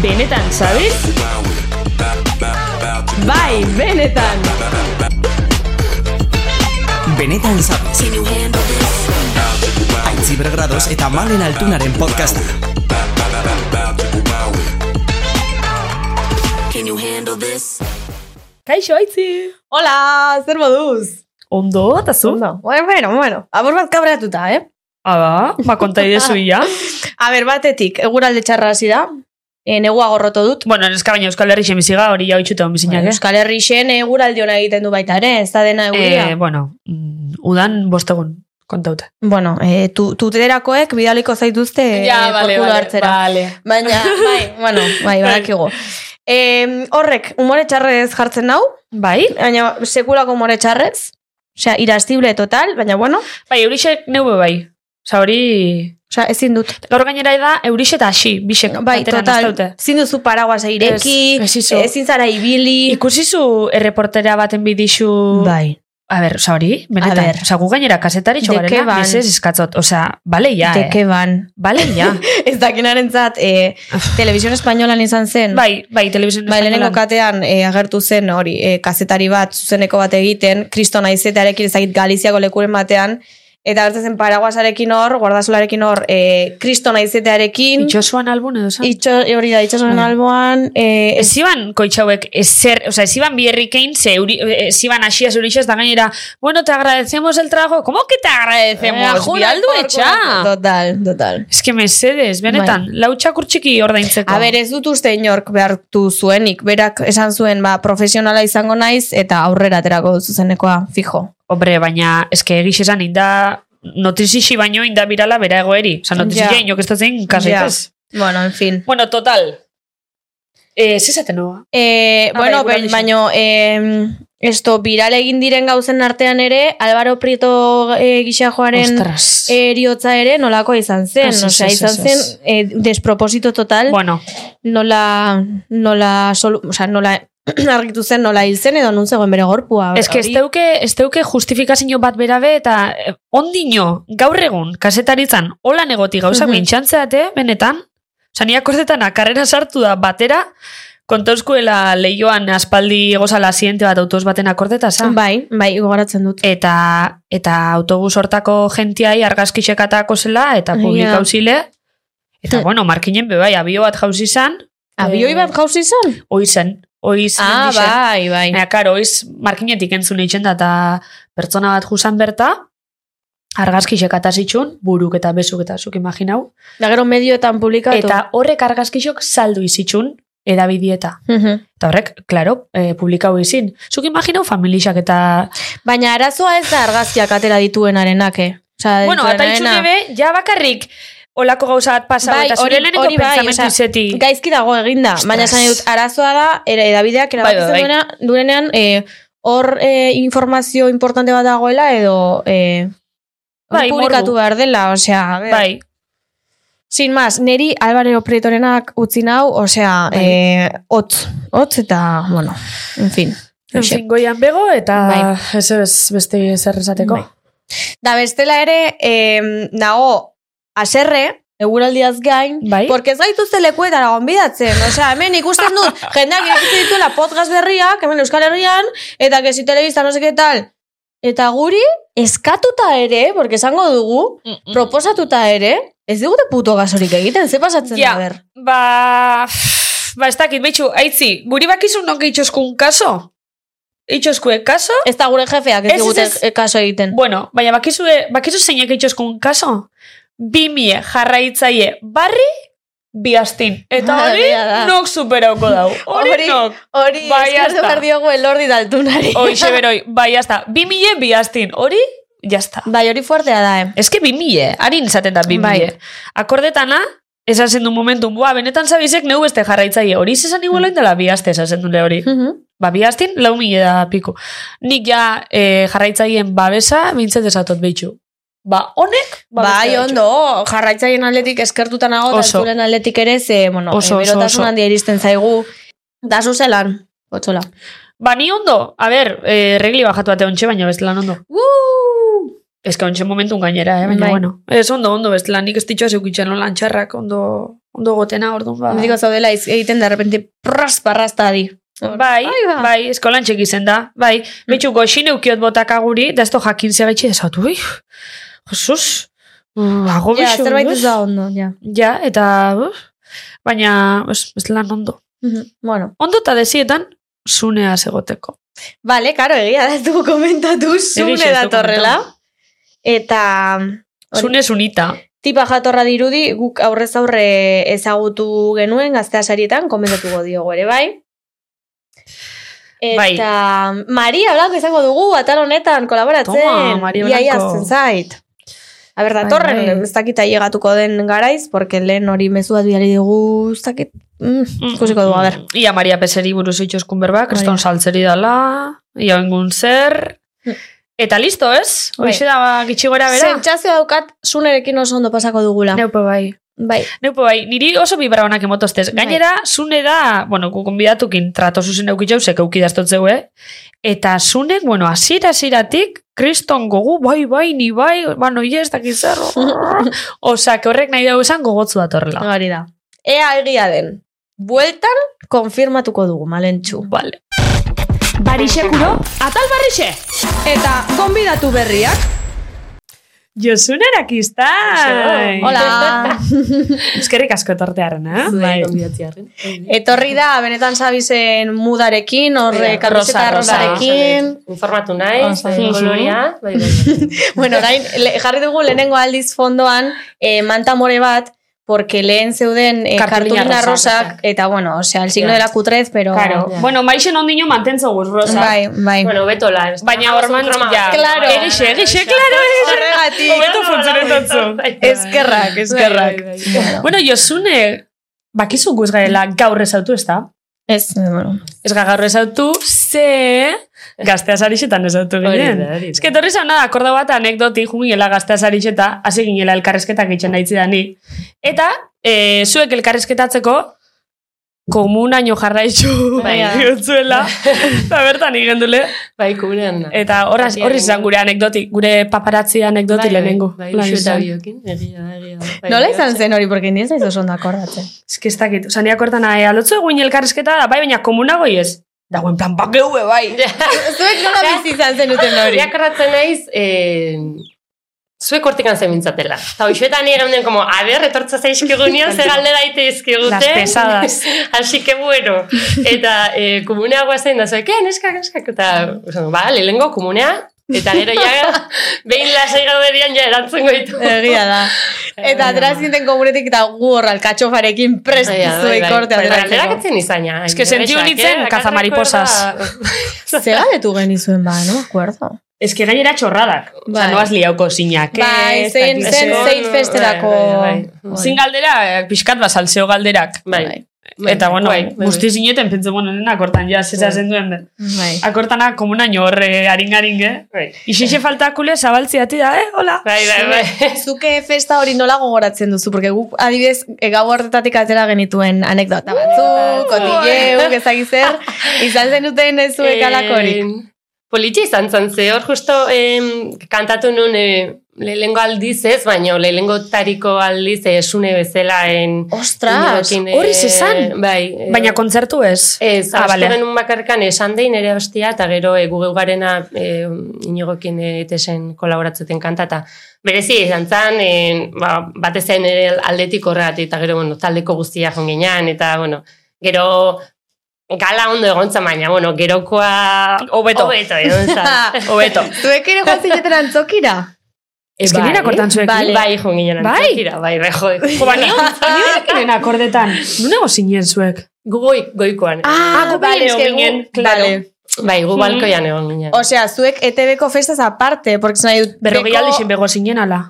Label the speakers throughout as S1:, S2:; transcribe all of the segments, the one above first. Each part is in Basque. S1: Benetan, ¿sabes? Bai, benetan!
S2: Benetan zabez. Aitzi bergradoz eta malen altunaren podcasta.
S1: Kaixo, aitzi!
S3: Hola, zer moduz?
S1: Ondo, eta zu?
S3: Ondo. Bueno, bueno, bueno. Abor bat kabratuta, eh?
S1: Aba, ba, konta idezu ia.
S3: A ber, batetik, eguralde txarra hasi da. E, negua gorroto dut.
S1: bueno, neska baina Euskal Herri xemiziga hori jau itxuta onbizinak, eh?
S3: Euskal Herri xen eguralde hona egiten du baita ere, ez da dena euria.
S1: Eh, bueno, mm, udan bostegun, kontauta.
S3: bueno, e, tu, tuterakoek bidaliko zaituzte
S1: Eh,
S3: ja, hartzera.
S4: Vale.
S3: Baina, bai, bueno, bai, badakigu. E, horrek, umore txarrez jartzen nau,
S1: Bai?
S3: baina sekulako umore txarrez. Osea, irastible total, baina bueno,
S1: Bai, eurixek neube bai. Osa hori...
S3: osea, ezin dut.
S1: Gaur gainera da, eurixe eta hasi, bisek.
S3: Bai,
S1: bateran, ez
S3: total,
S1: daute.
S3: ezin duzu paraguasa ireki,
S1: Ez, ez izu.
S3: ezin zara ibili.
S1: Ikusizu erreportera baten bidixu...
S3: Bai.
S1: A ber, osa hori,
S3: A
S1: benetan.
S3: ber.
S1: Osa, gu gainera kasetari
S3: De que
S1: txogarena,
S3: van.
S1: mesez eskatzot. Osa, bale ja,
S3: De Mm.
S1: eh?
S3: que van.
S1: Bale ja.
S3: Ez dakinaren zat, e, Televisión Españolan izan zen.
S1: bai, bai, telebizion
S3: Bai, lehenengo katean e, agertu zen hori, e, kazetari bat, zuzeneko bat egiten, kriston aizetarekin ezagit Galiziako lekuren batean, eta agertzen zen paraguasarekin hor, guardasolarekin hor, e, kriston aizetarekin,
S1: Itxosuan albun edo zan?
S3: itxo, e, hori da, itxasonen
S1: Bai.
S3: alboan, e,
S1: Ez iban koitxauek ezer, o sea, ez iban bierrikein, ze euri, ez iban asias eurixez, da gainera, bueno, te agradecemos el trabajo, ¿cómo que te agradecemos? Eh, Bialdu etxa!
S3: Total, total.
S1: Ez que mesedes, benetan, lau txakurtxiki ordaintzeko.
S3: Bai. A eh- ber, ez dut uste inork behartu zuenik, berak esan zuen, ba, profesionala izango naiz, eta aurrera aterako dut zuzenekoa, fijo.
S1: Hombre, baina eske egiz esan inda notizixi baino inda birala bera egoeri. Osa, notizia
S3: Ja.
S1: yeah. inok ez da zein kasetez.
S3: Bueno, en fin.
S1: Bueno, total. Eh, zezaten noa?
S3: Eh,
S1: Ah,
S3: bueno,
S1: bai,
S3: bai,
S1: gura
S3: baino, eh, esto, viral egin diren gauzen artean ere, Álvaro Prieto eh, gixajoaren
S1: Ostras.
S3: eriotza ere nolakoa izan zen.
S1: Ez, ez,
S3: Osea,
S1: ez,
S3: izan
S1: ez,
S3: zen
S1: ez.
S3: eh, desproposito total,
S1: bueno,
S3: nola, nola, solu, osea, nola argitu zen, nola hil zen, edo nun zegoen bere gorpua.
S1: Ez que ez
S3: Hori-
S1: teuke, ez teuke justifikazio bat berabe eta eh, ondino, gaur egun, kasetaritzan, hola negoti gauzak
S3: Mhm.
S1: mm benetan, saniak kortetana, karrera sartu da batera, kontauzkuela leioan aspaldi gozala asiente bat autoz baten akordeta, za?
S3: Bai, bai, gogoratzen dut.
S1: Eta, eta autobus hortako gentiai argazkixek atako zela, eta
S3: Ai,
S1: publik
S3: ja.
S1: hauzile, eta
S3: Hm.
S1: bueno, markinen bebai, abio bat jauzi zan, Eh,
S3: Abioi bat jauzi izan?
S1: oizen, oiz
S4: Ah,
S1: mendixen.
S3: bai, bai.
S1: Baina, karo, oiz, markinetik entzun eitzen da, eta pertsona bat jusan berta, argazki sekata zitsun, buruk eta bezuk eta zuk imaginau.
S3: Da gero medioetan publikatu.
S1: Eta horrek argazkixok saldu izitsun, edabidieta.
S3: Mhm.
S1: Eta horrek, klaro, e, publikau izin. Zuk imaginau familixak eta...
S3: Baina arazoa ez da argazkiak atera dituenarenak, eh? Osea,
S1: bueno, eta
S3: dituenarena.
S1: itxun ebe, ja bakarrik olako gauza bat pasau,
S3: Bai,
S1: eta zure
S3: hori-
S1: lehenengo
S3: hori bai,
S1: pentsamentu
S3: osea,
S1: izeti.
S3: Gaizki dago eginda,
S1: Ostras.
S3: baina esan dut arazoa da, ere edabideak erabakitzen
S1: Bai, bai,
S3: duena, duenean, eh, hor eh, informazio importante bat dagoela edo eh, hori
S1: Bai,
S3: publikatu
S1: morbo.
S3: behar dela, osea, a ber.
S1: Bai,
S3: Sin más, neri Álvaro Prietorenak utzi nau, osea,
S1: Bai.
S3: eh, hotz, hotz eta, bueno, en fin.
S4: En
S3: hoxe.
S4: fin, goian bego eta
S3: Bai.
S4: ez ez beste zer esateko.
S3: Bai. Da bestela ere, eh, nago, aserre, eguraldiaz gain,
S1: bai.
S3: Porque ez gaituzte lekuetara gonbidatzen, osea, hemen ikusten dut, jendeak irekitzen dituela podcast berriak, hemen Euskal Herrian, eta que si telebista, no sé qué tal. Eta guri, eskatuta ere, porque esango dugu, proposatuta ere, ez digute puto gasorik egiten, ze pasatzen
S1: Ja.
S3: da, ber.
S1: Ba, pff, ba, ez dakit, betxu, aitzi, guri bakizun nonke itxoskun kaso? Itxoskuen kaso?
S3: Ez da gure jefeak
S1: Ez,
S3: ez,
S1: ez,
S3: digute
S1: ez.
S3: e- kaso egiten.
S1: Bueno, baina bakizu, bakizu zeinek itxoskun kaso? Bimie jarraitzaile barri, bihaztin. Eta hori,
S3: Bea da.
S1: nok superauko dau. Hori
S3: Hori-
S1: nok.
S3: Hori,
S1: Bai,
S3: eskertu
S1: hasta.
S3: behar diogu elordi daltunari.
S1: Hoxe beroi, bai, jazta. Bimie bihaztin. Hori, jazta.
S3: Bai, hori fuertea da, eh.
S1: Ez que bimile, harin izaten da bimile.
S3: Bai.
S1: Akordetana, esan zen du momentum, boa, benetan zabizek neu beste jarraitzaile. Hori zezan
S3: Mm.
S1: iguela indela bihazte esan zen dule hori.
S3: Mhm.
S1: Ba, bihaztin, lau mila da piko. Nik ja e, jarraitzaien babesa, bintzat esatot behitxu. Ba, honek, ba,
S3: Bai,
S1: bestea
S3: ondo, jarraitzaien aldetik eskertuta nago, eta
S1: Oso.
S3: entzulen aldetik ere, ze, bueno,
S1: Oso,
S3: oso,
S1: oso, oso.
S3: berotasun handia iristen zaigu. Da zuzelan, botxola.
S1: eh, Ba, ni ondo, a ber, e, regli bajatu ate ontxe, baina bestela ondo.
S3: Woo!
S1: Ez que ontsen momentun gainera, eh? baina,
S3: Bai.
S1: bueno. Ez ondo, ondo, bestela, nik ez ditxoa zeukitzen lan lantxarrak, ondo, ondo gotena, orduan, ba.
S3: Betiko zaudela iz- egiten da, de repente, pras, parrastari.
S1: Bai,
S3: Ai, ba.
S1: bai, eskolan txek izen da. Bai, betxu goxin eukiot botaka guri, da ez do jakin segaitxe esatu, ui, Jesus, mm, hago
S3: Ja,
S1: bixo,
S3: zerbait
S1: uf.
S3: ez da ondo, ja.
S1: Ja, eta, uf, baina, ez, ez lan ondo.
S3: Mhm, Bueno,
S1: Ondo eta desietan, zunea zegoteko.
S3: vale, karo, egia da, ez dugu komentatu
S1: Egixe,
S3: zune
S1: ez dugu
S3: datorrela.
S1: komentatu.
S3: Eta... hori,
S1: Zune zunita.
S3: Tipa jatorra dirudi, guk aurrez aurre ezagutu genuen gaztea sarietan, komentatuko diogu ere, bai. Eta
S1: Bai.
S3: Maria Blanco izango dugu, atal honetan, kolaboratzen.
S1: Toma, Maria
S3: Ia, ia,
S1: Blanco.
S3: azten zait. A ber, datorren,
S4: Bai, bai.
S3: ez dakita llegatuko den garaiz, porque lehen hori mezu bat bidali dugu, ez dakit, mm, ikusiko dugu, a Bai. ber.
S1: Ia Maria Peseri buruz itxoskun berbak,
S3: Hori
S1: kriston
S3: da.
S1: saltzeri dala, ia bengun zer...
S3: Mm.
S1: Eta listo, ez?
S3: Bai.
S1: Hoxe da ba, gitxi gora bera.
S3: Sentsazio daukat, sunerekin oso ondo pasako dugula.
S4: Neupe bai.
S3: Bai,
S1: Neupo bai, niri oso vibra honak emotoztez.
S3: Bai.
S1: Gainera, zune da, bueno, gukonbidatukin trato zuzen eukitzauzek eukidaztotzeu, eh? Eta zunek, bueno, azira aziratik, kriston gogu, bai, bai, ni bai, ba, noia ez dakizar. Osa, que horrek nahi dugu esan gogotzu datorrela.
S3: hori da. Ea egia den. Bueltan, konfirmatuko dugu, malentxu.
S1: Vale.
S3: Barixekuro, atal barrixe! Eta konbidatu berriak.
S1: Josunerak iztai!
S3: Hola!
S1: Eskerrik asko tortearen, eh?
S3: Bai.
S5: Bai.
S3: Etorri da, benetan zabizen mudarekin, horre
S5: Bai,
S3: kamiseta
S1: rosa,
S3: rosarekin.
S5: Informatu nahi,
S4: Oso
S5: eh,
S1: ondo.
S5: kolorea. Bai, bai, bai.
S3: Bueno, orain, le, jarri dugu lehenengo aldiz fondoan eh, manta more bat, porque lehen zeuden eh,
S1: Kartulina
S3: kartulina
S5: rosak.
S3: rosak, eta bueno, o sea, el signo
S5: Ya.
S3: de la cutrez, pero...
S5: Claro.
S1: Ja. Bueno, maixen ondino mantentzo guz, Rosa.
S3: Bai, bai.
S5: bueno, beto lan.
S1: Baina orman, ja.
S3: Claro.
S1: Egixe, egixe, Bai. klaro, egixe.
S3: Horregatik.
S1: Hobeto funtzionetatzu.
S3: Eskerrak, eskerrak.
S1: bai, Bueno, Josune, bakizu guz garela gaur ezautu, ez da?
S3: Ez, bueno.
S1: Ez ga gaur ezautu, ze gazteaz arixetan ezautu
S5: Hori
S1: ginen.
S5: da, hori da.
S1: Ez que torri zan da, akorda bat anekdoti junginela gazteaz arixeta, hasi ginela elkarrezketak egiten daitzi da ni. Eta, e, zuek elkarrezketatzeko, komunaino jarraitzu
S5: Bai.
S1: bihotzuela, eta Ba, bertan igendule.
S5: Bai, kuburean.
S1: Eta horraz, horriz izan gure anekdoti, gure paparazzi anekdoti lehenengo.
S5: Bai,
S1: Lan
S5: usu eta
S1: izan.
S5: biokin. Egia da, egia da. Bai,
S3: Nola
S5: bihotza.
S3: izan zen hori, porque ni ez naiz oso ondo akordatzen.
S1: Ez que ez dakit, oza, niak hortan ae, alotzu eguin elkarrezketa da, bai, baina komunago ez. Dagoen plan bat geue, bai.
S3: Zuek nola bizi izan zenuten hori?
S5: Ni akordatzen naiz, eh, zuek hortikan zen mintzatela. Eta hoxetan nire geunden, como, a ber, retortza zaizkigu nion, ze galdera ite izkigute.
S1: Las pesadas.
S5: Así que bueno. Eta eh, komunea guazen da, zoek, eh, neskak, neskak. Eta, esan, ba, lehengo komunea, eta gero ja, behin lasai gaude dian ja erantzun goitu.
S3: Egia da. Eta atera zinten komunetik eta gu hor alkatxofarekin prest
S5: Bai,
S3: zuek korte
S5: Galderak
S3: ateratzeko.
S5: etzen izaina.
S1: Es que sentiu nintzen cazamariposas.
S3: Ze galetu genizuen ba, no? me Acuerdo.
S1: Ez que gainera txorradak. Oza,
S3: Bai.
S1: noaz liauko zinak.
S3: Bai,
S1: ez
S3: zein
S1: dakit
S3: zen
S1: zer.
S3: zein festerako.
S5: Bai, bai, bai.
S1: Zin galdera, eh, pixkat bat salseo galderak.
S5: Bai.
S1: Eta, bueno,
S5: bai, bai, bai.
S1: guzti zineten pentsa, bueno, nena, akortan, ja, zesa
S5: Bai.
S1: zen duen.
S3: Bai.
S1: Akortana komunaino horre haringaring, eh?
S5: Bai,
S1: Ixixe faltakule zabaltziati da, eh? Hola.
S5: bai, bai. bai.
S3: Zuke festa hori nola gogoratzen duzu, porque guk adibidez e, gau horretatik atera genituen anekdota batzuk, kotilleu, ezagizer, izan zenuten ez zuek alakorik.
S5: Eh, Politxe izan zan, ze hor justo em, kantatu nun eh, lehengo aldiz ez, baino lehengo tariko aldiz eh, esune bezala en...
S3: Ostras,
S5: Iñigokin, eh,
S1: hori zezan?
S5: Bai. eh,
S1: Baina kontzertu ez.
S5: Ez,
S1: Ah,
S5: ah,
S1: bale.
S5: genuen bakarrikan esan dein ere hostia, eta gero e, guge garena e, inigokin e, etesen kolaboratzuten kantata. Berezi, izan zan, e, ba, batez zen ere aldetik horregatik, eta gero, bueno, taldeko guztia jonginan, eta, bueno, gero gala ondo egon zan, baina, bueno, gerokoa...
S1: Hobeto.
S5: Obeto, egon zan.
S1: Hobeto.
S3: zuek ere joan zineten antzokira?
S5: E,
S1: Ez que nire akortan zuekin.
S5: Bai, bai, jonginan.
S1: Bai.
S5: antzokira, Bai, bai, jo.
S1: Jo, ba, nio, nio zekinen akordetan. Nunego zinen zuek.
S5: Gugoi, goikoan.
S1: Ah, gu Mhm.
S3: vale,
S1: bien
S3: es que
S1: egon ginen,
S3: gu-
S1: claro.
S3: vale.
S5: Bai, gu balkoian egon ginen.
S3: Osea, zuek ETB-ko festaz aparte, porque zena dut...
S1: Berrogei
S3: beko-
S1: aldixen bego zinen ala.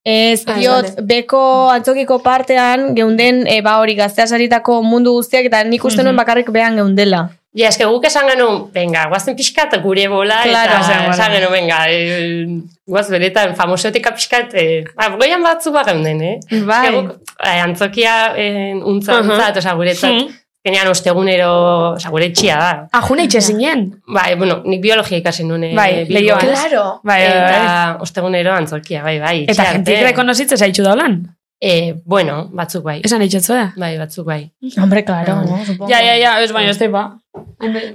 S3: Ez,
S5: Ah,
S3: diot, beko antzokiko partean geunden, e, ba hori, gaztea saritako mundu guztiak, eta nik uste
S1: Mhm.
S3: nuen bakarrik behan geundela.
S5: Ja, eske guk esan genuen, venga, guazen pixkat gure bola,
S3: Claro,
S5: eta
S1: esan
S5: esan,
S1: bola.
S5: genuen, venga, e, guaz beretan famosotika pixkat, e, ba, goian batzu bat gauden, eh?
S3: Bai.
S5: Eske Guk, e, antzokia e, untza,
S1: Aha. Mm. Hmm.
S5: untza, oza, guretzat, Genean, ostegunero, oza, gure etxia da.
S1: Ajune ah, itxe zinen.
S5: Bai, bueno, nik biologia ikasen nuen eh,
S1: Bai,
S5: Bilbon.
S1: Leioan.
S4: Claro.
S1: Bai, bai, bai.
S5: Eta ostegunero antzokia, bai, bai.
S1: Eta
S5: etxean,
S1: jentik
S5: eh.
S1: rekonozitze zaitxu daulan.
S5: Eh, bueno, batzuk bai.
S1: Esan eh? itxatzua.
S5: Bai, batzuk bai.
S4: Hombre, claro.
S5: Mm.
S4: supongo.
S1: Ja, ja, ja, ez baina ez teipa.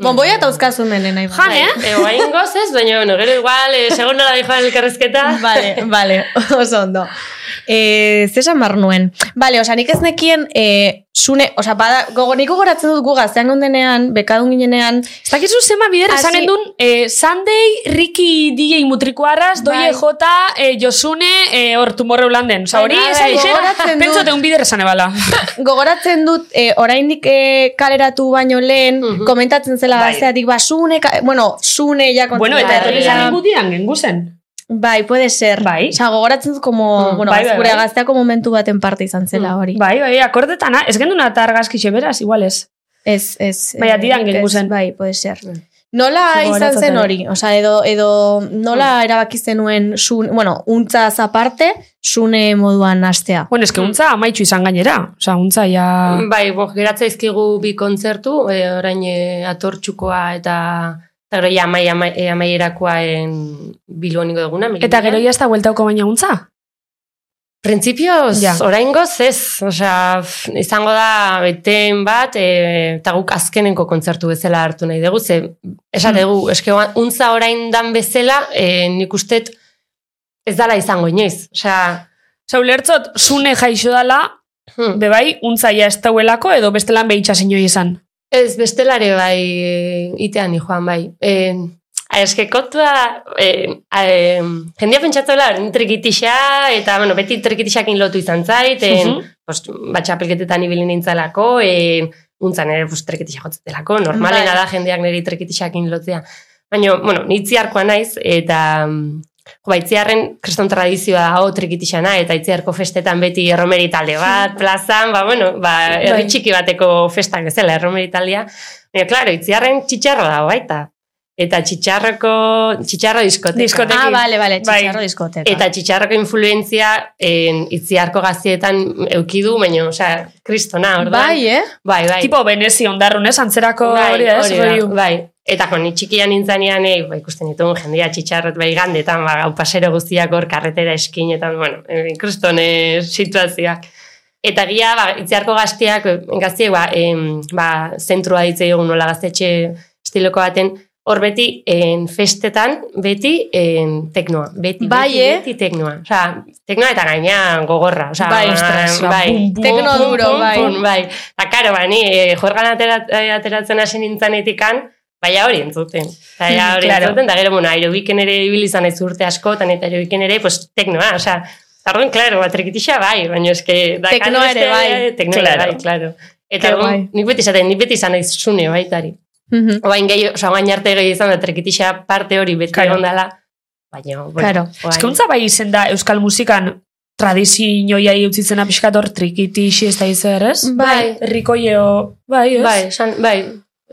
S3: Bomboia eta uzkazu mene nahi. bat.
S1: Jan, eh?
S5: Ego hain gozez, baina, bueno, gero igual, eh, segun nola dijoan elkarrezketa.
S3: Vale, vale, oso ondo. Eh, ze esan bar nuen. Vale, osea, nik ez nekien eh, zune, osea, bada, gogo, niko goratzen dut gu gaztean gondenean, bekadun ginenean,
S1: Ez dakizu zema bidera
S3: Hasi-
S1: esan endun eh, Sunday, Ricky DJ mutrikuarraz, Doie
S3: Bai.
S1: J, eh, Josune, eh, hor tumorre ulanden. Osa hori,
S3: Baina,
S1: esan
S3: bai,
S1: izena,
S3: gogoratzen dut.
S1: pentsote un bidera esan ebala.
S3: gogoratzen dut, eh, oraindik eh, kaleratu baino lehen,
S5: Mhm.
S3: komentatzen zela
S5: Bai.
S3: gazteatik, ba, zune, ka, bueno, zune ja kontu.
S1: bueno, eta
S5: Bai,
S1: etorri
S5: bai.
S1: zan ingutian, genguzen.
S3: Bai, puede ser.
S1: Bai.
S3: Osa, gogoratzen dut, como,
S5: Mm,
S3: bueno,
S1: bai, bai,
S3: gure
S1: bai.
S3: gazteako momentu baten parte izan zela hori.
S1: Bai, bai, akordetan, ah, ez genduna eta argazkixe beraz, igual ez.
S3: Ez, ez.
S1: Baina
S3: eh,
S1: tiran gelditu
S3: ez,
S1: zen.
S3: Bai, puede ser.
S5: Mm.
S3: Nola
S4: Oso
S3: izan zen
S4: gogoratzen
S3: hori? Osa, edo, edo
S1: Mm.
S3: nola erabaki zenuen sun, bueno, untza aparte, sune moduan astea.
S1: Bueno, eske untza amaitxu izan gainera. Osa, untza ja...
S3: Mm.
S5: Bai, bo, geratza izkigu bi kontzertu, e, orain e, atortxukoa eta eta gero ja amai, amai, e, amaierakoa en bilboniko duguna.
S1: Eta gero ja ez da bueltauko baina untza.
S5: Printzipioz,
S1: Ja.
S5: orain goz ez, osea, f- izango da beten bat, e, eta guk azkenenko kontzertu bezala hartu nahi dugu, ze
S1: Hmm.
S5: esategu, eske oa- untza orain dan bezala, e, nik ustet ez dala izango inoiz, osea,
S1: Osa, ulertzot, zune jaixo dala,
S5: hm,
S1: bebai, untza ja ez dauelako edo bestelan behitxa zinoi izan.
S5: Ez, bestelare bai, e, itean ni joan bai. E, a, eske kontua, e, a, e, jendia pentsatuela, orain trikitixa, eta, bueno, beti trikitixakin lotu izan zait, en,
S1: Mhm.
S5: pues, batxapelketetan ibili nintzalako, en, untzan ere, pues, trikitixa jotzetelako, normalena
S3: Bai.
S5: da jendeak niri trikitixakin lotzea. Baina, bueno, nitziarkoa naiz, eta... mm, Jo, ba, itziarren kriston tradizioa dago trikitixana, eta itziarko festetan beti erromeri talde bat, plazan, ba, bueno, ba, herri
S4: Bai.
S5: txiki bateko festak bezala, erromeri taldea. Baina, klaro, itziarren txitxarro dago baita. Eta txitxarroko, txitxarro diskoteka.
S1: Diskoteka.
S3: Ah,
S1: Batekin.
S3: bale, bale,
S1: Bai.
S3: txitxarro diskoteka.
S5: Eta txitxarroko influentzia en, itziarko gazietan eukidu, baina, osea, kristona, orduan.
S3: bai, eh?
S5: bai, bai.
S1: Tipo, benezi ondarrun ez, antzerako hori da, ez,
S5: da,
S1: hori.
S5: bai. Eta kon, txikian nintzanean, eh, ba, ikusten ditugun jendea txitxarrot bai gandetan, ba, gau pasero guztiak hor karretera eskinetan, bueno, ikuston situazioak. Eta gia, ba, itziarko gazteak, gazteak, ba, em, ba, zentrua ditzei egun nola gaztetxe estiloko baten, hor beti en, festetan, beti en, teknoa. Beti,
S3: Bai,
S5: beti,
S3: eh?
S5: beti teknoa. Osea, teknoa eta gainean gogorra. Osea,
S3: Bai, ostras, ba,
S5: bai,
S3: Tekno duro, bai.
S5: Pum, bai. Eta karo, ba, ni eh, jorgan aterat, eh, ateratzen hasi nintzanetik an, baina hori entzuten. Baina
S3: Mm,
S5: hori
S1: Claro.
S5: entzuten, da gero, bueno, aerobiken ere ibili izan ez urte askotan, eta aerobiken ere, pues, teknoa, osea, Arruin, klaro, batrikitixa bai, baina eske... dakar
S3: Teknoa ere
S5: beste-
S3: bai.
S5: Teknoa ere
S1: Claro.
S5: bai, klaro.
S3: Ke
S5: Eta
S3: bai.
S5: orduan,
S3: guai.
S5: nik beti izaten, nik beti izan naiz zune baitari.
S1: Bai.
S3: Mhm,
S5: Oain gehi, oza, oain arte gehi izan da, trikitixa parte hori beti
S1: Claro.
S5: egon dela. Baina, bueno,
S3: Claro.
S5: oain-
S1: Eskuntza bai izen da euskal musikan tradizioiai utzitzena pixkat hor trikitixi ez da izer, ez?
S3: Bai.
S1: Rikoio, bai, ez?
S5: Bai, esan, bai,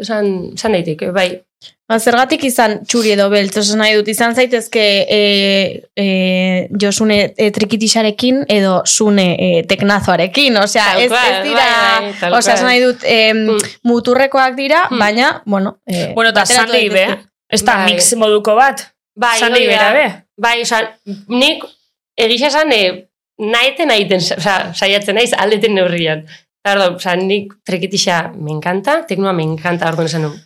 S5: esan, esan daiteke, bai.
S3: Ba, Zergatik izan txuri edo beltz, oso nahi dut, izan zaitezke e, e, josune e, trikitixarekin edo zune e, teknazoarekin, osea,
S5: Tal
S3: ez,
S5: cual,
S3: ez dira,
S5: bai, bai, tal
S3: osea,
S5: cual.
S3: esan nahi dut, em,
S5: Mm.
S3: muturrekoak dira,
S5: Mm.
S3: baina, bueno, e,
S1: Bueno, eta
S3: bateratu
S1: Sunday be,
S3: daitezke.
S1: ez da
S5: Bai.
S1: mix moduko bat,
S5: Bai,
S1: Sunday
S5: hori
S1: bera
S5: da.
S1: be.
S5: Bai, oza, nik egisa esan eh, naheten nahiten, oza, saiatzen naiz aldeten neurrian. Ordo, oza, nik trekitixa me encanta, teknoa me encanta, orduan esan nun.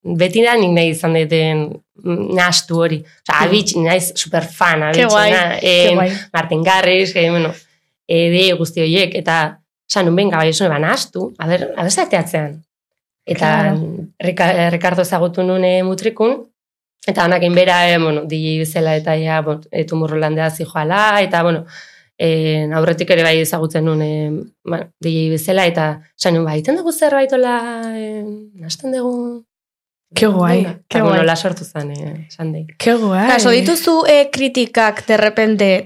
S5: Beti da nik nahi izan deten nastu hori. Oza, abitx, naiz superfan,
S3: Ke guai, Ke
S5: abitxena, eh,
S3: guai.
S5: Martin Garris, eh, bueno, eh, de guzti horiek, eta esan nun, benga, bai, zuen, ba, nastu, a ber, a ber, zateatzean. Eta Rica- Ricardo zagutu nun eh, mutrikun, Eta honakin bera, eh, bueno, DJ bezala eta ja, bon, e, tumurrolandea zijoala, eta, bueno, e, aurretik ere bai ezagutzen nun e, bueno, DJ bezala, eta esan nun, ba, iten dugu zerbaitola, e, nasten dugu.
S1: Ke guai,
S5: Venga.
S1: ke
S5: Eta, bueno,
S1: guai.
S5: la sortu zen, e, sandei.
S1: Ke guai.
S3: Kaso, dituzu e, kritikak derrepente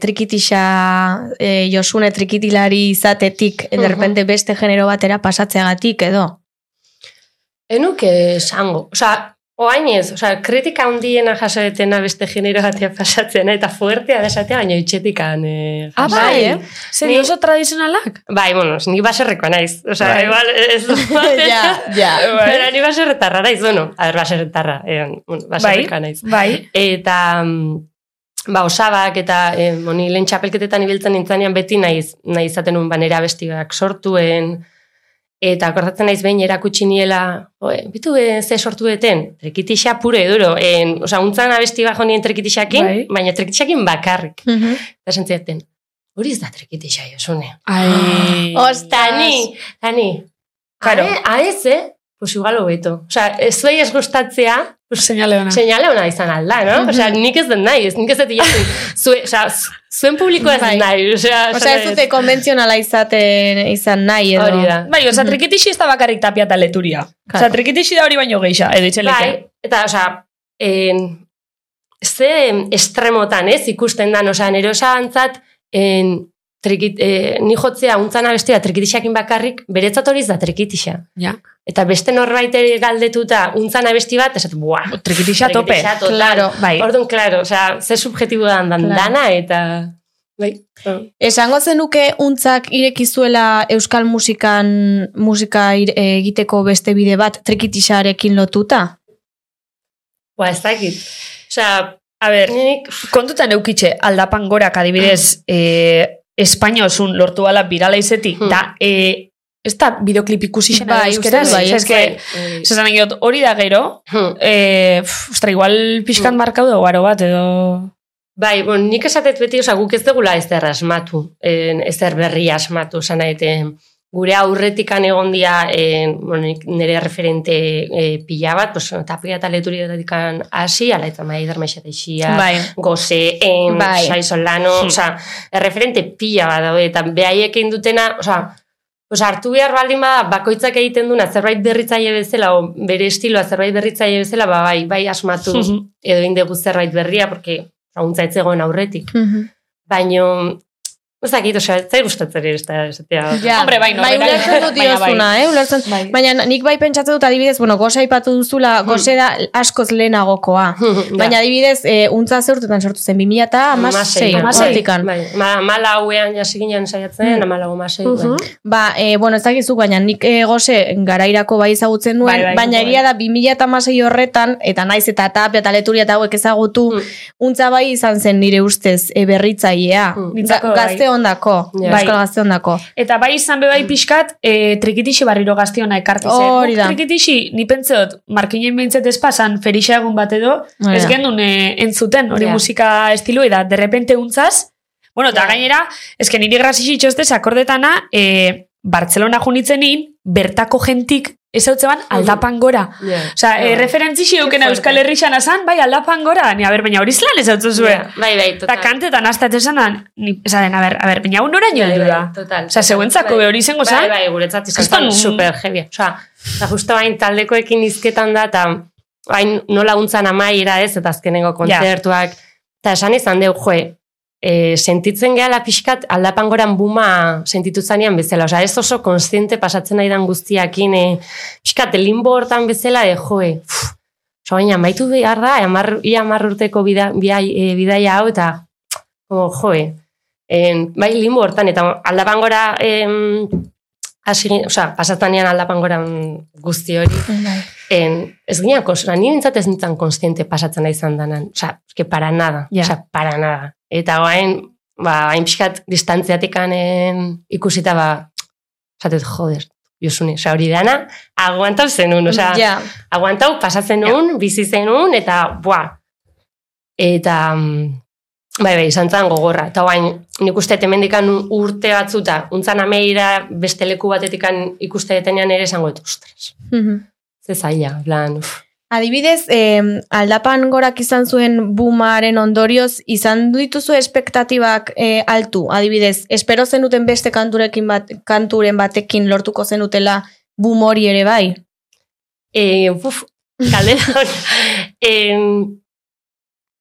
S3: trikitixa, e, josune trikitilari izatetik, e,
S5: Mhm.
S3: derrepente beste genero batera pasatzeagatik edo?
S5: Enuk esango, osea, Oain ez, osea, kritika handiena jasadetena beste genero batea pasatzen, eta fuertea desatea, baina itxetikan eh,
S1: Ah,
S5: jasan.
S1: bai,
S3: eh?
S1: Zer,
S5: Ni-
S1: oso tradizionalak?
S5: Bai, bueno, ni baserrekoa naiz. Osea,
S1: Bai.
S5: igual ez dut.
S3: Ja, ja.
S5: Baina ni baserretarra naiz, bueno, a ber, baserretarra, eh, bueno, baserrekoa naiz.
S1: Bai.
S5: Eta, mm, ba, osabak eta eh, moni lehen txapelketetan ibiltzen nintzanean beti naiz, nahi izaten nuen banera bestiak sortuen, eta akordatzen naiz behin erakutsi niela, oe, bitu e, ze sortu eten, trikitixa pure duro, en, osa, untzan abesti bajo nien trikitixakin,
S1: Bai.
S5: baina trikitixakin bakarrik.
S3: Mhm.
S5: Eta sentziaten, hori ez da trikitixa, josune.
S1: Ai.
S5: Ostani, tani.
S1: Claro.
S5: Ae, aez, eh? Pues igual hobeto. Osa, ez zuei ez gustatzea,
S1: Seinale hona.
S5: Seinale ona izan alda, no? Osea, nik ez den nahi, ez nik ez dut jasen. Zue, osea, zu- zuen publikoa ez
S3: Bai.
S5: dut nahi. Osea,
S3: Osea, ez dute konbentzionala izaten izan nahi edo.
S5: Hori da.
S1: Bai, oza, trikitixi ez da bakarrik tapia eta leturia. Oza,
S5: Claro.
S1: trikitixi da hori baino geixa, edo itxeleke.
S5: Bai, eta, osea, en, ze estremotan, ez, ikusten dan, osea, nire osagantzat, en, trikit, eh, ni jotzea untzana bestia trikitixakin bakarrik, beretzat hori ez da trikitixa.
S1: Ja.
S5: Eta beste norbait ere galdetuta untzana besti bat, esat, buah,
S1: Trikitixa tope.
S5: trikitixa total.
S3: Claro,
S1: Bai.
S5: Orduan, klaro, osea, ze subjetiboan dan
S3: Claro.
S5: dana, eta... Bai,
S3: Esango zenuke untzak irekizuela euskal musikan musika ir- e, egiteko beste bide bat trikitixarekin lotuta?
S5: Ba, ez dakit. Osea, a ber, nik...
S1: Kontutan eukitxe, aldapan gorak
S3: Mm.
S1: adibidez, eh, Espainosun lortu ala birala izetik,
S5: Hmm.
S1: da, eh, ez da bideoklip ikusi zen
S3: Bai,
S1: euskeraz,
S3: uste dut, bai,
S1: ez que,
S5: Bai.
S1: zesan egiot, hori da gero, eh, pf, ostra, igual pixkan
S5: Hmm.
S1: markau da garo bat, edo...
S5: bai, bon, nik esatet beti, osea, guk ez degula ezer asmatu, en, ezer berri asmatu, esan nahi, em, gure aurretikan egon dia, en, bueno, nik nire referente e, pila bat, pues, tapia eta leturi datikan hasi, ala eta mai dermaixa isia,
S1: Bai.
S5: goze, en,
S3: Bai.
S5: sai solano,
S1: Hmm.
S5: osea, erreferente pila bat daude, eta behaiek egin dutena, osea, Osa, hartu behar baldin bada, bakoitzak egiten duna zerbait berritzaile bezala, o bere estiloa zerbait berritzaile bezala, ba, bai, bai asmatu
S1: Mhm.
S3: Hmm.
S5: edo indegu zerbait berria, porque laguntza ez zegoen aurretik.
S3: Mhm.
S5: Baino, ez dakit, osea, ez zait gustatzen ere, ez da, esatea.
S3: Ja,
S1: Hombre, bai, no,
S3: bai,
S1: berak-
S3: ulertzen dut
S1: baina bai.
S3: diozuna, eh? Ulertzen,
S1: Bai. Hmm.
S3: Baina nik bai pentsatzen dut adibidez, bueno, goza aipatu duzula, goze da askoz lehenagokoa. Baina adibidez, e, untza zeurtetan sortu zen, 2000 eta amasei,
S1: Hamasei.
S3: hortikan.
S5: Bai, ma, malauean jasi ginen saiatzen,
S3: Hmm.
S5: mm. malau amasei. bai.
S3: Ba, e, bueno, ez dakizu, baina nik e, goze garairako bai ezagutzen nuen,
S1: Bai, bai,
S3: baina
S1: bai.
S3: egia da 2016 horretan, eta naiz eta tapia eta leturia eta hauek ezagutu,
S5: Mm.
S3: untza bai izan zen nire ustez e, berritzailea.
S5: Mm.
S1: Nitzako bai.
S3: gazte ondako,
S5: Ja.
S3: euskal gazte ondako.
S1: Eta bai izan be bai pixkat, e, trikitixi barriro gaztiona ekartu zen.
S3: Mm. Hori
S1: Guk
S3: da.
S1: Trikitixi, ni pentsa dut, markinen behintzat espasan, ferixa egun bat edo,
S3: Hori
S1: ez
S3: da.
S1: gendun e, entzuten, hori
S5: Ja.
S1: musika estilu, eta derrepente untzaz, bueno, eta
S5: Ja.
S1: gainera, eske niri grazixi txostez akordetana, e, Bartzelona junitzenin, bertako jentik ez hau aldapan gora.
S5: Ja.
S1: Osa, e,
S5: Ja.
S1: referentzixi eukena
S5: fuerte.
S1: Euskal Herrixan azan, bai, aldapan gora. Ni, a ber, baina hori zelan ez hau zuen.
S5: Ja, Bai, bai,
S1: Eta
S5: total.
S1: kantetan hasta esanan, ni, esaten, a ber, a ber, baina hau noraino heldu da.
S5: Bai, total.
S1: Osea, zeuentzako be hori izango
S5: bai,
S1: zan?
S5: Bai, guretzat izan
S1: Kriston-
S5: zen super heavy. Osea, eta justo hain taldekoekin izketan da, eta hain nola untzan amaiera ez, eta azkenengo kontzertuak. Eta esan izan deu, joe, e, sentitzen gehala pixkat aldapan goran buma sentitu zanean bezala. Osea, ez oso konstiente pasatzen nahi dan guztiakin, e, pixkat limbo hortan bezala, e, joe, pff, Oso baina amaitu behar da, amar, ia amar urteko bida, bidai, e, bidaia hau, eta como, joe, en, bai limbo hortan, eta aldapan gora, em, hasi gin- osea, pasatanean aldapan gora mm, guzti hori, en, ez ginen, konsola, ni bintzat ez nintzen konstiente pasatzen nahi izan danan, osea, eske para nada,
S1: Ja.
S5: osea, para nada. Eta guain, ba, hain pixkat distantziatik ikusita, ba, esatez, joder, josune, osea, hori dana, aguantau zenun, osea,
S3: ja,
S5: aguantau, pasatzen nun, bizi zenun, eta, bua, eta, mm, bai, bai, izan zen gogorra. Eta bain, nik uste temendikan urte batzuta, untzan ameira, beste leku batetikan ikuste detenean ere esango dut, ostras,
S3: Mhm.
S5: ze zaila, plan, uf.
S3: Adibidez, eh, aldapan gorak izan zuen bumaren ondorioz, izan dituzu espektatibak eh, altu. Adibidez, espero zenuten beste kanturekin bat, kanturen batekin lortuko zenutela bum hori ere bai.
S5: E, uf, kaldera. e,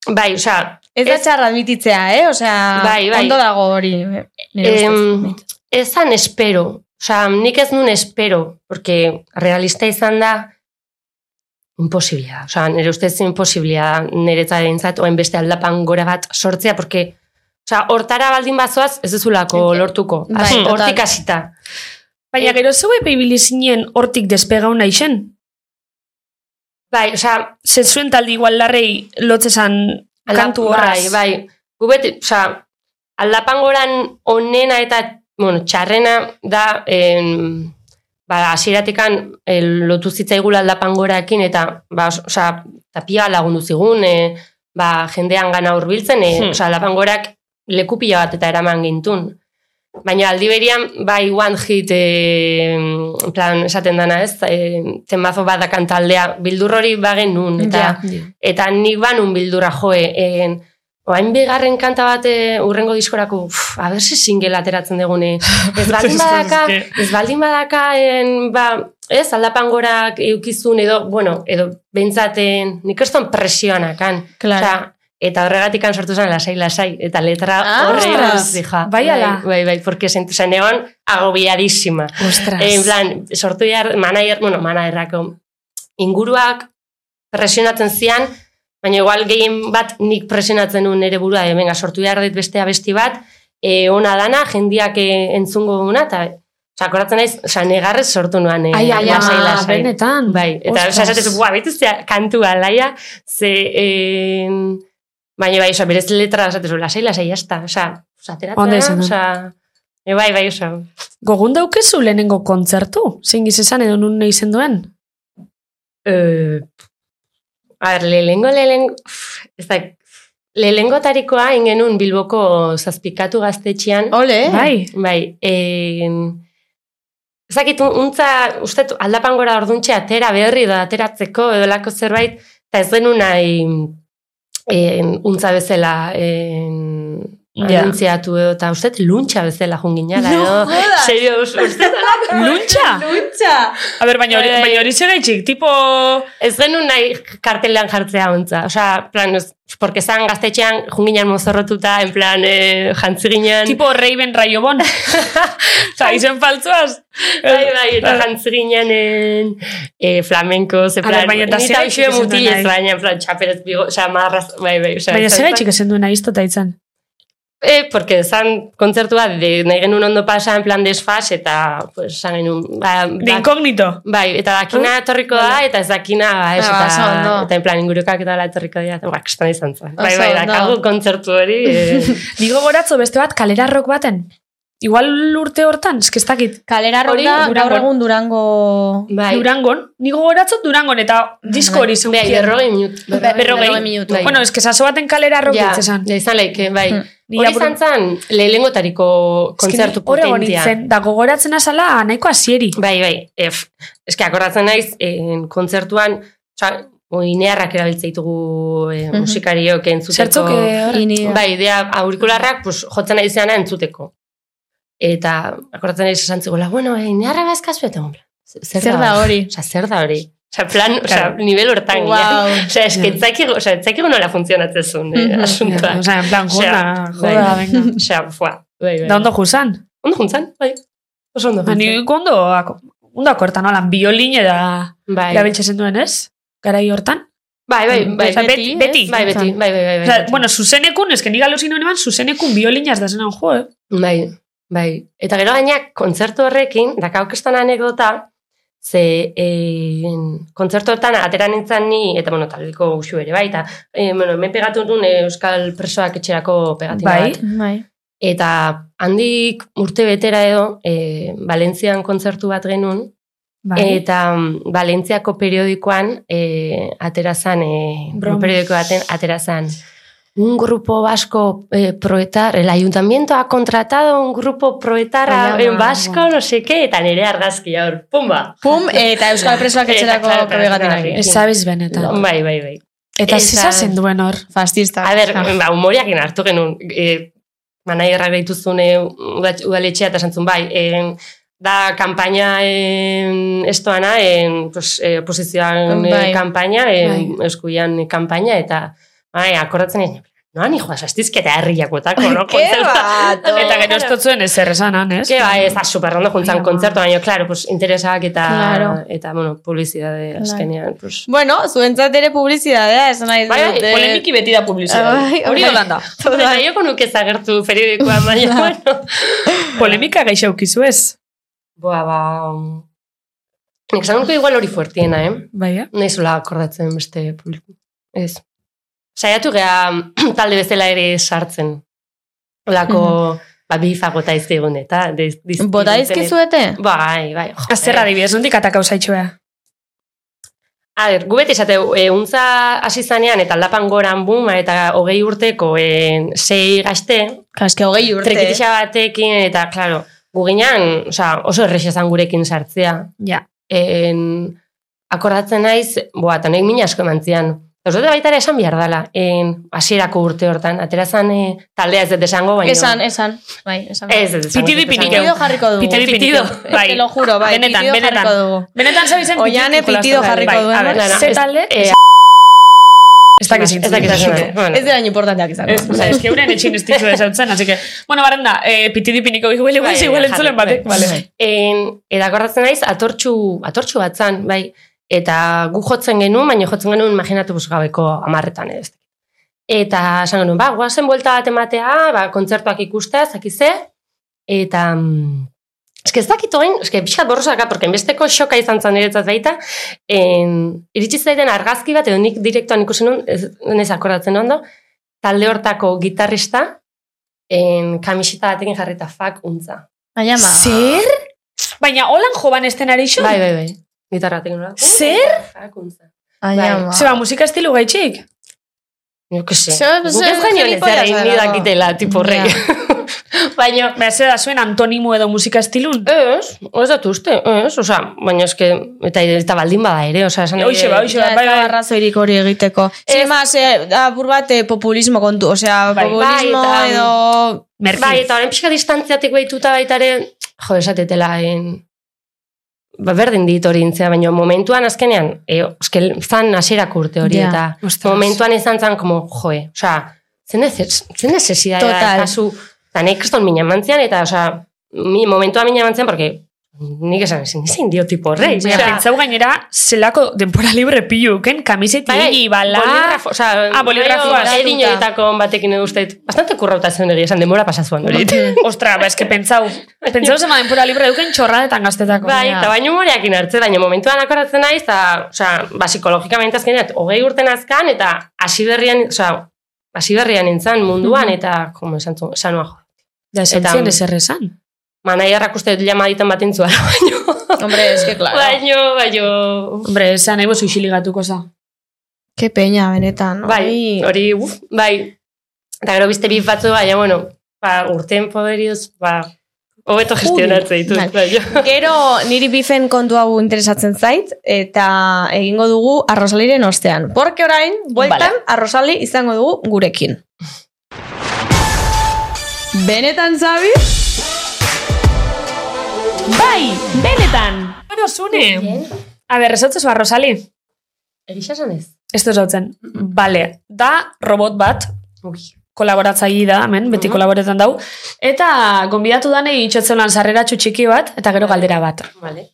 S5: bai, osea,
S3: Ez da
S5: Ez-
S3: txarra admititzea, eh? Osea,
S5: Bai, bai.
S3: ondo dago hori. eh, nire
S5: Em,
S3: ustez.
S5: ezan espero. Osa, nik ez nun espero, porque realista izan da, imposiblia. Osa, nire ustez imposiblia niretzat behintzat, oen beste aldapan gora bat sortzea, porque Osa, hortara baldin bazoaz, ez duzulako lortuko.
S3: Bai,
S5: Hasi,
S3: total.
S5: hortik hasita.
S1: Baina gero zeu epeibili zinen hortik despegau naixen.
S5: Bai, osa,
S1: Zer zuen talde igual larrei lotzezan
S5: Ala-
S1: kantu horraz.
S5: Bai, bai. Gu beti, oza, aldapangoran onena eta, bueno, txarrena da, en, ba, asiratikan lotu zitzaigula aldapangorakin, eta, ba, oza, tapia lagundu zigun, e, ba, jendean gana urbiltzen, e,
S1: Hmm.
S5: oza, aldapangorak leku pila bat eta eraman gintun. Baina aldi berian, bai, one hit, e, plan, esaten dana ez, e, temazo bat dakan taldea, bildur hori bagen nun, eta eta nik ba banun bildura joe, e, en, oain bigarren kanta bat eh, urrengo diskorako, uf, a ber se single ateratzen degune. Ez baldin badaka, ez baldin badaka, en, ba, ez, aldapan gorak eukizun edo, bueno, edo bentsaten, nik eston presioanakan.
S3: Claro.
S5: Osea, eta horregatik sortu zen lasai, lasai, eta letra
S3: Ah,
S5: horre
S3: ostras.
S5: dija.
S1: Bai, ala.
S5: Bai, bai, porque sentu zen egon agobiadísima.
S4: Ostras.
S5: En plan, sortu behar, manager, bueno, managerrako, inguruak presionatzen zian, baina igual gehien bat nik presionatzen nuen nere burua, de, venga, sortu behar dut beste abesti bat, e, ona dana, jendiak e, entzungo duguna, eta osea, akoratzen naiz, osea, negarrez sortu nuan, e,
S1: Ai, ai,
S5: lasai,
S1: ama,
S5: lasai.
S1: benetan.
S5: Bai, eta
S1: Ostras.
S5: osea, esatezu, bua, bituztea kantua, laia, ze, en, baina bai, osea, berez letra, esatezu, lasai, lasai, jazta, osea, osea,
S1: Ondo
S5: ateratzea,
S1: izan da.
S5: osea, e, bai, bai, osea,
S1: Gogun daukezu lehenengo kontzertu? Zein gizizan edo nun nahi duen?
S5: Eh, a ber, lehengo, lehengo, ez da, lehengo tarikoa ingenun Bilboko zazpikatu gaztetxean.
S3: Ole,
S1: Bai.
S5: Bai, en, ez dakit, untza, uste dut, aldapan gora orduntxe atera berri da ateratzeko edo lako zerbait, eta ez genuen nahi en, untza bezala en,
S1: Ja.
S5: anintziatu edo, eta uste dut, luntxa bezala junginala,
S3: No
S5: edo,
S3: jodas.
S5: serio, uste dut,
S1: Luntxa?
S3: luntza.
S1: A ber, baina hori,
S5: Bai.
S1: baina hori zegaitxik, tipo...
S5: Ez genuen nahi kartelean jartzea ontza. Osea, plan, ez- porque zan gaztetxean junginan mozorrotuta, en plan, eh, jantzi ginen.
S1: Tipo Raven Raiobon. Osa, izen faltzuaz.
S5: bai, bai, eta jantzi ginen eh, flamenko,
S1: A
S5: ze plan,
S1: ber, baina eta
S5: ni
S1: zergatik
S5: tausue
S1: ez duen
S5: mutilez,
S1: nahi.
S5: baina, en plan, txaperez, bigo, osea, marraz, bai, bai, osea.
S1: Baina
S5: ez-
S1: zegaitxik ezen duen aiztota itzan.
S5: Eh, porque zan kontzertua, de, nahi genuen ondo pasa, en plan desfas, eta, pues, zan genuen, ba,
S1: De inkognito.
S5: Bai, eta dakina etorriko da, eta ez dakina, ba, ez,
S3: Ah,
S5: eta,
S3: oso ondo.
S5: eta en plan ingurukak eta dela etorriko dira, eta ba, kristan izan zen. Bai,
S3: Oso
S5: bai,
S3: ondo.
S5: dakagu kontzertu hori. Eh,
S1: Digo goratzo beste bat kalera rock baten. Igual urte hortan, eskestakit.
S3: Kalera
S1: Hori,
S3: ronda, gaur
S1: Durangon.
S3: egun durango...
S5: bai,
S1: Durangon. Nigo goratzo Durangon, eta disko hori zeukien.
S5: bai, berrogei minut.
S1: Berrogei.
S3: minutu.
S5: Bai.
S1: Bueno, eske saso baten kalera rock
S5: ja,
S1: ditzesan.
S5: ja, izan leike, bai.
S1: Ni
S5: Hori
S1: apur-
S5: izan zen, lehengotariko kontzertu
S1: Hore
S5: potentia.
S1: gonitzen, da gogoratzen azala nahiko asieri.
S5: Bai, bai, ef. Eske akordatzen naiz, en, kontzertuan, oza, oinearrak erabiltze ditugu eh,
S3: Mhm.
S5: musikariok entzuteko.
S1: Zertzuk, eh, hor-
S3: Ini,
S5: Bai, idea aurikularrak pues, jotzen ari zeana entzuteko. Eta akordatzen ari esan zegoela, bueno, eh, neharra bazkazu eta honbla.
S3: Zer da hori?
S5: Osa, zer da hori? Osa, plan, osa, nivel hortan.
S3: Wow.
S5: Wow. Osa, esketzakigu, osa, etzakigu nola funtzionatzezun, eh,
S3: Mhm.
S5: asuntoa.
S1: Osa, en plan, joda,
S5: Osea,
S1: joda,
S5: bai.
S1: venga.
S5: Osa, fua. Bai, bai.
S1: Da ondo juzan.
S5: Ondo juntzan, bai. Oso ondo
S1: Ba, Ni
S5: juntzan.
S1: ondo, ako- ondo akortan, holan, biolin eta
S5: Bai, bai,
S1: erabiltzen zenduen, ez? Garai hortan.
S5: bai, bai,
S1: Osea,
S5: bai,
S1: beti, beti.
S5: bai, beti, bai, bai, bai, bai.
S1: Osea,
S5: beti.
S1: bueno, zuzenekun, eske nik alusin honeman, zuzenekun biolinaz da zenan jo, eh?
S5: Bai, bai. Eta gero gainak, kontzertu horrekin, dakaukestan anekdota, ze eh, kontzertu hortan atera nintzen ni, eta bueno, taldeko usu ere bai, eta eh, bueno, hemen pegatu nun eh, Euskal Presoak etxerako pegatina
S1: Bai.
S5: bat.
S3: Bai.
S5: Eta handik urte betera edo, eh, Valentzian kontzertu bat genuen,
S1: Bai.
S3: Eh,
S5: Eta mm, Valentziako periodikoan eh, atera zan, eh,
S1: Bromo.
S5: un periodiko baten atera zan. Un grupo vasco eh, proetar, el ayuntamiento ha contratado un grupo proetar
S1: Ai, ama,
S5: en vasco, no sé qué, eta nire argazkia hor, pumba.
S3: Pum, eta Euskal Presoak
S5: Eta,
S3: etxerako
S5: claro,
S3: prebegatinak.
S5: claro.
S1: Ez sabes benetan.
S5: Bai, bai, bai.
S1: Eta
S5: Eta-
S1: zesa zenduen hor.
S3: Fascista.
S5: A ber, ba, humoriakin hartu genuen, e, manaierra behituzun e, udaletxea eta esan zuen, bai, em, da kanpaina en, estoana, en, pues, e, oposizioan
S3: Bai.
S5: kanpaina, e,
S1: Bai.
S5: eskuian kanpaina, eta bai, akordatzen egin. Noan, joa, sastizketa herriakotako, no?
S3: Ke ba. bato.
S1: Eta gero ez totzuen ezer esanan, ez?
S5: Ke ba, ez, da, superrondo juntzan
S1: Claro.
S5: kontzertu, baina, klaro, pues, interesak eta,
S3: Claro.
S5: eta bueno, publizidade azkenean, pues.
S3: Bueno, zuentzat ere publizidadea, esan nahi
S5: Bai, bai,
S3: eh,
S1: Polemiki beti da
S3: Bai,
S1: publizitatea. Hori
S3: bai.
S1: holanda.
S5: Baioko nuke zagertu periodikoan, baina, bueno.
S1: bai. Polemika gaixo eukizu ez.
S5: Boa, ba... um, Nik esan nuke igual hori fuertiena, eh?
S1: Baia.
S5: Naizula akordatzen beste publiko. Ez. Saiatu gea mm, talde bezala ere sartzen. Olako, ba, bifa bota izkigun eta... diz- diz-
S3: Mhm. Bota dizkizuete?
S5: Bai, bai. jo,
S1: Azter adibidez, nondik atakau zaitxoa.
S5: A ber, gu beti esate, e, untza hasi zanean eta lapan goran buma eta hogei urteko e, sei gazte,
S3: Kaske hogei urte. eh?
S5: trekitixa batekin eta, klaro, gu ginean, oza, oso errexe izan gurekin sartzea.
S1: Ja.
S5: En, akordatzen naiz, boa, eta nek mina asko eman zian. Eta uste dut baita ere esan behar dela, en, hasierako urte hortan, aterazan e, taldea ez dut esango, baina...
S3: Esan, esan. Bai, esan.
S5: Ez, ez, esango,
S1: Pitidi
S5: ez dut esango.
S1: pinikeu.
S3: Pitido jarriko dugu.
S1: Pitidi pitido. Bai.
S3: Te lo juro, bai,
S1: Benetan,
S3: pitido
S1: benetan.
S3: jarriko dugu.
S1: Benetan zabizen
S3: Oiane pitido jarriko
S1: bai,
S3: duen.
S1: a ber,
S5: Lana,
S1: ze
S5: ez-
S1: talde?
S5: eh,
S1: Ez dakit zintzen.
S5: Ez dakit esan. Bueno.
S3: Ez dira importanteak izango.
S1: Ez, oza, ez que euren etxin ez dizu esautzen, así que... Bueno, barrenda, eh, pitidi piniko igual igual
S5: Bai,
S1: igual
S5: bai,
S1: entzulen
S5: jarri,
S1: batek,
S5: bai.
S1: vale.
S5: En, eta akordatzen naiz, atortxu, atortxu bat zan, bai, eta gu jotzen genuen, baina jotzen genuen imaginatu pues, gabeko amarretan, ez. Eta esan genuen, ba, guazen buelta bat ematea, ba, kontzertuak ikustea, zakize, eta... mm, Eske ez dakit oain, eske pixkat borrosaka, porque enbesteko xoka izan zan niretzat baita, en, iritsi zaiten argazki bat, edo nik direktoan ikusen nun, ez, nez akordatzen ondo, talde hortako gitarrista, en, kamiseta batekin jarrita fak untza.
S3: Aiama.
S1: Zer? Baina holan joban estenari xo?
S5: Bai, bai, bai. Gitarra Bai, teknoloa.
S1: Zer?
S5: Jakuntza.
S3: Aiama.
S1: Zeba, ba, musika estilu gaitxik?
S5: Jo, que se.
S3: Zer-
S5: Guk
S3: zer
S5: ez gaino
S3: gilipollas
S5: nezaren
S3: gara,
S5: ni
S3: no?
S5: dakitela, tipo rei. Baina,
S1: Baina, zera zuen antonimo edo musika estilun?
S5: ez, ez dut uste, ez, oza, baina eske, eta, eta baldin bada ere, oza, esan
S1: Hoxe ba, hoxe
S3: Ja,
S1: ba,
S3: ez
S1: bai,
S3: dago
S1: bai.
S3: arrazoirik hori egiteko. Sin
S5: Ez.
S3: más, eh, apur bat eh, populismo kontu, osea,
S1: Bai,
S3: populismo
S5: bai, eta-
S3: edo...
S1: Merkin.
S5: Bai, eta orain pixka distantziatik behituta baita ere, jo, esatetela, en, ba, berdin dit hori intzea, baina momentuan azkenean, e, eske, zan hasierako urte hori,
S3: Ja,
S5: eta
S1: ostras.
S5: momentuan izan zan, como, e, joe, oza, zen nezes- zen necesidad da,
S3: Total.
S5: kasu, eta nek kriston mina mantzian, eta, oza, mi, momentua mina mantzian, porque nik esan ezin, ezin dio tipo rei,
S1: Baina, pentsau gainera, zelako denpora libre piluken,
S5: bai,
S1: kamiseti, bala...
S5: bolígrafo, oza,
S1: Ah, bolígrafoa,
S5: edin
S1: sartuta.
S5: horietako batekin edo uste, dut, bastante kurrauta zen egia esan, demora pasazuan hori.
S1: Ostra, ba, eske pentsau. Pentsau zema denpora libre duken txorradetan gaztetako.
S5: Bai,
S1: Ja.
S5: eta baino humoreakin hartze, baina momentuan akoratzen naiz, eta, osea, ba, psikologikamente azkenean, hogei urten azkan, eta hasi berrian, osea, hasi berrian nintzen munduan, eta, como esan zuen, esan nuen, jo,
S1: Da,
S5: Eta- bai.
S1: esentzien ezer esan.
S5: manaiarrak uste dut llama diten bat intzua, baino,
S3: Hombre, es que claro.
S1: Bai.
S5: baino, baino,
S1: Hombre, esan nahi bozu isiligatuko za.
S3: Ke peña, benetan.
S5: bai,
S3: Ai.
S5: hori, uf, bai, eta gero beste bif batzu, baina, bueno, ba, urteen poderioz, ba, hobeto gestionatzen ditu,
S3: Bai.
S5: baina.
S3: Gero niri bifen kontu hau interesatzen zait eta egingo dugu arrosaliren ostean. Porque orain, bueltan, arrosali izango dugu gurekin. Benetan, Zabi?
S1: Bai, benetan! Bueno, zune! A ber, esatzezu a Rosali.
S5: Egisa esan ez?
S1: Ez du esautzen.
S5: Mm.
S1: Bale, da robot bat,
S5: Ui.
S1: kolaboratzaile da, hemen, beti
S3: Mhm.
S1: kolaboretan dau. Eta gonbidatu danei itxotzen lan sarreratxu txiki bat, eta gero galdera bat.
S5: Vale.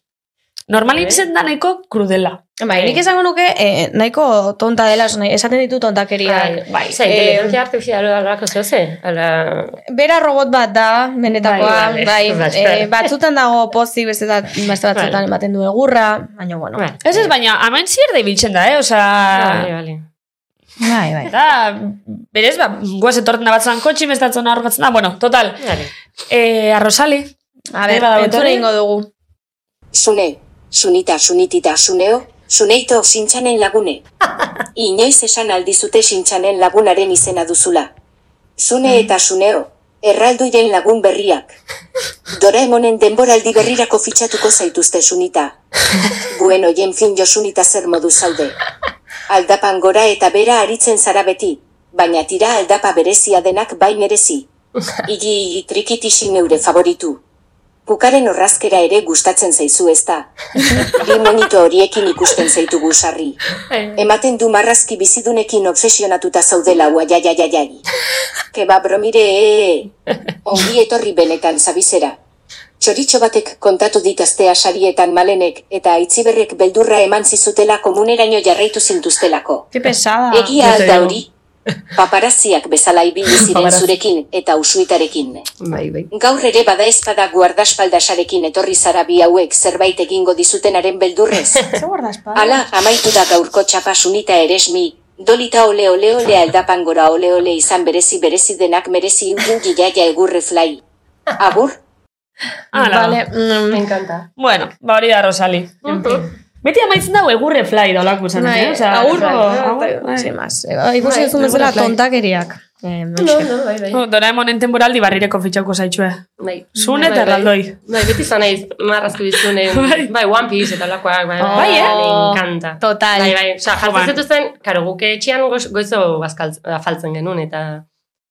S1: Normalin
S5: Bai.
S1: zen da nahiko krudela.
S3: Bai, nik esango nuke eh, nahiko tonta dela, esan nahi- esaten ditu tontakeriak.
S5: bai. Zer,
S3: Eh,
S5: inteligentzia artifiziala alako zehoze? Ala,
S3: Bera robot bat da, benetakoa,
S5: Bai,
S3: bai,
S5: vale.
S3: eh, batzutan dago pozik, beste, beste batzutan
S5: Vale.
S3: ematen du egurra, baina bueno.
S5: Vale.
S1: Ez ez, baina, hemen zier da ibiltzen da, eh?
S5: Vale,
S1: Osa,
S5: vale.
S3: Bai, bai.
S1: da, berez, ba, guaz etorten da batzan kotxi, bestatzen da batzen da, bueno, total.
S5: Vale.
S1: E, arrosali,
S3: A ber,
S1: Bera da
S3: entzun
S1: etorri.
S3: egingo dugu.
S6: Sune, sunita sunitita suneo, suneito sintxanen lagune. Inoiz esan aldizute sintxanen lagunaren izena duzula. Sune eta suneo, erraldoiren lagun berriak. Doraemonen denboraldi berrirako fitxatuko zaituzte sunita. Bueno, jen fin jo sunita zer modu zaude. Aldapan gora eta bera aritzen zara beti, baina tira aldapa berezia denak bai merezi. Igi igi trikitixi neure favoritu. kukaren horrazkera ere gustatzen zaizu ezta. Bi monito horiekin ikusten zaitugu sarri. Ematen du marrazki bizidunekin obsesionatuta zaudela ua ja ja ja ja. Keba bromire e, e. Ongi etorri benetan zabizera. Txoritxo batek kontatu dit astea sarietan malenek eta aitziberrek beldurra eman zizutela komuneraino jarraitu zintuztelako.
S3: Ke pesada.
S5: Eh,
S6: Egia
S1: Bete
S6: alda
S1: dugu.
S6: hori, paparaziak bezala ibili ziren zurekin eta usuitarekin.
S5: Bai, bai.
S6: Gaur ere bada espada guardaspaildasarekin etorri zara bi hauek zerbait egingo dizutenaren beldurrez.
S3: Ze guardaspada.
S6: Hala, amaitu da gaurko txapa sunita eresmi, dolita ole ole ole aldapan gora ole ole izan berezi berezi denak merezi ugin gilaia egurre flai. Agur,
S5: Ah,
S1: Ala.
S3: Vale, mm,
S5: Me encanta.
S1: Ah, Bueno, ba hori da Rosali. Beti amaitzen dago egurre fly daulako esan.
S3: bai,
S1: eh? Osea,
S3: agur,
S1: bai,
S5: Ah,
S3: agur,
S1: bai.
S3: sin más. Eh, Ikusi
S5: Bai,
S3: duzun bezala
S5: agur, bai.
S3: tontakeriak. Eh,
S5: No, no, bai, bai.
S1: Oh, Doraemonen temporaldi barrireko fitxauko zaitxue.
S5: Bai.
S1: Zune
S5: Bai,
S1: eta
S5: bai.
S1: erraldoi.
S5: Bai, beti izan naiz marrazki bizunen, bai, One Piece eta lakoak, bai, bai,
S3: Bai, eh?
S5: me encanta.
S3: Total.
S5: Bai, bai, oza,
S1: Joan.
S5: jartzen zetuzten, karo, guke etxean goiz- goizo bazkaltz- afaltzen genuen, eta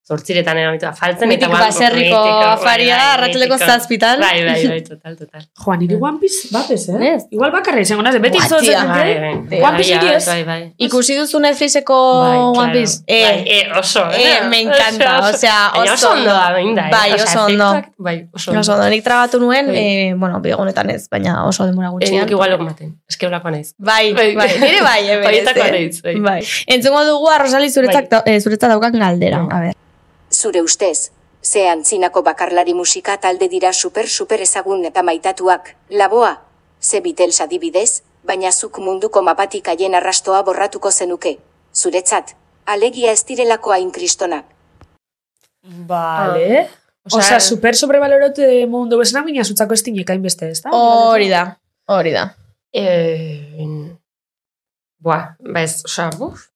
S5: zortziretan eramitu afaltzen,
S3: Mitik
S5: eta guan-
S3: baserriko
S5: mitiko,
S3: afaria,
S5: bai, bai,
S3: arratsaldeko
S5: mitiko.
S3: zazpitan.
S5: Bai, bai, bai, total, total.
S1: Joan, niri One Piece bat ez, eh?
S3: Ez.
S1: Igual bakarra izango naz, beti
S3: Mm. Buah,
S1: zotzen
S3: tia.
S1: dute.
S5: Bai, bai, bai.
S1: One Piece hiri ez?
S5: Bai, bai.
S3: Ikusi duzu Netflixeko
S5: Bai,
S3: One
S5: claro.
S3: Piece.
S5: Bai,
S3: Eh,
S5: eh, oso.
S3: eh, me encanta, o sea,
S5: Baina
S3: oso
S5: oso ondo da,
S3: ondo.
S5: behinda, eh?
S3: Bai,
S5: Osea,
S3: oso ondo.
S5: efektuak, Bai, oso
S3: Oso,
S5: ondo.
S3: ondo, nik trabatu nuen,
S5: Bai.
S3: eh, bueno, begonetan ez, baina oso denbora
S5: Eh,
S3: gutxian.
S5: Nik igual maten, eske holakoa naiz.
S3: Bai, bai,
S5: Bai.
S3: nire bai, eh, berez,
S5: Horietakoa
S3: eh.
S5: naiz, bai.
S3: bai. Entzungo dugu, Arrosali zuretzak, da, eh, zuretzat daukan galdera, a ber.
S6: zure ustez, ze antzinako bakarlari musika talde dira super super ezagun eta maitatuak, laboa, ze Beatles adibidez, baina zuk munduko mapatik haien arrastoa borratuko zenuke, zuretzat, alegia ez direlako hain kristonak.
S1: Vale.
S5: Osea,
S1: Osa, super sobrevalorote mundu esna mina zutzako estinek hainbeste, ez da?
S3: Hori da, hori da.
S5: Eh, Boa, ba ez, osa, buf.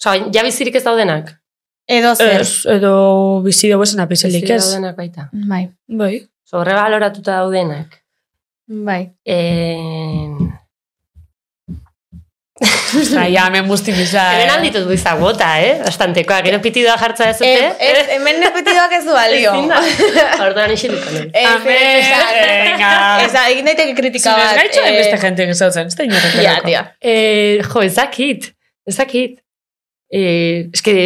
S5: Osa, ja bizirik ez daudenak.
S3: Edo zer.
S1: Ez, edo pues bizi dugu esena pizelik
S5: Bizirik
S1: ez.
S5: daudenak baita.
S3: Bai,
S1: Bai.
S5: Osa, horre baloratuta daudenak.
S3: bai.
S5: Eh,
S1: Ostra, ja, hemen guztik izan.
S5: Hemen alditut buiza gota, eh? Bastantekoa, gero pitidoa jartza ez dute.
S3: Ez, ez, hemen nepetidoak ez du balio.
S5: Eh, Ezin da. Orduan isiliko naiz.
S3: Ez, ez, ez, ez,
S1: venga.
S3: Ez da, egin daiteke kritika bat.
S1: Zinez gaitxo
S3: eh,
S1: hainbeste jente gizautzen, ez da inorrek
S3: Ja,
S1: delako.
S3: tia.
S5: Eh, jo, ezakit. Ezakit. Eh, eske,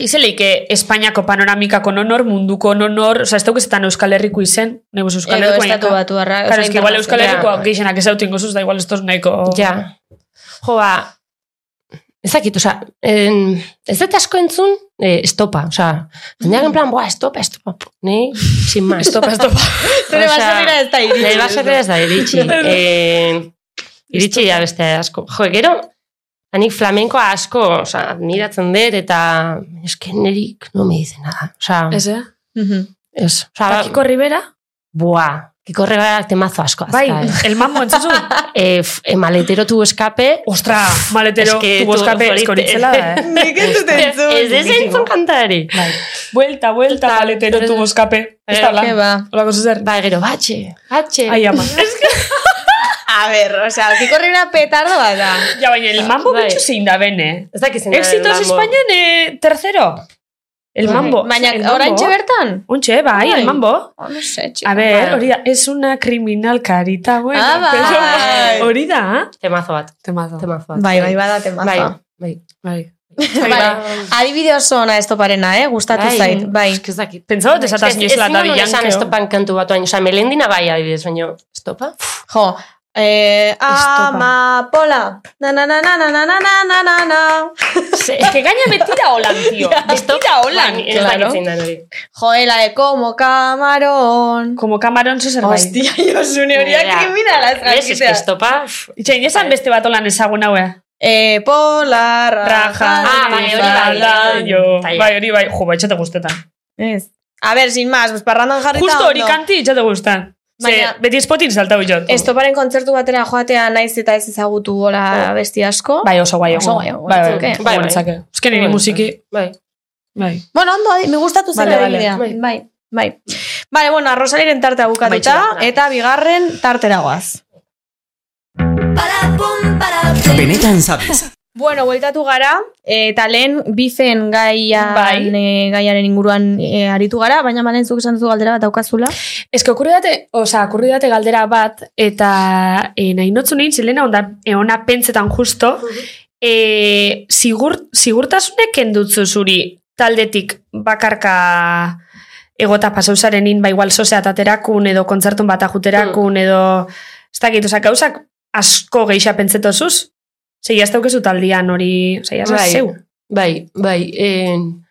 S1: Izeleike Espainiako panoramikako nonor, munduko nonor, oza, ez daukezetan Euskal Herriko izen, nebuz Euskal
S3: Edo
S1: Herriko
S3: estatu batu barra.
S1: Claro, es que igual Euskal Herriko
S5: Ja.
S1: geixenak ezautu ingozuz, da igual estos nahiko...
S5: ja. Jo, ba, ezakit, oza, en, ez dut asko entzun, eh, estopa, oza, jendeak en plan, boa, estopa, estopa, pu, ni, sin más. estopa, estopa.
S3: Zure baserrira ez da iritsi.
S5: Nire baserrera ez da iritsi. Eh, iritsi ja beste asko. Jo, gero, hanik flamenkoa asko, oza, admiratzen dut, eta eske nerik no me dice nada. Oza,
S1: Ez, eh?
S5: ez. Oza,
S1: Kiko Rivera?
S5: Buah, Kiko Rivera temazo asko azka.
S1: Bai,
S5: eh.
S1: el mambo entzuzu?
S5: Eh, f- eh, maletero tu escape.
S1: Ostra, maletero,
S5: Eske
S1: tu boskape
S5: tu-
S1: eskoritzela da, eh?
S3: Nik ez dut entzun.
S5: Ez ez entzun kantari.
S1: Vuelta, vuelta,
S5: Total,
S1: maletero,
S5: pero-
S1: tu boskape. Ez da,
S3: Ke
S1: hola.
S3: ba.
S1: Hola, zuzer.
S5: Ba, gero, batxe, batxe.
S1: Ai, ama.
S3: A ber, osea, Kiko Rivera petardo bat da.
S1: Ja, baina, el mambo
S5: Bai.
S1: bitxu zein da bene.
S5: ez dakizen.
S1: Éxitos Españan, eh, tercero. El mambo.
S3: Baina,
S1: El mambo.
S3: oraintxe bertan?
S1: Untxe, bai,
S3: Bai.
S1: el mambo.
S3: Oh, no sé, chico.
S1: A ver,
S5: Bai.
S1: hori da, es una criminal carita buena.
S3: Ah, bai.
S1: pero- ah, Hori da,
S5: Temazo bat,
S1: Temazo.
S5: temazo bat.
S3: Bai, bai, bada temaza.
S5: Bai, bai.
S1: Bai.
S3: Vale. Adibide oso ona estoparena, eh? Gustatu
S5: Bai.
S3: zait. Bai.
S5: Ez dakit.
S1: Pentsau dut esataz
S5: Ez-
S1: niozela
S5: ez
S1: da
S5: nuen esan
S1: bilankeo.
S5: estopan kantu bat oain, oza, melendina bai adibidez, baina estopa?
S3: Jo. Eh, amapola. Na na na na na na na na na na na.
S1: Es que gaina betira holan, tío. Betira holan,
S5: Bai, Ez
S1: claro.
S5: dakit zein da nori.
S3: Joela de como camarón.
S1: Como kamaron zezer bai.
S3: Hostia, Josune horiak
S5: Ja.
S3: kriminala ez
S5: Ez, ez que
S3: jakitea.
S5: estopa, pff,
S1: Itxain, esan beste bat holan ezagun haue.
S3: Eh, pola raja. Eh,
S5: Ah, bai, hori bai.
S1: Zalaio.
S5: Bai.
S1: Bai, hori bai. Jo, bai, txate gustetan.
S3: Ez. A ver, sin más, pues parrandan jarrita.
S1: Justo hori
S3: ondo.
S1: kanti txate gustan. Ze,
S3: Baina-
S1: beti espotin saltau jot.
S3: Estoparen kontzertu batera joatea naiz eta ez ezagutu gola besti asko.
S1: Bai, oso guai.
S3: Oso guai,
S1: egon. Bai, bai,
S3: guatzake.
S1: bai,
S5: Bai, bai.
S1: guatzake. Ez que niri
S5: Bai.
S1: musiki.
S5: Bai.
S1: Bai.
S3: Bueno, ondo, adi- me gustatu zen
S1: Vale,
S3: vale,
S1: vale,
S5: bai.
S3: Bai, bai. Vale, bueno, Rosaliren tartea bukatuta
S5: Amaitxera.
S3: eta bigarren tartera goaz.
S2: Benetan sabes.
S3: Bueno, bueltatu gara, eh, eta lehen bifen gaian,
S1: Bai.
S3: e, eh, gaiaren inguruan eh, aritu gara, baina malen zuk esan duzu galdera bat daukazula.
S1: Eske okurri date, oza, okurri date galdera bat, eta e, nahi notzu nien, zelena onda, e, ona pentsetan justo, e, sigur, sigurtasunek endutzu zuri taldetik bakarka egota pasauzaren in, ba igual soseat aterakun, edo kontzertun bat ajuterakun, edo, ez dakit, oza, gauzak asko geisha pentsetozuz, Seia ez daukezu taldian hori, seia ez
S5: Bai.
S1: zeu.
S5: Bai, bai, en,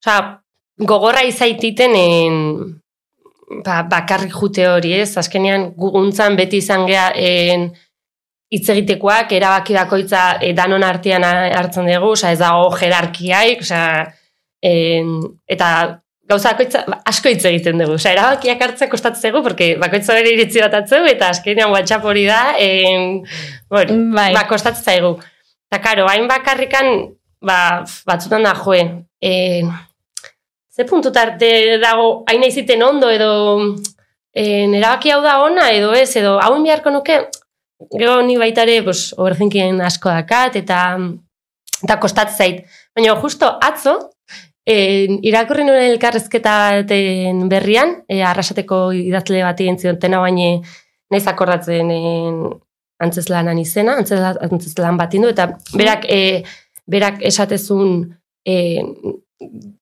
S5: oza, gogorra izaititen en, ba, bakarrik jute hori, ez? Azkenean guguntzan beti izan gea en, hitz egitekoak, erabaki bakoitza e, danon artean a- hartzen dugu, oza, ez dago jerarkiaik, oza, en, eta gauza bakoitza, ba, asko hitz egiten dugu, oza, erabakiak hartzea kostatzen dugu, porque bakoitza bere iritzi bat atzeu, eta azkenean WhatsApp hori da, en, bueno,
S3: Bai.
S5: ba, kostatzen zaigu. Eta karo, hain bakarrikan, ba, f- batzutan da joe, e, ze puntutarte dago, hain naiziten ondo edo e, erabaki hau da ona edo ez, edo hau biharko nuke, gero ni baitare, pues, overthinkien asko dakat, eta eta kostat zait. Baina justo atzo, en, irakurri nuen elkarrezketa baten berrian, e, arrasateko idazle bati entziotena baina naiz akordatzen en, antzeslanan izena, antzeslan, antzeslan bat indu, eta berak, e, berak esatezun e,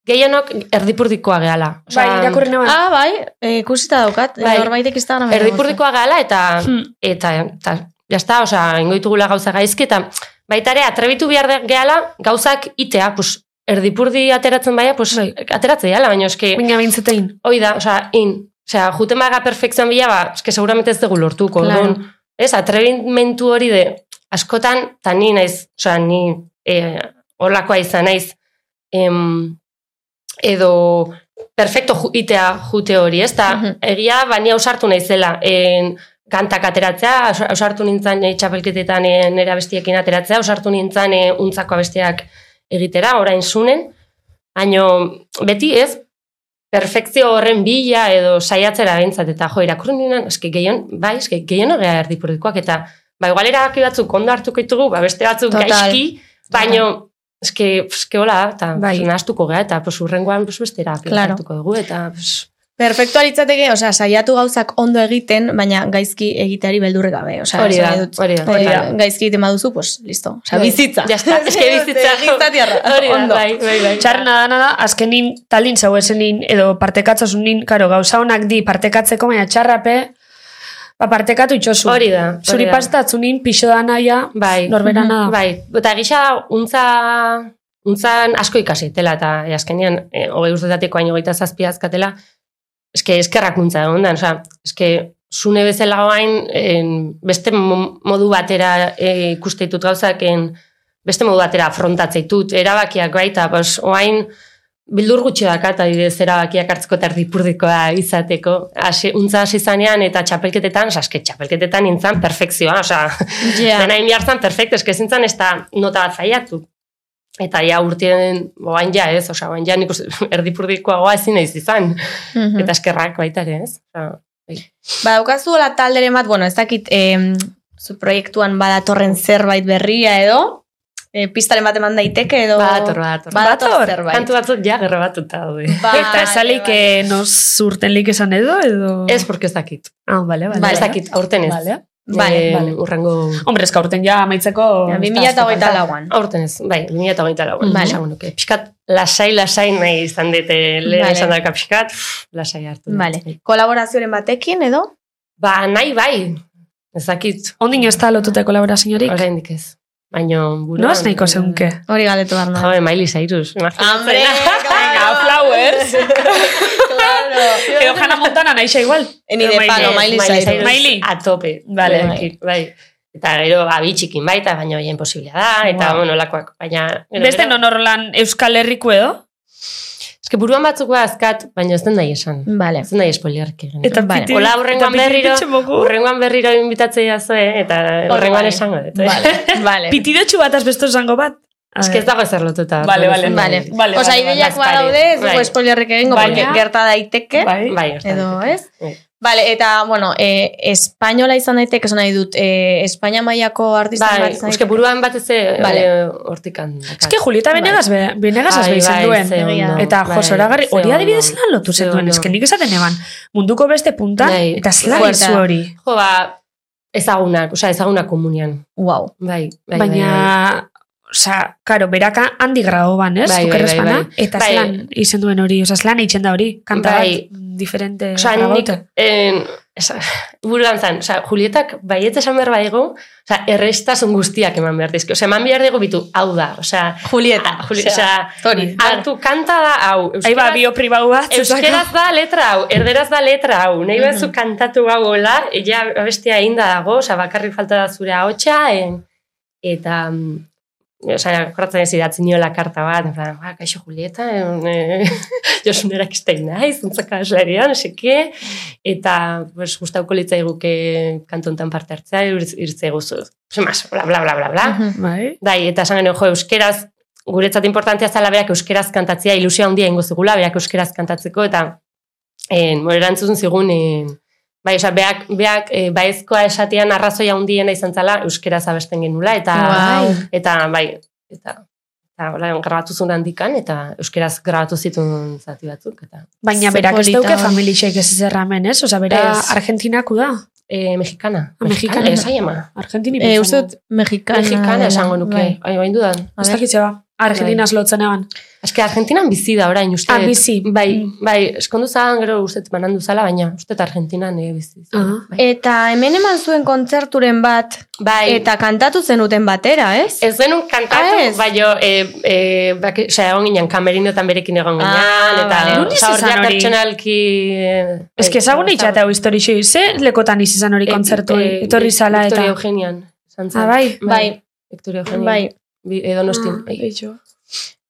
S5: gehienok erdipurdikoa gehala. Osea,
S1: Bai, irakurri nagoen.
S3: Ah, bai, eh, ikusita daukat,
S5: Bai.
S3: norbaitek ez da gana.
S5: Erdipurdikoa gala eta
S1: Hmm.
S5: eta eta jasta, osea, ingoitugula gauza gaizki eta baita ere atrebitu behar de- gehala gauzak itea, pues erdipurdi ateratzen baia, pues ateratzea gehala, baina eske
S1: Bai. Baina bintzetein.
S5: hoi da, osea, in, osea, juten baga perfekzioan bila, ba, eske seguramente ez dugu lortuko.
S3: Claro.
S5: Orduan, ez, atrebimentu hori de askotan, ta ni naiz, osea, ni eh, olakoa izan naiz, em, edo perfecto ju, itea jute hori, ez da,
S3: Mhm.
S5: egia, ba, ni ausartu naizela, en, kantak ateratzea, aus- ausartu nintzen eh, txapelketetan eh, nera bestiekin ateratzea, ausartu nintzen eh, untzako abestiak egitera, orain sunen, baino beti ez, perfekzio horren bila edo saiatzera behintzat, eta jo, irakurri nuen, eske gehion, bai, eske gehion horrea erdipurdikoak, eta ba, igual erabaki batzuk ondo hartuko ditugu, ba, beste batzuk
S3: Total.
S5: gaizki, baino, eske, eske hola, eta
S1: Bai.
S5: bai. nahastuko geha, eta pues, urrengoan pues, beste erabaki
S3: Claro.
S5: hartuko dugu, eta pues,
S3: Perfektua litzateke, osea, saiatu gauzak ondo egiten, baina gaizki egiteari beldurrik gabe, osea,
S5: Hori da,
S3: esan nahi dut,
S5: hori da,
S3: eh,
S5: hori da.
S3: gaizki egiten baduzu, pues, listo, osea,
S5: Bai.
S3: bizitza.
S5: Ja está, eske bizitza.
S3: Egitza tierra,
S5: hori da,
S3: ondo.
S5: bai, bai, bai.
S1: Txarrena dana da, azkenin talin zau esenin, edo partekatzosunin, karo, gauza honak di partekatzeko, baina txarrape, ba, partekatu itxosu.
S5: Hori da, hori
S1: Zuri
S5: da.
S1: pastatzunin, pixo da naia,
S5: Bai.
S1: norberana da.
S5: Bai, eta gisa untza untzan asko ikasi dela eta e, azkenean e, hogei urtetatik baino hogeita zazpi azkatela eske eskerrak untza egon da, osea, eske zune bezala oain en, beste mo- modu batera e, ikuste ditut gauzak en, beste modu batera afrontatzea ditut erabakiak baita, bos, oain bildur gutxi dakat adibidez erabakiak hartzeko eta erdipurdikoa izateko. Hasi, untza hasi zanean eta txapelketetan, osea, eske txapelketetan intzan perfekzioa, osea,
S3: Ja.
S5: yeah. dena inbiartzan perfecto, eske zintzan ez da nota bat zaiatu. Eta ja urtien, boain ja ez, osea, boain ja nik uste, erdipurdikoagoa ezin naiz izan.
S3: Mhm.
S5: Eta eskerrak baita ere ez. Osea,
S3: Ba, daukazu hola talderen bat, bueno, ez dakit, eh, zu proiektuan badatorren zerbait berria edo, eh, pistaren bat eman daiteke edo...
S5: Badator, badator.
S3: Badator
S5: Badator.
S3: zerbait.
S5: Kantu batzuk ja gerra batuta daude.
S3: Bai,
S1: Eta esalik,
S3: bai.
S1: eh, nos urten lik esan edo, edo...
S5: Ez, porque ez dakit.
S1: Ah, bale, bale.
S3: Bai.
S5: Ez dakit, aurten ez.
S4: Vale.
S3: Vale,
S5: Eh,
S4: vale.
S5: Urrengo...
S1: Hombre, eska urten ja amaitzeko...
S3: Ja, 2008 lauan.
S5: Aurten ez, bai, 2008 lauan.
S3: Vale.
S5: Vale. nuke. Piskat, lasai, lasai nahi izan dute lehen
S3: Vale.
S5: esan daka piskat, pff, lasai hartu. dut.
S3: Vale. Kolaborazioren batekin edo?
S5: Ba, nahi bai, ez dakit,
S1: Ondin ez da lotuta kolaboraziorik.
S5: oraindik ez. Baina buruan...
S1: Noaz nahiko zeunke.
S3: Hori galetu behar nahi.
S5: Jabe, Miley Cyrus. imaginatzen.
S3: Hombre,
S1: Venga,
S3: claro,
S1: flowers.
S3: claro.
S1: Edo Hannah Montana naixa igual.
S3: Ni de
S1: Edo
S3: palo, Miley Cyrus.
S1: Miley?
S5: A tope.
S1: Vale.
S5: Bai, bai. Eta gero, abitxikin baita, baina hoien posibila da, eta
S1: Wow.
S5: bueno, lakoak, baina... gero,
S1: Beste
S5: gero-
S1: non horrelan Euskal Herriko edo?
S5: Eske buruan batzuk azkat, baina ez den nahi esan.
S3: Vale.
S5: Ez den nahi espoliarki. egin.
S1: Eta ba-
S3: Vale.
S1: piti...
S5: Hola, horrengoan
S1: eta piti
S5: berriro,
S1: pitxe mogu.
S5: Horrengoan berriro inbitatzea zoe, eta horrengoan
S3: bai.
S5: esango dut. eh?
S3: Vale, vale.
S1: Pitidotxu bat azbesto zango bat. A
S5: Eske ez dago ezer lotuta.
S1: Vale, vale.
S3: Vale.
S1: Vale,
S3: Osa,
S1: vale,
S3: ideiak
S5: vale.
S3: badaude, ez dugu
S5: Bai.
S3: espoliarrik egingo,
S1: Baina-
S3: porque gerta daiteke,
S1: Bai.
S5: Bai, hortan.
S3: edo ez?
S5: Bai.
S3: Vale, eta, bueno, eh, espainola izan daitek, esan nahi dut, eh, Espainia mailako artista
S5: Bai,
S3: bat izan
S5: eske buruan batez ez
S3: Vale.
S5: eh, hortikan.
S1: Ez que Julieta
S5: Bai.
S1: Benegas, be, Benegas
S5: Bai,
S1: azbe izan
S5: bai,
S1: duen.
S5: ze ondo,
S1: Eta
S5: bai,
S1: jo, zoragarri,
S5: ze
S1: hori
S5: ondo.
S1: adibidez lan lotu
S5: Ze
S1: zen duen,
S5: ondo.
S1: ez que nik esaten eban. Munduko beste punta,
S5: Bai.
S1: eta zela
S3: Fuerta.
S1: dizu hori.
S5: Jo, ba, ezagunak, osea, ezagunak komunian.
S3: Wow.
S5: Bai, bai,
S1: Baina, eh,
S5: bai,
S1: osa, karo, beraka handi grabo ban, ez?
S5: Bai, bai,
S1: Bai, bai,
S5: bai,
S1: Eta
S5: Bai.
S1: zelan izen duen hori, osa, zelan eitzen da hori, kanta
S5: Bai.
S1: bat, diferente
S5: bai. Osea, nik,
S1: grabaute.
S5: en, esa, buruan zan, osea, Julietak baietz esan behar badigu, osea, errestasun guztiak eman behar dizki. Osea, eman behar digu bitu, hau da, osea,
S3: Julieta.
S5: Juli, osea,
S3: Tori.
S5: hartu kanta da, hau.
S1: Ahí
S5: euskeraz-
S1: ba, bio pribau bat,
S5: Euskeraz da letra hau, erderaz da letra hau, nahi bezu kantatu hau hola, ja bestia eginda dago, oza, bakarrik falta da zure ahotsa, en, eta, oza, koratzen ez idatzi niola karta bat, en plan, ba, kaixo Julieta, en, eh, josunerak iztein naiz, zuntzaka eslarian, seke, eta, pues, gustauko litzaiguke kantontan parte hartzea, irtzei guzu, semas, bla, bla, bla, bla,
S3: Mm-hmm.
S5: bla.
S1: Bai.
S5: Bai, eta esan genuen, jo, euskeraz, guretzat importantea zela berak euskeraz kantatzea, ilusia handia ingo zigula, berak euskeraz kantatzeko, eta en, bueno, erantzun zigun, en, bai, oza, beak, beak e, baezkoa esatean arrazoia handiena izan zala, euskeraz abesten genula, eta,
S3: Wow.
S5: eta bai, eta, eta hola, grabatu zuen handikan, eta euskeraz grabatu zituen zati batzuk, eta
S1: Baina
S3: Ze
S1: berak ez
S3: polita
S1: dauke
S3: hori.
S1: familixek ez zerramen, ez? Osa, bera
S5: Ez.
S1: Argentinaku da.
S5: e, mexicana.
S1: Ah, mexicana.
S5: Esa llama.
S1: Argentini.
S3: Eh,
S1: pentsamo.
S3: uste dut mexicana.
S5: Mexicana
S3: dela.
S5: eh, esango nuke.
S3: Bai.
S5: Bai, bain dudan.
S3: A
S1: Ez
S3: ber.
S1: dakitxe ba. Argentinas lotzen eban.
S5: Eske Argentinan bizi da orain uste.
S1: Ah, bizi.
S5: Bai,
S1: Mm.
S5: bai, eskondu zan, gero uste banandu zala, baina uste eta Argentinan eh, bizi. zela.
S1: Ah.
S5: Bai.
S3: Eta hemen eman zuen kontzerturen bat,
S5: bai.
S3: eta kantatu zenuten batera, ez?
S5: Ez genuen kantatu,
S3: Ah, ez?
S5: bai, e, e, bak, osea, egon ginen, kamerinotan berekin egon ginen,
S3: Ah,
S5: eta
S3: vale.
S1: Nun
S5: osea, hor
S1: izan
S5: ja
S1: hori?
S5: pertsonalki... eh,
S1: Ez que ezagun
S5: eh,
S1: itxata hau historixo ze lekotan izi izan hori
S5: eh,
S1: kontzertu
S5: eh,
S1: etorri zala eta...
S5: Victoria Eugenian. izan zen.
S1: Ah, bai?
S3: Bai.
S5: Victoria Eugenian.
S3: Bai,
S5: Bi- eh, Donostin.
S1: Ah,
S5: bai.
S1: eitxo.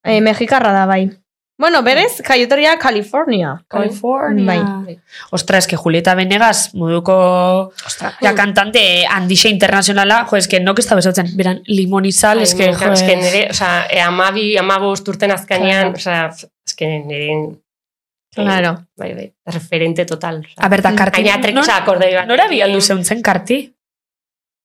S3: eh, mexikarra da, bai. Bueno, berez, jaiotoria California.
S1: California.
S5: Bai.
S1: Ostra, es que Julieta Venegas, moduko ja kantante handixe internazionala, jo, es que nok ez da besotzen, beran limonizal,
S5: Ai,
S1: es que,
S5: nunca,
S1: jo,
S5: es que nire, osea, eh, amabi, amabost urten azkanean,
S1: Claro.
S5: osea, es que nire... eh,
S3: Claro.
S5: Bai, bai, referente total. osea.
S1: A ber, da karti.
S5: Aina trek,
S1: nor-
S5: osea, akordei bat.
S1: Nora bialdu zeuntzen karti?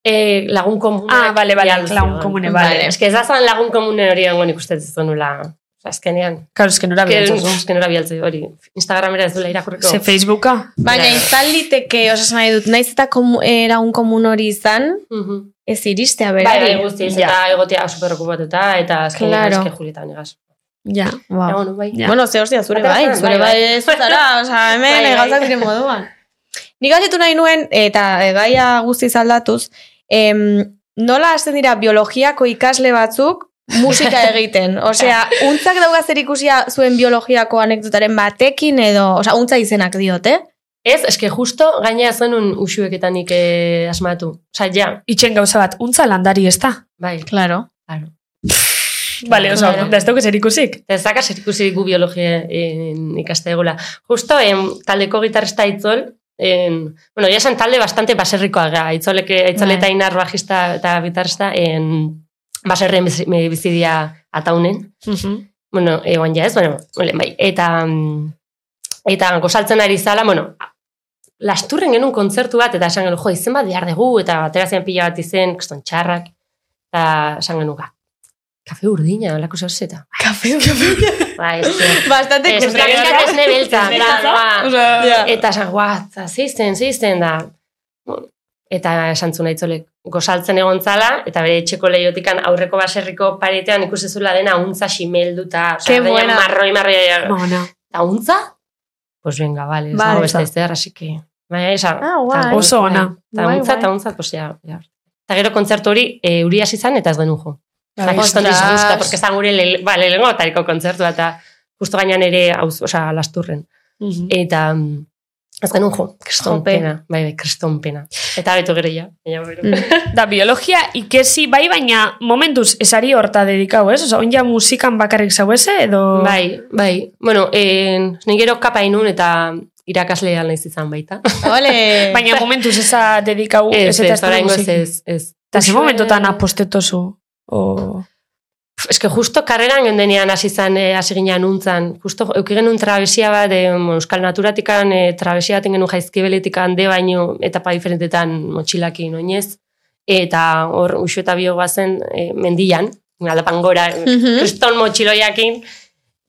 S5: Eh, lagun komune.
S1: Ah, bale, bale, lagun komune, bale.
S5: Ez que ez da zan lagun komune hori dagoen ikustetzen nula. Azkenean.
S1: Claro, es que nora bialdu
S5: Ez que nora bialtze hori. Instagramera ez duela irakurriko.
S1: Ze Facebooka?
S3: Baina
S5: Bai.
S3: izan liteke, osa esan nahi dut, naiz eta komu, eraun komun hori izan,
S5: Mhm.
S3: ez iristea
S5: Bai,
S3: berari.
S5: bai, guztiz, eta egotea superokupatuta, eta azkenean
S3: Claro.
S5: eske Julieta Venegas.
S1: Ja.
S3: Wow.
S5: Egon, bai.
S1: Ja.
S3: Bueno, ze hostia, zure
S5: Atera
S3: bai,
S5: zara,
S3: zure
S5: bai,
S3: bai
S5: bai.
S3: ez zara, oza, hemen
S5: Bai, bai.
S3: gauzak diren moduan. Nik galdetu nahi nuen, eta e, gaia guztiz aldatuz, em, nola hasten dira biologiako ikasle batzuk musika egiten. Osea, untzak dauga zer ikusia zuen biologiako anekdotaren batekin edo, osea, untza izenak diot, eh?
S5: Ez, eske justo gaina ez genuen usueketanik eh, asmatu. Osa, ja,
S1: Itxen gauza bat, untza landari ez da.
S5: bai.
S3: Claro.
S1: Vale, oso,
S5: Claro.
S1: da ez dauk zer ikusi.
S5: Eta ez dakaz ikusi gu biologia en, ikaste egula. Justo, em, taldeko gitarrista itzol, en, bueno, ya esan talde bastante baserrikoa gara, itzolek, itzole eta inar bajista eta gitarrista, en, baserren bizi- me- bizidia ataunen. Bueno, egon ja ez, bueno, ole, bai. Eta, mm, eta gozaltzen ari zala, bueno, lasturren genuen kontzertu bat, eta esan genuen, jo, izen bat behar dugu, eta aterazian pila bat izen, kriston txarrak, eta esan genuen, "Ka- kafe urdina, olako zauzeta.
S3: Kafe, kafe.
S5: Bai, ez que-
S3: Bastante
S5: Ez,
S3: ikusia.
S5: ez, ez, esne beltza, plan, ba.
S3: Ja.
S5: Eta esan, guatza, zizten, zizten, da. Eta esan zuen aitzolek, gozaltzen egon zala, eta bere etxeko lehiotikan aurreko baserriko paretean ikusi zula dena untza ximelduta,
S3: Ke
S5: osea,
S3: buena.
S5: dena marroi, marroi,
S1: Bona.
S5: eta untza? Pues venga, vale, ez
S3: Vale.
S5: dago beste ez así que... Baina, esa,
S3: Ah, guai.
S5: ta-
S1: Oso ona.
S5: Ta
S3: Guai,
S5: untza,
S3: guai.
S5: ta untza, pues ya, ya. Eta gero kontzertu hori, e, uri hasi zan, eta ez genuen jo. Eta
S1: Bai,
S5: kriston
S3: ostras.
S5: disgusta, porque zan gure le, ba, lehenengo atariko kontzertu, eta justo gainan ere, hauz, osea, lasturren.
S1: Mhm.
S5: Eta mm, ez genuen jo, kriston
S3: Jope.
S5: pena. Bai, bai, kriston pena. Eta beto gero ja. baina bero.
S1: Da, biologia ikesi bai, baina momentuz esari horta dedikau, ez? Osa, onja musikan bakarrik zau eze, edo...
S5: Bai, bai. Bueno, en, nik gero kapa inun eta irakaslea naiz izan baita.
S3: Ole.
S1: Baina momentuz esa dedikau
S5: Ez, ez,
S1: eta
S5: oraingoz ez, ez.
S1: Eta ze
S5: Uxue-
S1: momentotan apostetozu? O...
S5: Eske justo karreran gendenean hasi zan, eh, hasi ginean untzan. Justo eukigen un travesia bat, eh, bueno, euskal naturatikan eh, travesia baten genuen jaizkibeletikan de baino etapa diferentetan motxilakin oinez. Eta hor usu eta bio bazen eh, mendian, aldapan gora, eh,
S3: Mhm.
S5: kriston motxiloiakin,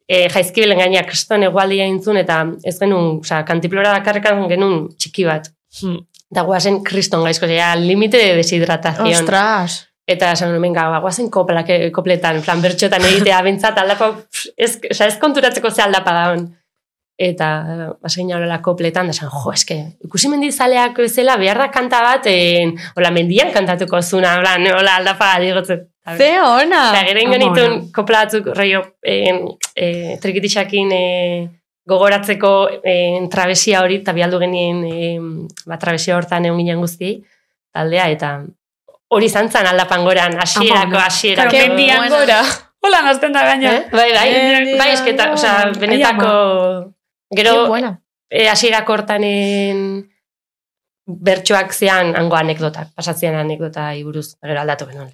S5: eh, jaizkibelen gaina kriston egualdia intzun, eta ez genuen, oza, kantiplora bakarrekan genuen txiki bat. Eta guazen kriston gaizko, ja, limite de deshidratación.
S4: Ostras.
S5: Eta esan nuen, venga, ba, guazen koplak, kopletan, plan bertxotan egitea, bentsat aldapa, pff, ez, oza, ez konturatzeko ze aldapa da hon. Eta, eh, basein horrela kopletan, da esan, jo, eske, ikusi mendizaleak bezala, behar da kanta bat, en, hola, mendian kantatuko zuna, plan, hola, aldapa, digotzen.
S3: Ze ona!
S5: Eta
S1: Ama
S5: gero ingo nituen
S1: ona.
S5: kopla batzuk reio eh, eh, trikitixakin eh, gogoratzeko eh, travesia hori, eta bialdu genien eh, ba, travesia hortan egon ginen guzti, taldea, eta hori izan zen aldapan goran,
S1: Ama
S5: hasierako,
S1: ona.
S5: hasierako.
S1: Claro, mendian
S5: Bueno,
S1: gora. Hola, nazten da gaina.
S5: eh? Bai, bai,
S1: Mendian
S5: bai, esketa,
S1: gora.
S5: osea, benetako... Gero,
S4: Qué buena.
S5: eh, hasierako hortanen bertsoak zean hango anekdota, pasatzean anekdota iburuz, gero aldatu genuen.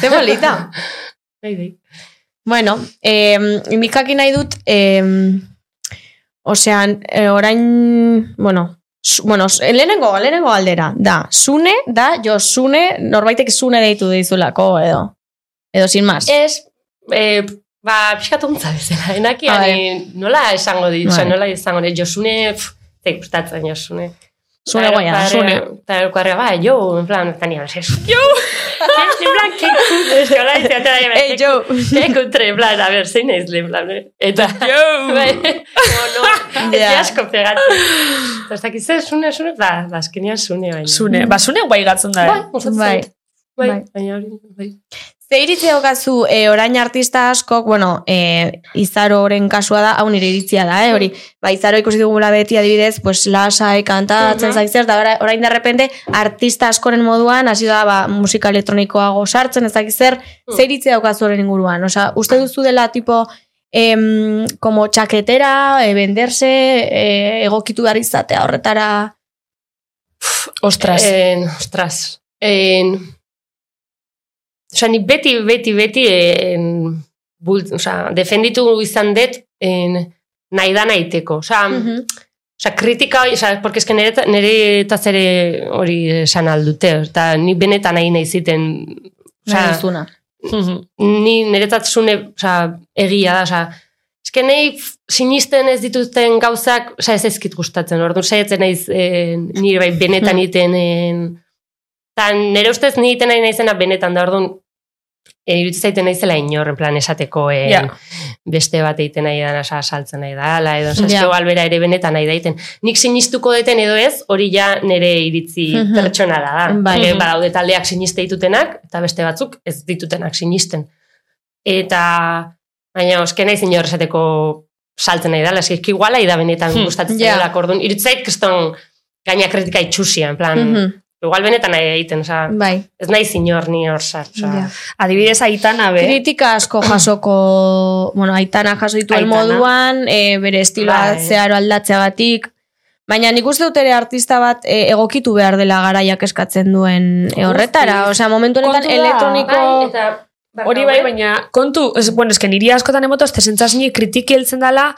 S3: Ze bolita!
S5: Bai, bai.
S3: Bueno, eh, mikaki nahi dut, eh, osea, eh, orain, bueno, su, bueno, s- eh, lehenengo, lehenengo aldera, da, zune, da, jo, zune, norbaitek zune deitu dizulako, edo, edo, sin más.
S5: Ez, e, ba, pixkat ontza bezala, enaki,
S3: Ah,
S5: hani, nola esango dit,
S3: Bai.
S5: osea, nola izango dit, josune, pff, zeik gustatzen josune.
S3: Zune guaia, zune.
S5: Eta erkoarrea, ba, jo, en plan, eta nire, ez, jo, en plan, ke kutre, eskola, eta eta
S3: Ei,
S5: eta
S3: jo!
S5: ke kutre, en plan, a ber, zein ez le, en plan, eh? eta, jo, bai, no, no, ez
S3: Ja.
S5: asko pegatzen. Eta ez dakit, ze, zune, zune, ba, ba, azkenean zune, baina.
S1: Zune, ba, zune guai gatzen da.
S5: Bai,
S1: eh?
S5: gustatzen
S3: Bai.
S5: zait. Bai,
S3: Bai.
S5: baina hori, bai.
S3: Ze iritzi daukazu, eh, orain artista askok, bueno, eh, izaroren kasua da, hau nire iritzia da, eh, hori, ba, izaro ikusi dugula beti adibidez, pues, lasai, kantatzen
S5: Mhm.
S3: uh zer, eta ora- orain de repente, artista askoren moduan, hasi da, ba, musika elektronikoago sartzen, ez dakit zer, ze iritzi daukazu horren inguruan, osea, uste duzu dela, tipo, em, como txaketera, e, benderse, eh, egokitu behar izatea horretara,
S1: Ostras.
S5: En, ostras. En, Osa, ni beti, beti, beti en, bult, osa, defenditu izan dut en, nahi da nahiteko. Osa,
S3: Mhm.
S5: osa, kritika, hori, osa, porque eske nire, nire eta zere hori esan aldute. Eta ni benetan nahi nahi ziten. Osa,
S3: nahi duzuna. Mhm.
S5: ni niretzat zune, oza, egia da, oza, eske nei f- sinisten ez dituzten gauzak, oza, ez ezkit gustatzen, orduan saiatzen naiz eh, nire bai benetan
S3: Mhm.
S5: iten, eta nire ustez ni iten nahi naizena benetan da, orduan, e, iruditzen zaiten naizela inor, en plan esateko eh,
S1: Ja.
S5: beste bat egiten nahi dana, oza, saltzen nahi da, ala, edo, oza,
S3: Ja.
S5: eske albera ere benetan nahi daiten. Nik sinistuko deten edo ez, hori ja nire iritzi
S3: Mhm.
S5: pertsonala da.
S3: Bai.
S5: Bai. badaude taldeak siniste ditutenak, eta beste batzuk ez ditutenak sinisten. Eta, baina, oske nahi zinor esateko saltzen nahi dala, eski iguala da benetan
S1: Hmm,
S5: gustatzen
S3: ja.
S5: yeah. dela, orduan, irutzait kriston gaina kritika itxusia, en plan,
S3: Mhm,
S5: igual benetan nahi egiten, oza,
S3: Bai,
S5: ez nahi zinor ni hor sart, oza.
S3: Ja.
S1: Adibidez aitana,
S5: Eh?
S1: be.
S3: Kritika asko jasoko, bueno, aitana jaso dituen
S1: Aitana.
S3: moduan, e, bere estiloa
S5: Bai.
S3: zeharo aldatzeagatik, baina nik uste dut ere artista bat e, egokitu behar dela garaiak eskatzen duen e, horretara, osea, momentu honetan
S1: Kontu da,
S3: elektroniko...
S5: Bai, eta,
S1: Hori bai, baina kontu, es, bueno, eske niri askotan emotoz, te sentzatzen kritiki heltzen dala,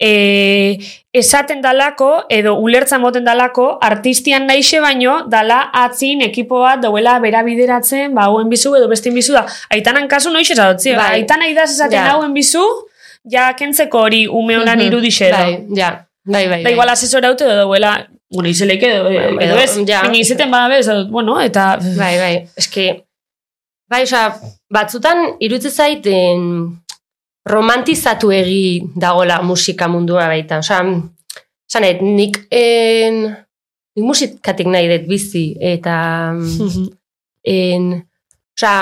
S1: eh, esaten dalako, edo ulertzen moten dalako, artistian naixe baino, dala atzin ekipo bat, dauela berabideratzen, ba, hauen bizu, edo bestin bizu da. Aitanan kasu noiz esatotzi,
S5: Bai.
S1: bai. aitana idaz esaten
S5: Ja.
S1: hauen bizu, ja kentzeko hori ume honan
S3: Mhm.
S1: irudixe edo.
S5: Bai, ja, bai, bai.
S1: Da
S5: bai.
S1: igual asesora haute edo duela, bueno, izeleik edo, edo
S5: Bueno, edo,
S1: ez,
S5: ja.
S1: baina izeten bada bez, edo, bueno, eta...
S5: Bai, bai, eski, bai, oza, batzutan irutze zait en, romantizatu egi dagola musika mundua baita. Osa, sanet, nik, en, nik musikatik nahi dut bizi, eta
S1: Mhm.
S5: en, osa,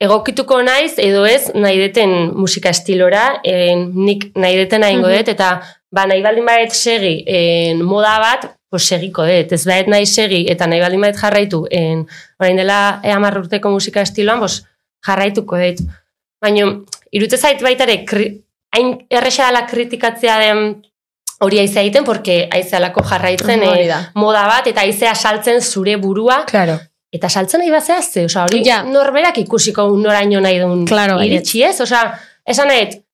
S5: egokituko naiz, edo ez, nahi deten musika estilora, en, nik nahi deten nahi dut,
S3: Mhm.
S5: eta ba, nahi baldin badet segi en, moda bat, pues segiko dut, ez badet nahi segi, eta nahi baldin badet jarraitu, en, orain dela eh, hamar urteko musika estiloan, pues, jarraituko dut. Baina, irutze zait baitare, kri, hain erresa dela kritikatzea den hori aizea egiten, porque aizealako jarraitzen eh,
S3: Mhm, Hori da.
S5: moda bat, eta aizea saltzen zure burua,
S1: Claro.
S5: Eta saltzen nahi bazea ze, osea, hori
S3: Ja.
S5: norberak ikusiko un noraino nahi duen
S3: Claro, bai.
S5: iritsi ez, osea, esan nahet,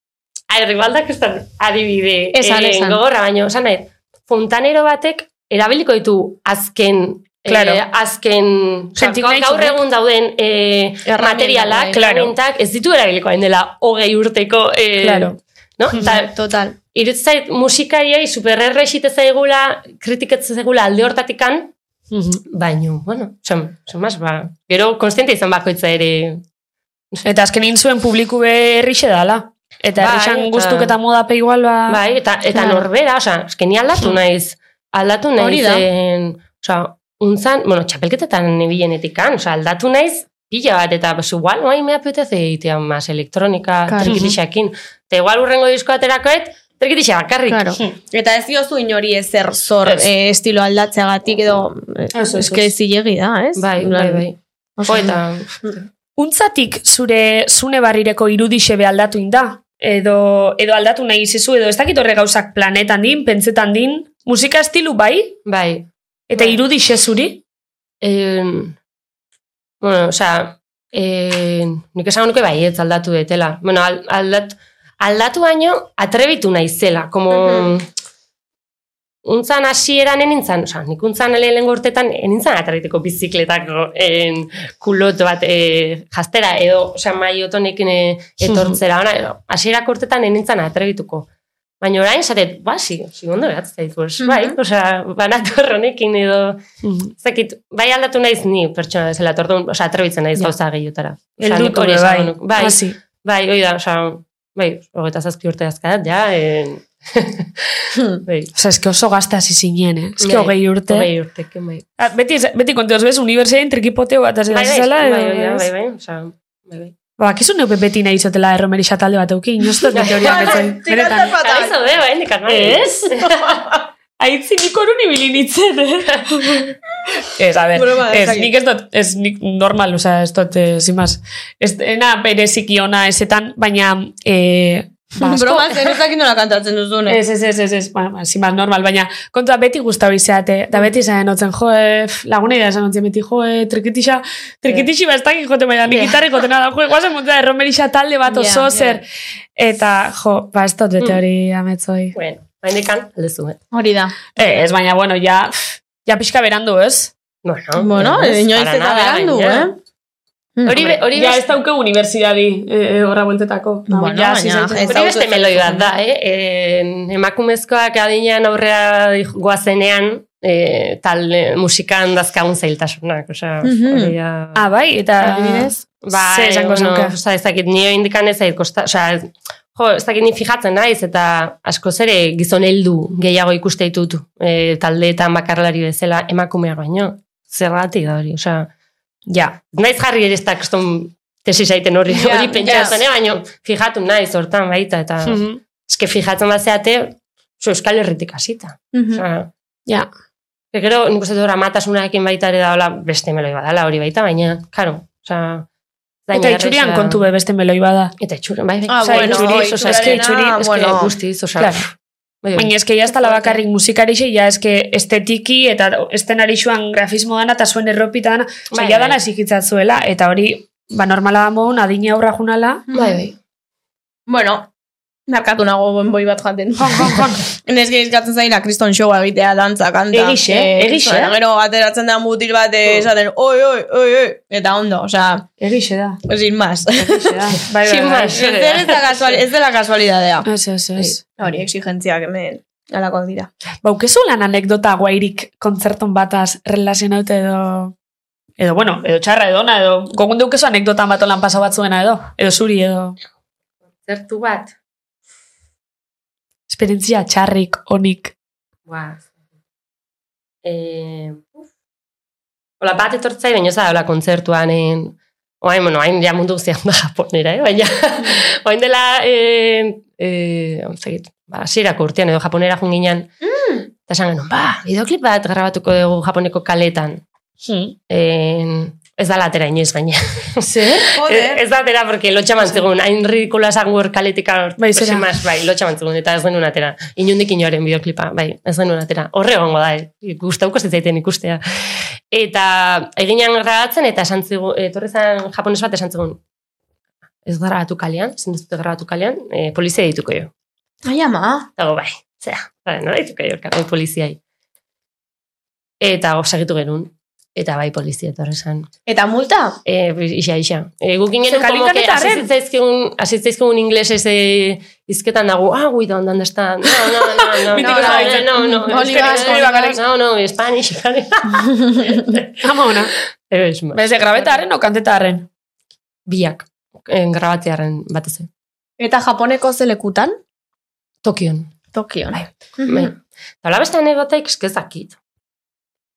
S5: arribaldak ez da adibide
S3: Esan,
S5: eh,
S3: esan.
S5: gogorra, baina esan nahet, fontanero batek erabiliko ditu azken
S1: Claro.
S5: eh, azken osea,
S1: Gentil
S5: gaur- gaur
S1: nahi
S5: egun dauden eh,
S3: Erramienta,
S5: materialak,
S3: bai.
S1: Claro.
S5: erramientak, ez ditu erabiliko hain dela hogei urteko eh,
S1: Claro.
S5: no? Eta
S3: Total.
S5: irutzen zait musikariai supererre esite zaigula, kritikatzen zaigula alde hortatikan,
S3: Mhm.
S5: baino, bueno, son, son más, ba, gero konstiente izan bakoitza ere,
S1: Eta azken intzuen publiku berrixe dala. Eta
S5: Bai,
S1: errixan
S5: eta-
S1: gustuk eta moda pe igual ba...
S3: Ah,
S5: bai, eta, eta
S1: Claro.
S5: norbera, osea, eske ni aldatu naiz, aldatu
S3: Hmm. Hori
S5: naiz,
S3: da.
S5: en, osea, untzan, bueno, txapelketetan ebilenetik kan, osea, aldatu naiz, pila bat, eta pues, igual, oain me apetece egitea mas elektronika,
S3: Claro.
S5: claro. trikitixakin, eta igual urrengo disko aterakoet, trikitixa bakarrik.
S3: Claro. Eta ez diozu inori ezer zor
S5: Ez.
S3: eh, estilo aldatzeagatik edo... eh,
S4: Ez, ez,
S3: Ez que zilegi da, ez?
S5: Bai, bai, bai. Jo, eta,
S1: Untzatik zure zune barrireko irudixe behaldatu inda? Edo, edo aldatu nahi zizu, edo ez dakit horre gauzak planetan din, pentsetan din, musika estilu bai,
S5: bai,
S1: eta
S5: Bai.
S1: irudixe zuri?
S5: Eh, bueno, osea, eh, nik esan nuke baietz aldatu detela. Bueno, al- aldat, aldatu baino atrebitu naizela, como... Untzan hasieran enintzan, osea, nik untzan lehengo urtetan enintzan atarriteko bizikletako en, kulot bat e, jastera edo, osea, maiotonekin e, etortzera. Ona, edo, hasierako urtetan enintzan atrabituko. Baina orain, zatet, ba, si, si ondo behatzen zaitu, pues, bai, osea, banator honekin edo, ez dakit, bai aldatu naiz ni pertsona bezala, tordu, osea, atrebitzen naiz gauza gehiotara. Osea, nik
S1: Eldutu
S5: hori
S1: be,
S5: esango
S1: bai.
S5: nuke. Bai,
S1: Hasi.
S5: bai, hori da, osea, bai, hogeita zazpi urte azkarat, ja, en... bai,
S1: Osa, eske oso gazte hasi zinen, eh? Eske
S5: Bai,
S1: hogei urte.
S5: hogei urtekin, bai.
S1: Ah, beti, ez- beti konteoz bez, unibertsitatean trikipoteo bat hasi
S5: Bai, bai,
S1: zela,
S5: bai,
S1: edo...
S5: bai,
S1: ez?
S5: bai, bai, osea, bai, bai.
S1: Ba, akizu neupe beti nahi izotela erromerisa talde bat eukin, joztot bete hori
S5: Bai,
S1: ametzen. Benetan.
S5: Eta izo, be, bai, indikan, bai. Ez?
S1: Aitzi nik horun ibilin itzen, eh? ez, a ber,
S3: Broma, ez
S1: ez,
S3: dakit.
S1: nik ez dut, ez, nik normal, oza, ez dut, eh, sin más. Ez, ena bereziki ona ezetan, baina, eh, ba, asko-
S3: Broma zen, ez dakit nola kantatzen eh. duzune.
S1: Ez, ez, ez, ez, ez, ba, ba, sin más, normal, baina kontua beti gustau izeate, da beti zaren otzen, jo, eh, pf, lagunei da esan otzen beti, jo, eh, trikitixa, trikitixi yeah. bastak jote baina, nik gitarre joten da, jo, guazen montea erromerixa talde bat
S3: Ja,
S1: oso
S3: ja.
S1: zer, eta, jo, ba, ez dut bete hori ametzoi.
S5: Bueno, bai, indikan, aldezu, bai.
S3: Hori da.
S1: Eh, ez, baina, bueno, ja, pff, ja pixka berandu, ez?
S5: Bueno,
S3: Bueno,
S5: ez,
S3: inoiz
S5: para
S3: eta
S5: nada,
S3: berandu,
S5: baina.
S3: eh?
S5: Hori, be- hori,
S1: ja,
S5: beste-
S1: ez dauke universidadi eh, eh, horra bueltetako.
S3: Bueno,
S1: ja, hasi
S3: baina,
S1: zaitu.
S3: ez
S5: Hori beste meloi bat da, eh? En, emakumezkoak adinean aurrea dij- goazenean, eh, tal eh, musikan dazkagun zailtasunak, osea,
S3: Mhm.
S5: hori da-
S1: Ah, bai, eta...
S4: Adibidez?
S5: Ba,
S1: zer esango zenuke?
S5: osea, ez dakit, nio indikan ez zait, kosta, osea, ez- jo, ez dakit ni fijatzen naiz, eta askoz ere gizon heldu gehiago ikuste ditut eh, taldeetan bakarlari bezala emakumeak baino. Zergatik da hori, osea,
S1: Ja,
S5: naiz jarri ere ez da kriston tesi zaiten hori,
S3: Ja, Hmm.
S5: hori pentsatzen, eh, baino, fijatu naiz hortan baita, eta...
S1: Mhm.
S5: eske fijatzen bat zeate, zu euskal herritik hasita.
S3: Mhm.
S5: Osea,
S1: Mm. ja.
S5: que gero, nik uste dut amatasunarekin baita ere daola beste meloi badala hori baita, baina, karo, osea...
S1: Eta
S5: zain beharra
S1: itxurian
S5: izan-
S1: kontu be beste meloi bada.
S5: Eta itxurian, bai, bai.
S3: Ah,
S5: Osea,
S1: bueno,
S5: itxuri, osea, eske
S3: itxurarena,
S5: itxuri, eske
S3: bueno.
S5: guztiz, osea...
S1: Claro.
S5: bai, bai.
S1: Baina eske ja ez dala bakarrik musikarixe, ja eske estetiki eta estenari xuan grafismo dana eta zuen erropita dana, osea,
S5: Bai,
S1: ja
S5: bai.
S1: dana esikitzat zuela, eta hori, ba, normala da modun, adina aurra junala,
S5: Bai, bai.
S3: Bueno, narkatu nago bonboi bat jaten.
S1: Jon, jon, jon.
S3: Neske eskatzen zaila kriston showa egitea, dantza, kanta.
S1: Egixe,
S3: Eh,
S1: egixe.
S3: kriston, Gero ateratzen da mutil bat eh, esaten, oi, oi, oi, oi, eta ondo, osea,
S1: egixe da,
S3: sin más.
S1: egixe da. Bai, bai,
S5: Sin
S1: bai.
S5: más.
S3: Ez dela ez da kasual- ez dela kasualidadea.
S1: Ez, ez, Ah, ez.
S3: Hori, exigentziak hemen alakoak dira.
S1: Baukezu lan anekdota guairik kontzerton bataz relazionauta edo... Edo, bueno, edo txarra edo ona, edo gogun deukezu anekdotan bat olan pasa batzuena edo, edo zuri edo.
S5: Zertu bat.
S1: Esperientzia txarrik, onik.
S5: Ba. Eh, uf. Ola, bat etortzai, baina ez da, ola, kontzertuan, en, oain, bueno, hain ja mundu guztian da japonera, eh? baina,
S1: Mm.
S5: oain dela, eh, eh, onzagit, ba, zirako urtean edo japonera junginan, mm. eta esan genuen, ba, bideoklip bat grabatuko dugu japoneko kaletan.
S1: Hmm.
S5: En, ez da latera inoiz gaina.
S1: Zer?
S5: Ez, ez da atera, porque lotxa mantzegun, hain ridikula esan guer kaletika
S1: Bai, zera.
S5: mas, bai, lotxa mantzegun, eta ez genuen atera. Inundik inoaren bideoklipa, bai, ez genuen atera. Horre gongo da, eh? gustauko zitzaiten ikustea. Eta eginan grabatzen, eta esan zigu, etorri zen japones bat esan zigun, ez grabatu kalean, ezin duzute grabatu kalean, e, polizia dituko jo.
S3: Ai, ama.
S5: Dago bai, zera, zera, nola dituko jo, kako poliziai. Eta go, segitu genuen, eta bai polizia etorri zen.
S3: Eta multa?
S5: E, isa, isa. E, gukin genuen,
S1: Ze
S5: como que
S1: kalikan eta arren.
S5: asitzaizkigun, asitzaizkigun inglesez e, izketan dago, ah, we don't understand. No, no, no, no, no,
S1: Mitiko zabaltzen.
S5: no, no, no, no,
S1: Only vasco, only bakarrik.
S5: no, no, no, Spanish, Spanish.
S1: Ama ona.
S5: Ez, ma-
S1: Beze, grabetaren o kantetaren.
S5: biak, en, grabatzearen batez. ere.
S3: Eta Japoneko zelekutan?
S5: Tokion.
S3: Tokion. Bai.
S5: Bai. Eta hola beste anegotaik eskezakit.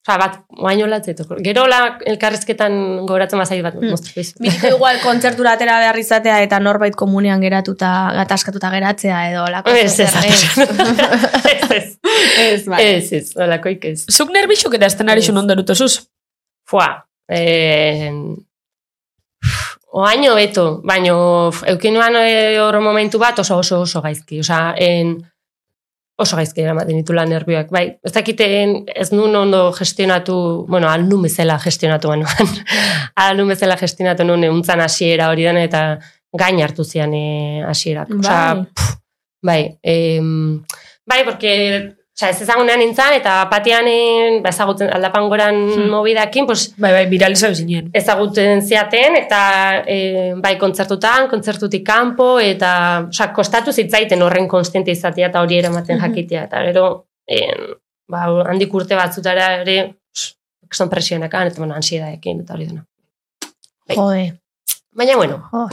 S5: Osa, bat, guaino latzetuko. Gero hola elkarrezketan gogoratzen bazait bat.
S3: Mm.
S5: Mm.
S3: Bitiko igual kontzertura atera behar izatea eta norbait komunean geratuta, gataskatuta geratzea edo lako.
S5: Ez, ez,
S3: zer,
S5: ez, ez, ez,
S3: ez, bai.
S5: ez, ez, holakoik ez.
S1: Zuk nerbixuk eta estenari zuen ondoruto zuz.
S5: Fua, eh, oaino beto, baino f- eukin nuan eh, hor momentu bat oso oso oso gaizki, osa, en, oso gaizki eramaten ditula nervioak, bai, ez dakiten ez nun ondo gestionatu, bueno, al nun bezala gestionatu anuan, al nun bezala gestionatu nun euntzan hasiera hori dena eta gain hartu zian eh, hasierak, osa,
S3: Bai.
S5: pff, bai, em, bai, porque... Osa, ez ezagunean nintzen, eta batean, eh, ba, ezagutzen aldapan goran
S1: Hmm.
S5: mobidakin, pues,
S1: Bai, bai, viralizau zinen.
S5: ezaguten ziaten eta e, bai kontzertutan, kontzertutik kanpo eta osea kostatu zitzaiten horren konstente izatea eta hori eramaten jakitea eta gero em, ba, handik urte batzutara ere son presionakan eta bueno, ansiedadekin eta hori dena.
S3: Jode.
S5: Baina bueno,
S3: Oh.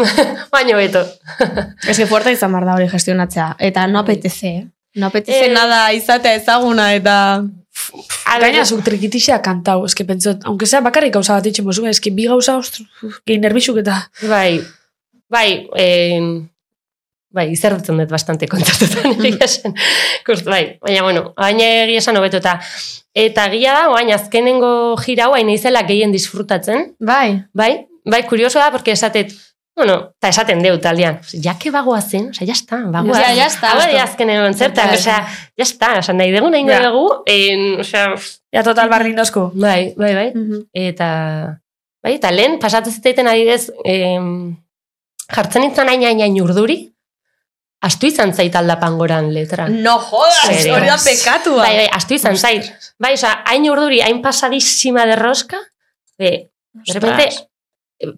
S5: baina beto.
S3: Ez que fuerte izan behar da hori gestionatzea. Eta no apetece, eh? No apetece
S5: Eh.
S3: nada izatea ezaguna eta...
S5: A ber,
S1: Gaina, zuk trikitixea kantau, eske pentsot, aunque sea bakarrik gauza bat itxen bozu, eske bi gauza, ostru, gehi nerbixuk eta...
S5: Bai, bai, em, bai, izerdutzen dut bastante kontzertutan egia esan. Kost, bai, baina, bueno, baina egia esan hobeto eta eta egia da, baina azkenengo jira hau, hain izela gehien disfrutatzen,
S3: Bai.
S5: bai, bai, kurioso da, porque esatet, bueno, eta esaten deu taldean, ja que bagoazen, oza, ja está, bagoaz.
S3: Ja, ja está,
S5: Hau
S3: justo.
S5: ere azkenen kontzertak,
S3: Ja,
S5: oza, ja está, oza, nahi dugu, nahi
S1: Ja.
S5: dugu, en, oza,
S1: Ja, total, barri indozko.
S5: bai, bai, bai
S3: Mhm.
S5: eta bai, eta lehen pasatu zitaiten adibidez, em, jartzen nintzen hain hain hain urduri, astu izan zait aldapan goran letra.
S3: No jodas,
S5: Serio.
S3: hori da ba. pekatua.
S5: Bai, bai, astu izan zait. Bai, oza, hain urduri, hain pasadísima de rosca, de, de repente,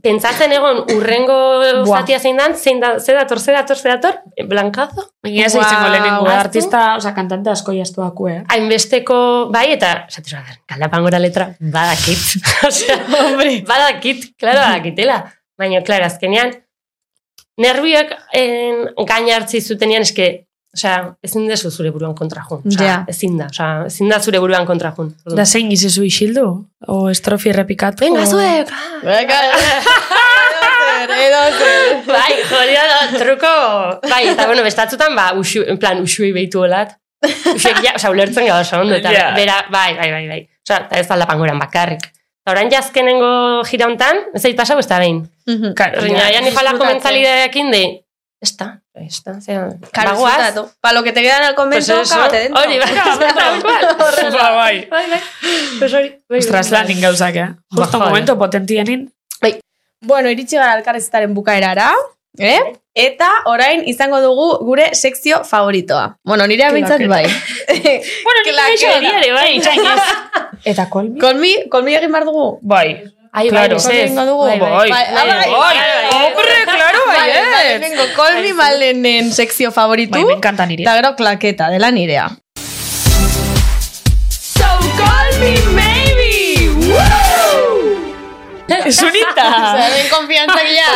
S5: pentsatzen egon urrengo
S1: Buah.
S5: zatia zein dan, zein da, ze dator, ze dator, ze dator, blankazo,
S1: Baina ez izango
S3: Guau,
S1: lehenengo
S5: ahaztu?
S1: artista, oza, kantante asko jaztu daku, eh?
S5: hainbesteko, bai, eta, esatu zuen, kaldapan gora letra, badakit. Osea, hombre, badakit, klaro, badakitela. Baina, klaro, azkenean, nervioak en, gain hartzi zutenean, eske, osea, ezin dezu zure buruan kontra jun. Osea,
S3: Ja.
S5: ezin da, osea, ezin da zure buruan kontra jun.
S1: Da zein izezu isildu? O estrofi errepikatu?
S5: Venga,
S1: o-
S5: zuek! ah,
S3: Beka, edozer, edozer.
S5: Bai, hori da truko. Bai, eta bueno, bestatzutan, ba, usu, en plan, usui behitu holat. Usuek, ja, oza, ulertzen gau oso ondo, eta
S1: Ja.
S5: bera, bai, bai, bai, bai. Oza, eta ez aldapan goran bakarrik. Eta orain jazkenengo jira hontan, ez zait pasau ez da behin.
S3: Mhm.
S5: Rina, ja, nifalako
S3: disfrutatzen.
S5: mentzalidadeakin de, ez da, ez da, zera,
S3: Claro,
S5: bagoaz.
S3: disfrutatu. Pa lo que te quedan al
S5: Pues
S3: convento,
S5: eso,
S3: cágate dentro.
S5: hori, bai, tal cual.
S1: Ba, bai.
S5: Bai, bai, pues hori. bai,
S1: Ostras,
S5: bai.
S1: lanin gauzak, eh?
S5: Ba,
S1: Justo
S5: joder.
S1: momento potentienin.
S3: Bueno, iritsi gara elkarrezitaren bukaerara, eh? Eta orain izango dugu gure sekzio favoritoa. Bueno, nire abintzat bai.
S1: Bueno,
S3: nik gaixo
S5: Hori ere, bai.
S1: Eta kolmi?
S3: Kolmi, kolmi egin behar dugu.
S1: Bai.
S5: Ai,
S1: Claro.
S5: bai, ez.
S3: Egingo dugu.
S5: Bai, bai.
S1: Bai.
S3: Bai,
S5: bai,
S1: Bai.
S5: bai.
S1: Hombre, claro, bai,
S3: Vale,
S1: eh?
S3: lehenengo kolmi malenen sekzio favoritu.
S1: Bai, me encanta niri.
S3: Eta gero klaketa, dela nirea.
S1: Sunita!
S3: hemen konfiantzak ja.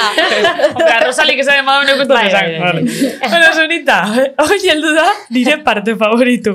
S1: Hombre, Rosalik esan emadun ekutzen
S5: Bai,
S1: esan.
S5: bai, bai.
S1: Vale. Bueno, Sunita, hori heldu da nire parte favoritu.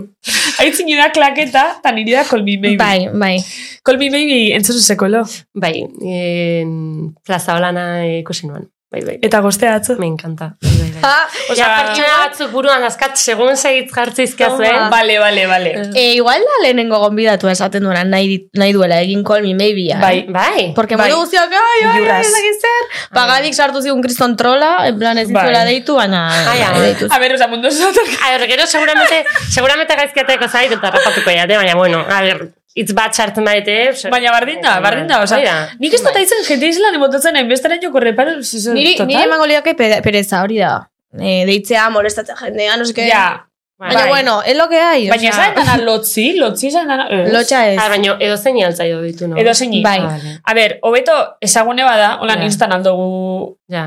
S1: Aitzin nire da klaketa, eta nire da kolmi maybe.
S3: Bai, bai.
S1: Kolmi maybe entzun zekolo.
S5: Bai, en, plaza holana ikusi nuen. Bai, bai.
S1: Eta gostea atzo.
S5: Me encanta. Bai, bai, bai.
S3: Ah,
S5: Osea, ja, pertsona batzuk buruan azkat, segun segitz jartzizkia zuen.
S3: Toma.
S1: Vale, vale, vale.
S3: e, igual da lehenengo gonbidatu esaten duena nahi, dit- nahi duela egin call me maybe. eh?
S5: Bai, bai.
S3: Porque bai. modu guztiak, ai, ai, ai, ezakit zer. Pagadik sartu zigun kriston trola, en plan ez
S1: Bai.
S3: dituela deitu, baina...
S5: Ai, ai.
S3: deitu.
S1: A ver, oza, mundu zotak.
S5: A ber, gero seguramente, seguramente gaizkiateko zait eta rapatuko jate, baina bueno, a ber, itz bat sartzen badete. zer-
S1: Baina bardin da, bardin da, oza.
S5: Bai da.
S1: Nik ez dut aizen jende izlan emotatzen hainbestera joko reparo.
S3: Niri, niri emango liake pe- pereza, hori da. Eh, deitzea, molestatzea jendea, no seke.
S1: Ja,
S3: Baina,
S1: Bai.
S3: bueno, es lo que hay.
S1: baina
S3: Eh, o
S1: ez
S3: sea,
S1: da dana lotzi, lotzi ez da dana... ez.
S3: Lotxa ez.
S5: Ah, baina edo zein altzaio ditu, no?
S1: Edo zein.
S3: Bai.
S1: A ber, hobeto ezagune bada, hola
S5: Ja.
S1: yeah. instan eh, aldugu...
S5: Ja,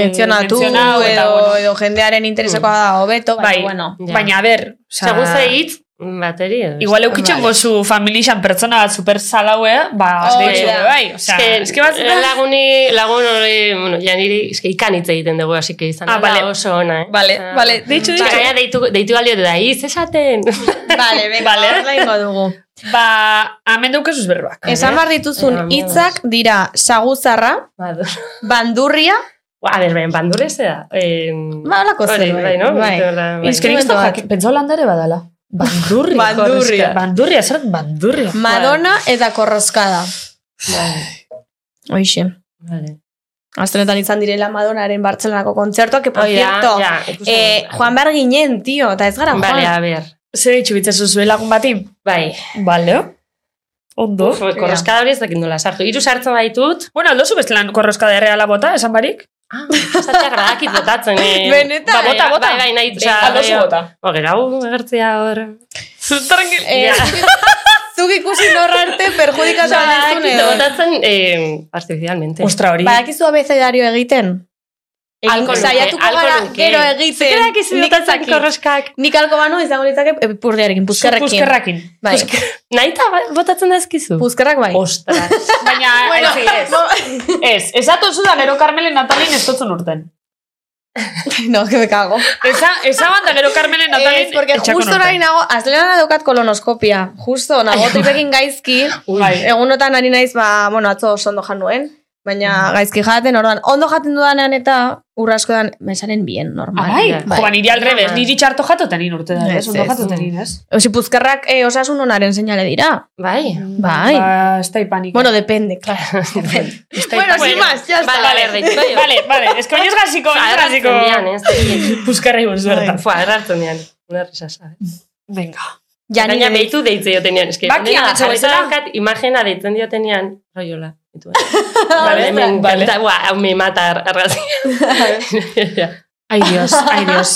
S3: Mentzionatu, edo, edo jendearen interesekoa da hobeto, baina,
S1: Bai.
S3: bueno.
S5: ja.
S1: Baina, a ber,
S5: Osea, guztia hitz, bateri edo.
S1: Igual eukitxen
S3: Vale.
S1: gozu familixan pertsona bat super salaue, ba,
S3: Hori
S1: deitzu,
S3: da.
S1: bai, osea, eske bat
S5: eh, laguni, lagun hori, bueno, ja niri, eske ikan hitz egiten dugu, así que izan
S1: Ah,
S5: da
S1: vale.
S5: oso ona, eh?
S1: Vale,
S5: Ah.
S1: vale, deitxu,
S5: Ba,
S1: deitxu.
S5: gaina deitu, deitu alio da, iz, esaten.
S3: Vale, venga,
S1: Vale.
S3: horrela ingo dugu.
S1: Ba, amen daukezuz berbak.
S3: Esan behar dituzun
S5: Venga, mi
S3: hitzak dira saguzarra,
S5: Badu.
S3: bandurria,
S5: Ba, A ber, ben, bandurez da. En...
S3: Ba, holako
S5: Hori,
S3: zerbait,
S5: Bai, no?
S3: bai.
S5: Hola, bai.
S1: Ez que nik ez dut
S3: Instrumento bat.
S1: jakin, pentsa holandare badala. Bandurria.
S3: Bandurria.
S1: Bandurria. Bandurria, zer bandurria.
S3: Madonna eta korroskada. Oixe.
S5: Vale.
S3: Aztenetan izan direla Madonaren Bartzelanako kontzertuak, que por
S5: Hoi da,
S3: cierto,
S5: ja, ikusten
S3: eh,
S5: dut.
S3: Juan behar ginen, tío, eta ez gara Juan.
S5: Vale, a ber.
S1: Zer ditxu bitzazu zuen lagun batin?
S5: Bai.
S1: Vale. Ondo.
S5: Uf, korroskada hori ez dakit nola sartu. Hiru sartzen baditut,
S1: Bueno, aldo zu bestelan korroska de reala bota, esan barik?
S5: ah, esatea gradakit botatzen. Eh.
S3: Benetan?
S5: Ba, bota, bota. Bai, bai, nahi. osea,
S1: Aldo zu
S5: bai,
S1: bota.
S5: Ba, gero hau agertzea hor.
S1: Tranquil.
S3: Eh, zuk ikusi norra arte perjudikatu
S5: Badakit
S3: anezun edo.
S5: botatzen eh, artificialmente.
S1: Bai, Ostra hori.
S3: Badakizu abezedario Ba, egiten? Egin-
S5: Alko luke,
S3: Saiatuko
S5: eh, alko
S3: gara
S5: luke.
S3: gero egiten.
S5: Zuk erakizu
S3: Nik ez
S5: botatzen
S3: dakit.
S5: korroskak.
S3: Nik alko banu izango litzake eh, purdiarekin, puzkerrekin.
S1: Puzkerrakin.
S3: Bai.
S5: Nahi eta ba, botatzen dazkizu.
S3: Puzkerrak bai.
S5: Ostras.
S1: Baina,
S3: Bueno,
S1: ez, ez. Ez, ez atozu da gero Carmelen Natalin ez dutzen urten.
S3: no, que me cago.
S1: Esa, esa banda gero Carmelen Natalin
S3: Ez, porque
S1: etxakon
S3: justo
S1: urten.
S3: nahi nago, azlenan daukat kolonoskopia. Justo, nago tripekin gaizki.
S1: Bai.
S3: Egunotan ari naiz, ba, bueno, atzo oso ondo jan nuen.
S5: Mm.
S3: Baina gaizki jaten, orduan, ondo jaten dudanean eta urraskodan, mesaren bien, normal.
S1: Bai,
S5: Bai.
S1: jo, ba, niri alrebez,
S5: Bai.
S1: niri txarto jatoten in urte da, ez?
S3: Ez,
S1: Ondo
S3: ez.
S1: jatoten in, ez?
S3: Osi, puzkerrak eh, osasun onaren seinale dira.
S5: Bai.
S3: Bai.
S1: Ba, ez da ipanik.
S3: Bueno, depende, claro. bueno,
S5: Bueno,
S3: sin más, ya está.
S5: Vale, vale, vale.
S1: Bai, Vale, vale, ez que baino ez gaziko, ez gaziko. Puzkarra ibon zuertan.
S5: eh, Fua, errartzen dian. Una risa, sabe.
S1: Venga.
S3: Jani
S5: Gaina
S3: de-
S5: behitu deitzen diotenean. eske,
S1: Bakian
S5: gainera,
S1: atzo
S5: jarrita
S1: bezala.
S5: daukat imagena deitzen diotenean, roiola. ditu, eh.
S1: Vale,
S5: Vale, men,
S1: vale.
S5: encanta, buah, hau me mata ar- argazki. Ja,
S1: Ai dios, ai dios.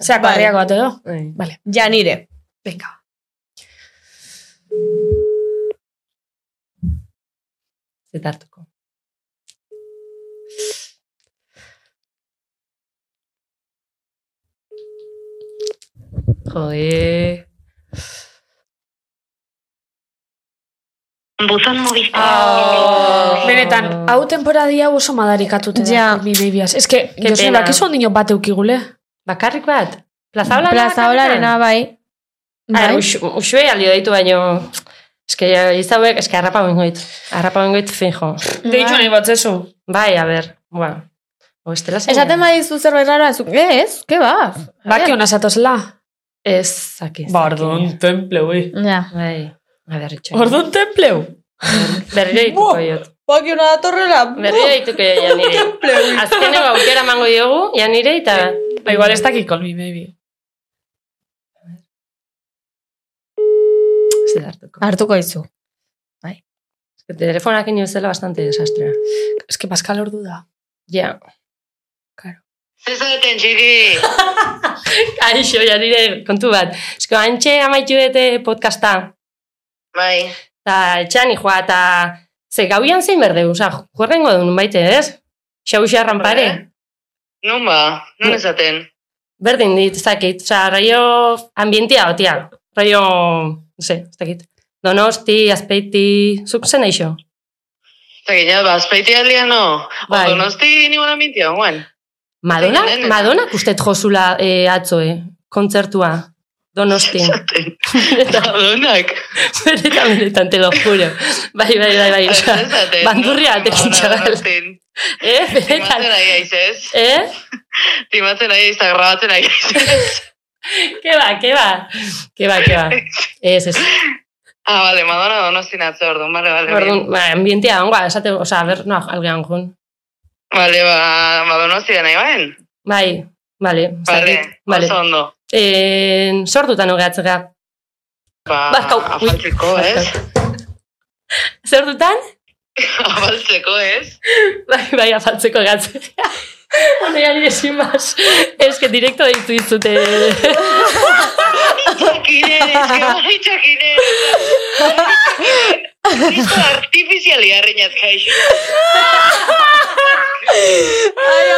S1: Zeak
S3: Bai.
S1: barriako bat edo?
S5: bai.
S3: Janire.
S1: Venga.
S5: Ez hartuko. Jode. Oh.
S1: Benetan, hau temporadia oso madarikatute da.
S3: Ja.
S1: Mi babyaz. Ez que,
S5: Ke
S1: Josu,
S5: pena.
S1: lakizu ondino bat eukigule?
S5: Bakarrik bat? Plaza Olana
S3: Plaza
S5: bakarrik
S3: holarena
S5: bat?
S3: bai.
S5: Ah,
S3: Bai.
S5: usu- Usue alio deitu baino... Eske ja, izauek, eske harrapa bengoit. Harrapa bengoit fijo.
S1: Deitxo nahi bat, zezu.
S5: Bai, a ber, bueno. O estela zein.
S3: Esaten bai- badizu zerbait rara, zuk, ez? Ke ba?
S5: Eh.
S1: Baki hona zatozela?
S5: Ez, zaki. zaki.
S1: templeu, eh.
S3: Ja.
S5: Bai, a ber, itxo.
S1: Orduan templeu?
S5: Berriro dituko jot.
S3: Baki una datorrela.
S5: Berriro dituko jot, janire. Azkeneko aukera mango diogu, janire, eta...
S1: Ba, igual ez dakik call me baby.
S5: Zer hartuko.
S3: Hartuko izu.
S5: Eske Telefonak ino zela bastante desastrea.
S1: Ez que Pascal ordu da.
S5: Ja.
S7: Ez zaten txiki.
S5: Aixo, janire, kontu bat. Eske, antxe amaitu dute podcasta.
S7: Bai.
S5: Eta etxean joa, eta ze gauian zein berde, oza, juerrengo duen baite, ez? Xau xarran pare.
S7: Bai. Non ba,
S5: Bai.
S7: non ezaten.
S5: Berdin dit, ez dakit, oza, raio ambientia otia. Raio, no sé, ez dakit. Donosti, azpeiti, zuk zen eixo.
S7: Eta gina, ba, azpeitia aldia no.
S5: Bai.
S7: Bai. Donosti ni buena mintia, guan.
S5: Madonna,
S7: Bai, bai, bai.
S5: Madonna kustet jozula eh, atzo, eh, kontzertua. Donosti. benetan,
S7: Adonak.
S5: benetan, benetan, te lo juro. Bai, bai, bai, bai. oza,
S7: Ez zaten.
S5: bandurria atekin txagal. Eh, benetan.
S7: Timatzen ari aizez.
S5: Eh?
S7: Timatzen ari aiz, eta grabatzen ari aizez.
S5: Ke ba, ke ba. Ke ba, ke ba. Ez, ez.
S7: Ah, bale, Madonna donosti natzo, orduan, bale, bale.
S5: Orduan, ba, ambientea ongoa, esate, oza, ber, no, algean jun.
S7: Bale, ba, ba donosti da nahi baen.
S5: Bai, bale,
S7: Bale,
S5: zakit,
S7: vale.
S5: bale.
S7: oso ondo.
S5: En, sortutan hogeatzea,
S7: Ba,
S5: Barkau. Ui.
S7: afaltzeko, ez?
S5: Zer dutan?
S7: Afaltzeko, ez?
S5: Bai, bai, afaltzeko gatze. Bueno, ya nire sin más. Es que directo deitu izute.
S7: Txakinen, ez que bai, txakinen. Listo artifiziali harrinaz kaixo. Ai,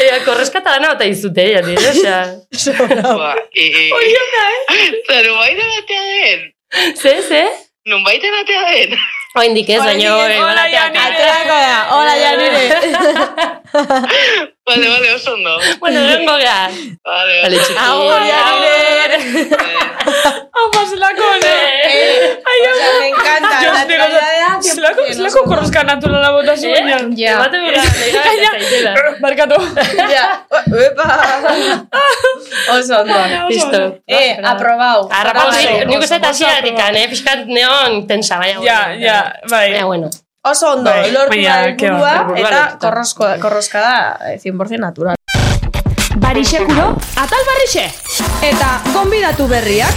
S5: Ea, korreskata gana bata eh, izute, ya nire, osea.
S7: ama. Oiona, eh? Zeru baita batea den.
S5: Ze, ze?
S7: Nun baita batea den.
S5: Oindik ez, baina... Hola, ja
S3: Aterako da, hola ja nire.
S7: Bale, bale, oso ondo.
S5: Bueno, egongo gara. Bale,
S7: Bale, bale.
S5: txiki. Eh.
S3: Osea, me encanta.
S1: Yo
S3: la
S1: os digo,
S3: traidora,
S1: Zelako,
S3: 100%,
S1: zelako
S3: oso ondo.
S1: korroska naturala bota zuen.
S5: Ja. Eh? Bate bera, nire gaita zaitela.
S1: Barkatu.
S3: Ja. Epa. Oso ondo.
S5: Listo.
S3: Eh, aprobau.
S5: Arrapau,
S3: Bai,
S1: Oso,
S5: nik- nik uste eta
S1: oso, oso
S5: hasieratik, eh? Piskat neon tensa, baina... bueno,
S1: Bai. Ja, ja, bai.
S5: Baina, bueno.
S3: Oso ondo,
S1: Bai,
S3: lortu
S1: baina,
S3: da
S1: ke
S3: helburua
S1: ba,
S5: helburua
S3: eta
S5: lortuta.
S3: korrosko, korroska da eh, 100% natural.
S4: Barixekuro?
S3: Eta gonbidatu berriak.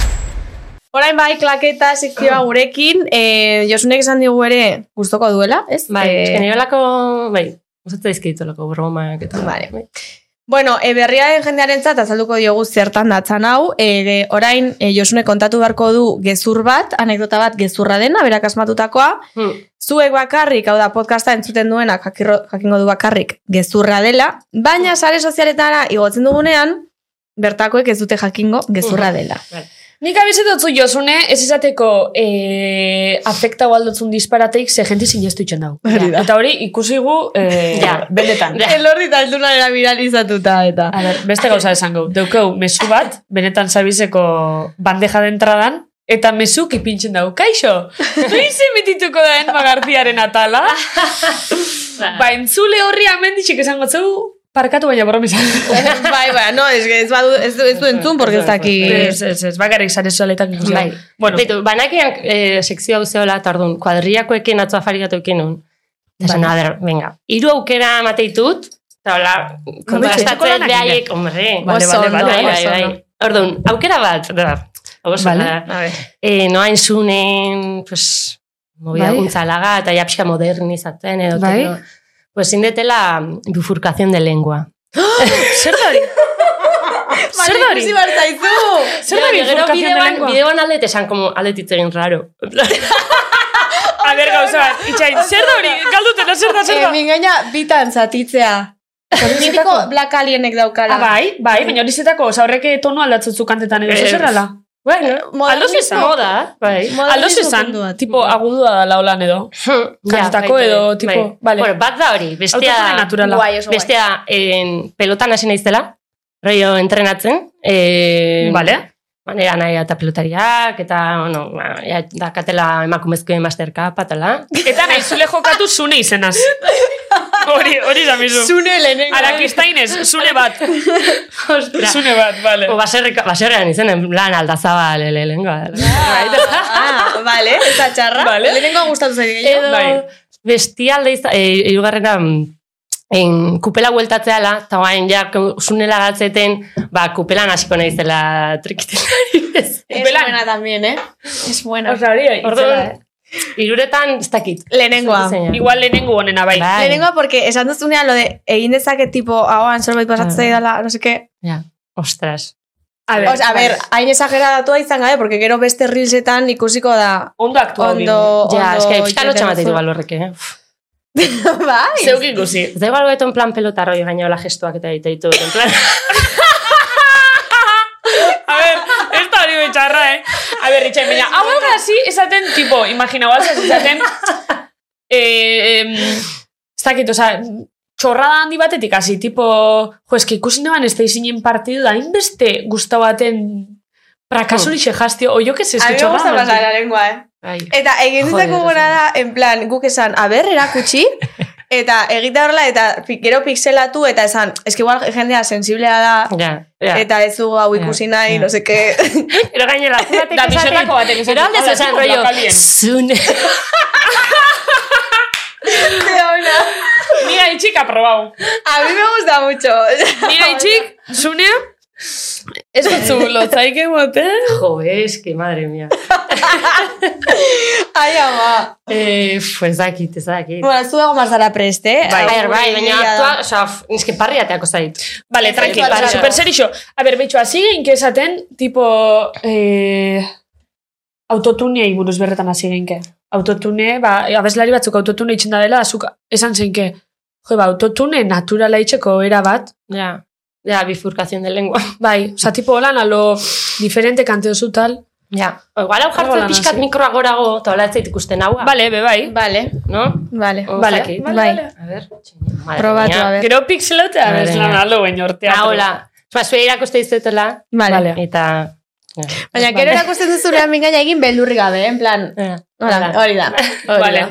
S3: Orain bai, klaketa sekzioa gurekin, eh, Josunek esan digu ere gustoko duela, ez?
S5: Bai,
S3: Eh,
S5: eh... generolako, bai, gustatzen dizkitolako bromak eta... bai.
S3: Vale. Bueno, e, berriaren jendearentzat azalduko diogu zertan datzan hau, e, orain e, Josune kontatu beharko du gezur bat, anekdota bat gezurra dena, berak asmatutakoa,
S5: Hmm.
S3: zuek bakarrik, hau da podcasta entzuten duenak jakirro, jakingo du bakarrik gezurra dela, baina sare sozialetara igotzen dugunean, bertakoek ez dute jakingo gezurra dela.
S1: Nik abizetotzu jozune, ez izateko eh, afekta gualdotzun disparateik, ze jenti sinestu itxen dau. Eta hori ikusi gu, eh,
S5: Ja.
S1: benetan.
S5: Ja.
S3: Elordi talduna era viralizatuta eta.
S1: A ber, beste gauza esango. Daukau, mesu bat, benetan zabizeko bandeja de entradan, eta mesuk ipintzen dau, kaixo, noiz emitituko da enma gartiaren atala? ba, entzule horri amenditxik esango zu, parkatu baina borromizan.
S3: bai, bai, no, ez, ez, badu- ez, du- ez du entzun, porque ez daki.
S1: ez, ez, ez, bakarrik zare soletan ikusi.
S5: Bai.
S1: Bueno,
S5: Beitu, banakian eh, sekzio hau zehola, eta orduan, kuadriakoekin atzo afarigatu ekin nun. Eta esan, a ber, venga, hiru aukera amateitut, eta hola,
S1: etxeko
S5: kontrastatzen
S1: lanak
S5: behaiek, hombre,
S1: Vale,
S3: Oso
S1: vale,
S3: ondo,
S1: vale,
S5: bai, bai,
S3: oso
S5: bai.
S3: ondo.
S5: Orduan, aukera bat, da, oso,
S1: Vale.
S5: vale. da, eh, noain zunen, pues, movida
S1: Bai.
S5: bai. guntzalaga, eta ja pixka modernizatzen, edo,
S1: Bai.
S5: bai. pues, indetela bifurkazion de lengua.
S1: zer da hori? zer da hori?
S3: behar zaizu!
S1: Zer da
S5: Baina, gero
S1: bifurkazion de
S5: bideoan,
S1: lengua?
S5: bideoan aldet esan como aldetit egin raro.
S1: A ber, gauza bat, itxain, zer da hori? Galdutena, zer da, zer
S3: Eh,
S1: da?
S3: mingaina bitan zatitzea. Mitiko Black Alienek daukala.
S1: Ah, bai, bai, baina hori zetako, zaurrek tono aldatzutzu kantetan edo,
S5: Ez.
S1: zer rala?
S5: bueno,
S3: Modernismo-
S1: aldoz izan.
S5: moda, bai.
S3: Modernismo
S1: Aldoz esan,
S3: puntu bat.
S1: tipo, agudua da laulan edo. Kantatako
S5: bai,
S1: edo,
S5: bai,
S1: tipo,
S5: bai.
S1: vale.
S5: Bueno, bat da hori, bestea,
S1: Autotune naturala.
S3: Guai, oso guai.
S5: bestea en, pelotan hasi naizela, rollo entrenatzen, eh,
S1: Vale.
S5: Manera nahi eta pelotariak, eta, bueno, ba, ja, dakatela emakumezkoen Master Cup, atala.
S1: Eta naizule jokatu zune izenaz. Hori, hori da mizu.
S3: Zune lehenengo.
S1: Arakistainez, zune bat. Zune bat, bale.
S5: O baserrika- baserrean izenen lan aldazabal lehengoa.
S3: Ah, vale, ez da txarra.
S1: Vale.
S3: Lehenengo gustatu zaik gehiago.
S5: Edo
S1: Bai.
S5: bestialde izan, e, irugarrena, en, kupela bueltatzeala, eta guain ja, zunela gatzeten, ba, kupelan hasiko nahi zela trikitelari ez.
S3: Es
S1: Upelan.
S3: buena también, eh? Es buena.
S1: Osa, hori,
S5: Orduan, iruretan, ez dakit.
S3: Lehenengoa.
S5: Zein.
S1: Igual lehenengo honena bai.
S5: Bai.
S3: Lehenengoa, porque esan duzunean lo de egin dezake tipo ahoan zerbait pasatzen
S5: Ah.
S3: dela, no seke.
S5: Ja, ostras.
S1: A ber,
S3: O sea, a ver, hain exageradatua izan gabe, porque gero beste reelsetan ikusiko da
S1: ondo aktua
S3: ondo...
S5: Ja,
S3: ondo
S5: ez que, pixka
S3: joaten
S5: lotxa mateitu
S3: duzu.
S5: balorrek, eh? Uf.
S3: Bai.
S1: Zeuk ikusi.
S5: Ez da igual beton plan pelotarroi gaina hola gestuak eta ditu ditu. En plan,
S1: A ver, ez da hori betxarra, eh? A ver, itxain, baina, hau algazi, esaten, tipo, imagina, balzaz, esaten, eh, em, ez dakit, oza, txorrada handi batetik hasi, tipo, jo, eski ikusi neban ez da izinen partidu, da hainbeste guztau baten prakasuri xejastio, o jo, que se
S3: A mí
S1: eski
S3: me gusta
S1: txorrada.
S3: pasar la lengua, eh?
S5: bai.
S3: Eta egin
S5: Joder,
S3: ditako gona da, en plan, guk esan, aber, erakutsi, eta egita horrela, eta pi- gero pixelatu, eta esan, eski igual jendea sensiblea da,
S5: Ja, ja.
S3: eta ez du hau ikusi
S5: Ja,
S3: nahi,
S5: ja.
S3: no seke...
S5: Ero gainela, batek
S1: Da, pixotako batek esaten,
S5: Ero aldez
S1: "Hola,
S5: esan
S1: tipo,
S5: rollo,
S1: lokalien."
S5: zune.
S1: Mira, itxik aprobau.
S3: A mí me gusta mucho.
S1: Mira, itxik, zunea, Ez batzu lotzaik ematen.
S5: Jo, eski, madre mia.
S3: Ai, ama.
S5: Eh, fu, ez dakit, ez dakit.
S3: Bueno, zu egon barzara preste. eh?
S5: Bai, bai, bai,
S3: Agurri,
S5: baina
S3: egia da.
S5: aktua, oza, f- nizke parri ateako zait.
S1: Vale, tranqui,
S5: Bai,
S1: vale,
S5: bai,
S1: super
S5: bai.
S1: serixo. A ber, betxo, hasi geinke esaten, tipo... Eh, autotunei buruz berretan hasi geinke. Autotune, ba, abeslari batzuk autotune itxen da dela, zuk esan zeinke, jo, ba, autotune naturala itxeko era bat,
S5: Ja, ja, bifurkazion de lengua.
S1: bai, oza, tipo holan, alo, diferente kante dozu tal.
S5: Ja, o, igual
S1: Hola,
S5: hau jartzen pixkat
S1: nazi.
S5: mikroa gorago, eta hola ez zait ikusten haua.
S1: Vale, be, bai.
S3: Vale,
S5: No?
S3: vale.
S5: O,
S1: Vale,
S5: zakit.
S1: vale,
S3: Bai.
S1: vale.
S5: A ber, txina, madre
S3: Probatu,
S5: mía.
S3: a ber.
S1: Gero pixelota
S5: Madre
S1: abeslan
S5: mía.
S1: alo, baino ortea.
S5: Ah, hola. Ba, zue irakuste izetela,
S3: Vale.
S1: Vale.
S5: eta... Ja.
S3: Baina, gero erakusten duzunean mingaina egin beldurri gabe, eh, en plan.
S5: Ja.
S3: Hola,
S5: Hola.
S3: hori da.
S1: Vale.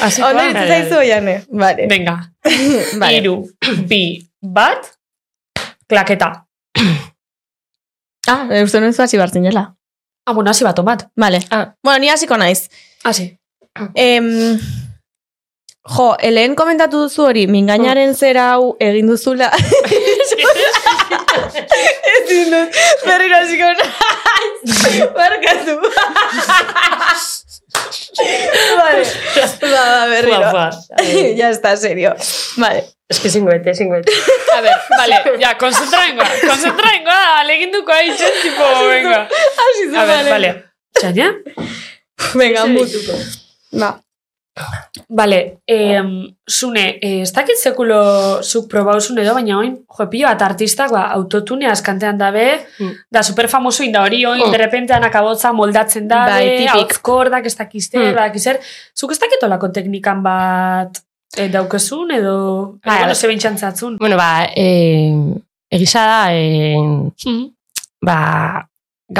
S1: Así
S3: Ondo ditu
S5: Bai,
S3: zaizu, Oiane. Vale.
S1: Venga,
S3: Vale.
S1: iru, bi, bat, klaketa.
S3: Ah, uste nuen zu hasi behar zinela.
S1: Ah, bueno, hasi bat, bat.
S3: Vale.
S5: Ah.
S3: Bueno, ni hasiko naiz.
S1: Hasi.
S3: Em, jo, helen komentatu duzu hori, mingainaren zera hau egin duzula. Ez dindu, berriro hasiko naiz. Barkatu. vale. Ba, ba,
S5: Fua,
S3: berriro.
S5: fua. Eh,
S3: ya está, serio. Vale.
S5: Eske zingoete, zingoete.
S1: A ver, vale, ya, konzentraengoa, konzentraengoa, alegin duko haitzen, tipo, venga.
S3: Hasi zu,
S1: A ver, vale. Txaina?
S3: Venga, mut. Ba.
S1: Vale, em, zune, eh, ez dakit sekulo zuk probauzun edo, baina oin, jo, pilo bat artistak, ba, autotune askantean dabe,
S3: Hmm.
S5: Mm.
S1: da superfamoso inda hori, oin,
S5: Mm.
S1: de repente anakabotza moldatzen da,
S3: Bai, tipik. Hmm.
S1: kordak, ez dakizter,
S5: Mm.
S1: mm. dakizer, zuk ez dakit olako teknikan bat eh, daukezun, edo, edo,
S5: Bai,
S1: bueno,
S5: bai.
S1: zebentxantzatzun.
S5: Bueno, ba, eh, egisa da, eh,
S1: Hmm.
S5: ba,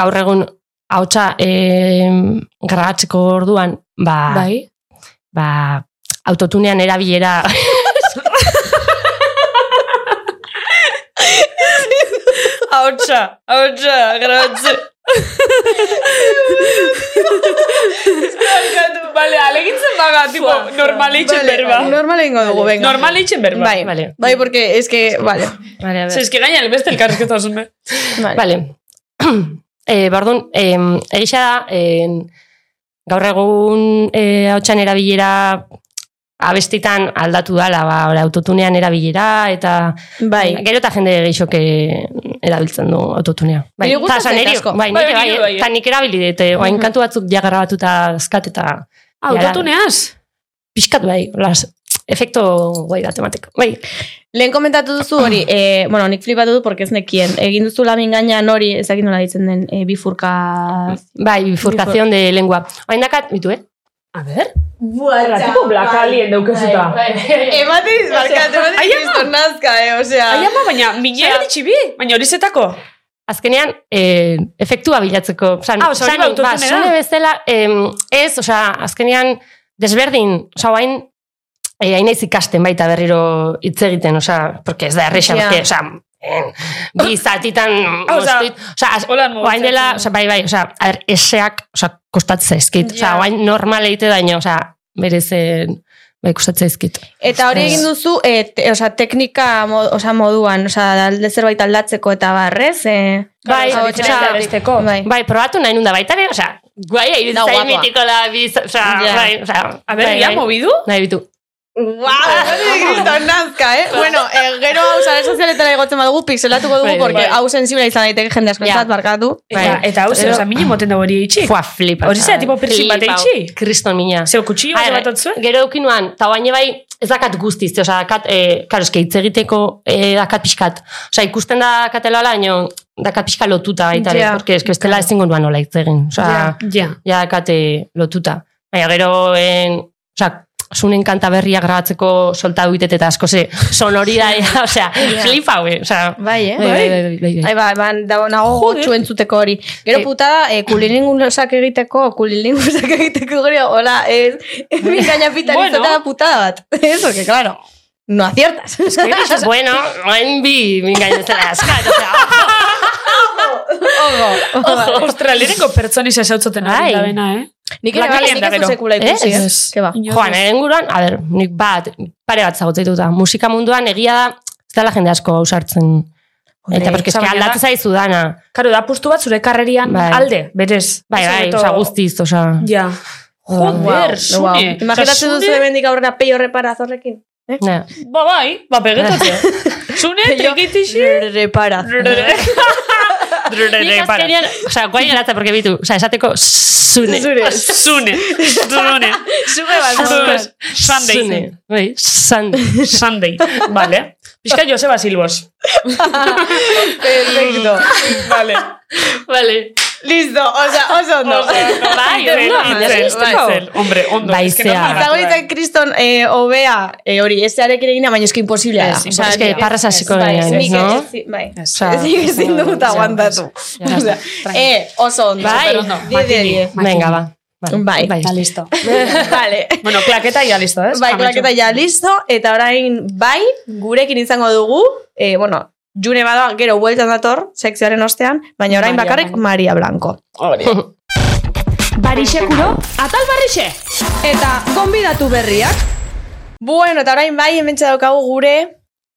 S5: gaur egun hautsa eh, grabatzeko orduan, ba,
S1: Bai.
S5: ba, autotunean erabilera
S1: Hautsa, hautsa, grabatze. Bale, alegintzen baga, tipo,
S5: Fua, fua.
S1: normalitzen berba.
S3: Normal egingo dugu, Oh, venga.
S1: Normalitzen berba.
S3: Bai,
S5: Vale.
S3: Bai, porque es que, vale.
S5: Vale, a
S1: Ze, eski gaina, elbeste elkarrezketa zume.
S3: Vale.
S5: Vale. eh, bardun, eh, egisa da, eh, gaur egun eh, hautsan erabilera abestitan aldatu dala, ba, ora, autotunean erabilera, eta
S3: Bai.
S5: gero eta jende geixok eh, erabiltzen du autotunea. Bai,
S3: Niri gustatzen
S5: eta
S3: asko.
S5: bai,
S1: Bai,
S5: nire bai,
S1: niri bai, eh.
S5: eta nik erabili dut, eh, oain kantu batzuk ja grabatuta azkat eta
S1: Hau,
S5: Ja.
S1: datuneaz.
S5: pixkat bai, las, efekto guai da tematiko. Bai,
S3: Lehen komentatu duzu hori, e, bueno, nik flipatu dut porque ez nekien. Egin duzu lamin gainean hori, ez dakit nola ditzen den, e, bifurka...
S5: bai, bifurkazion de lengua. Oain dakat, bitu, eh?
S1: A ber. Buara, tipo blakalien daukezuta.
S3: Emate dizbarkatu, emate dizbarkatu nazka, eh, osea...
S1: Ai, ama, baina, mine bat itxibi. Baina hori zetako.
S5: Azkenean, eh, efektua bilatzeko. San,
S1: Ah, osea, hori ba, autotune da.
S5: sone bezala, em, ez, osea, azkenean, desberdin, osea, oain, eh, hain naiz ikasten baita berriro hitz egiten, osea, porque ez da erresa,
S3: Ja.
S5: porque, osea, em, bi zatitan,
S1: Ah, osea,
S5: moztuit, osea, az-
S1: Holan mogu.
S5: Oain dela, osea, bai, bai, osea, a ber, eseak, osea, kostatzen zaizkit. Osea,
S3: Ja.
S5: oain normal egite daino, osea, berezen, bai, kostatzen zaizkit.
S3: Eta hori egin duzu, e, te, osea, teknika mo, osea, moduan, osea, alde zerbait aldatzeko eta barrez, eh?
S5: Bai,
S3: Osea,
S5: diferente
S3: osea,
S5: besteko.
S3: Bai.
S5: Bai, probatu nahi nunda baita, ere, osea, guai,
S3: Da,
S5: iruditzen
S3: guapoa.
S5: mitiko la biz, osea,
S3: Ja.
S5: bai, osea,
S1: A ber,
S5: bai,
S1: ja,
S5: bai.
S1: mobidu?
S5: Nahi bitu.
S3: Wow, Bai, kriston nazka, eh? bueno, eh, gero hau sare sozialetara igotzen badugu, pixelatuko dugu,
S5: Bai,
S3: porque
S5: bai.
S3: hau sensibila izan daiteke jende
S5: Ja.
S3: askotzat, barkatu.
S5: Bai.
S1: Eta, eta hau, zer,
S5: Pero-
S1: oza, mine moten da hori itxik.
S5: Fua, flipa.
S1: Hori zera, tipo, piercing bat itxi?
S5: Kriston mina.
S1: Zeo, kutxillo
S5: A
S1: bat
S5: ber,
S1: batatzu?
S5: Gero eukin nuan, eta baina bai, ez dakat guztiz, osea, dakat, e, karo, eske hitz egiteko e, dakat pixkat. Osea, ikusten da katela baino, dakat pixka lotuta baita,
S1: Ja.
S5: yeah. porque eske bestela ezingo nuan nola hitz egin. Osea,
S1: Ja.
S5: ja dakate lotuta. Baina gero, en, oza, zunen kanta berria grabatzeko solta duitet eta asko ze sonoridadea, osea, flipa, we, osea,
S3: Bai, eh?
S5: bai, bai, bai, bai, bai.
S3: Ai, ba, ba, da, nago gotxu entzuteko hori. Gero
S5: Eh.
S3: putada, e, kulilingusak egiteko, kulilingusak egiteko gori, hola, ez, minkaina pita
S1: Bueno.
S3: bueno. putada bat. Eso, que claro, no aciertas.
S5: bueno, oen bi, mingain ez dela askat, osea,
S1: Australianeko pertsoni zezautzen
S5: Bai.
S1: ari da bena, eh?
S3: Nik
S1: ere bai,
S3: nik
S1: nik ez
S3: ez
S1: dut
S3: sekula ikusi, eh?
S5: ikusi,
S3: Ke ba.
S1: Inor
S5: joan,
S1: ez.
S5: eren guruan, a ber, nik bat, pare bat zagotzeitu da, musika munduan egia da, ez dela jende asko ausartzen Eta porque eske aldatu zaizu dana.
S1: Karo, da puztu bat zure karrerian
S5: Bai.
S1: alde, berez.
S5: Bai, bai, oza, guztiz, oza.
S1: Ja. Joder,
S3: Wow.
S1: sune.
S3: Imaginatzen duzu hemendik aurrera peio repara zorrekin.
S5: Ja.
S1: Ba, bai, ba, pegetatze. Sune, trikitixi.
S3: Repara.
S5: Nik azkenean, oza, guain eratza, porque bitu, oza, esateko zune.
S1: Zure. Zune. Zune. Zure
S5: Zure. Zune.
S1: Sunday.
S5: Bai, sande.
S1: Sunday. Vale. Pizka Joseba Silbos.
S3: Perfecto.
S1: Vale.
S5: Vale.
S3: Listo, oza, oso ondo.
S5: Bai,
S1: Itzel,
S5: ondo.
S1: Itzel,
S3: Ikasteko.
S1: Itzel. bai. Hombre, ondo.
S5: Bai,
S1: es que no
S5: zea.
S1: paratu
S3: Zago
S1: da.
S3: ditan kriston eh, obea, eh, hori, ez zearekin egina, baina eski imposiblea da.
S1: Ez,
S3: Osea,
S5: eske
S3: nik-
S5: parras hasiko
S3: bai,
S5: ginen, ez,
S3: nik
S5: no?
S3: ez- Bai,
S1: Ez.
S3: Osea, nik ezin dut aguantatu. Osea, Eh, oso ondo.
S5: Bai,
S3: Superondo. Diez de diez.
S5: Venga, ba.
S3: Bai.
S5: bai.
S1: Ba, listo.
S3: Vale.
S1: Bueno, klaketa ya listo, ¿eh? ez?
S3: Bai,
S1: Amaitu.
S3: klaketa ja listo, eta orain bai, gurekin izango dugu, eh, bueno, June badoa gero bueltan dator, sekzioaren ostean, baina orain
S5: Maria
S3: bakarrik
S5: Blanco.
S3: Maria Blanco.
S4: Barixe kuro, atal barixe!
S3: Eta gonbidatu berriak. Bueno, eta orain bai hementxe daukagu gure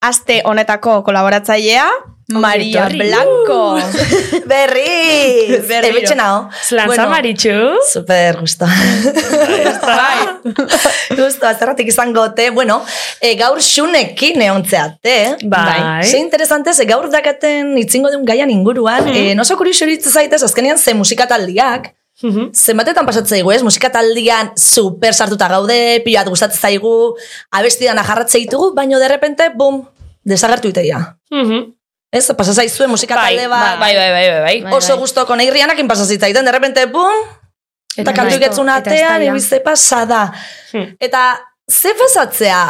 S3: aste honetako kolaboratzailea, Maria
S1: etorri.
S3: Blanco. Bai.
S8: Berriz!
S3: Berriro.
S8: Ebetxe nao.
S1: Slantza
S8: Bueno,
S1: maritxu.
S8: Super gusto.
S3: bai.
S8: gusto, azterratik izango te. Bueno, e, gaur xunekin eontzea te.
S1: Bai.
S8: Ze interesante, ze gaur dakaten itzingo duen gaian inguruan.
S5: Hmm.
S8: E, noso kuri xuritze zaitez, azkenean ze musikataldiak.
S5: Mhm.
S8: Zenbatetan pasatzen zaigu, ez? Musikataldian super sartuta gaude, pilat gustatzen zaigu, abestidan jarratze ditugu, baino derrepente, bum, desagertu iteia.
S1: Mhm.
S8: Ez, pasa zaizue musikatalde bat.
S5: bai, bai, bai, bai, bai.
S8: oso gustoko nahi rianakin pasa zitzaiten, derrepente, bum, Eta kantu iketzun atean, ibize pasada.
S1: Hmm.
S8: Eta ze pasatzea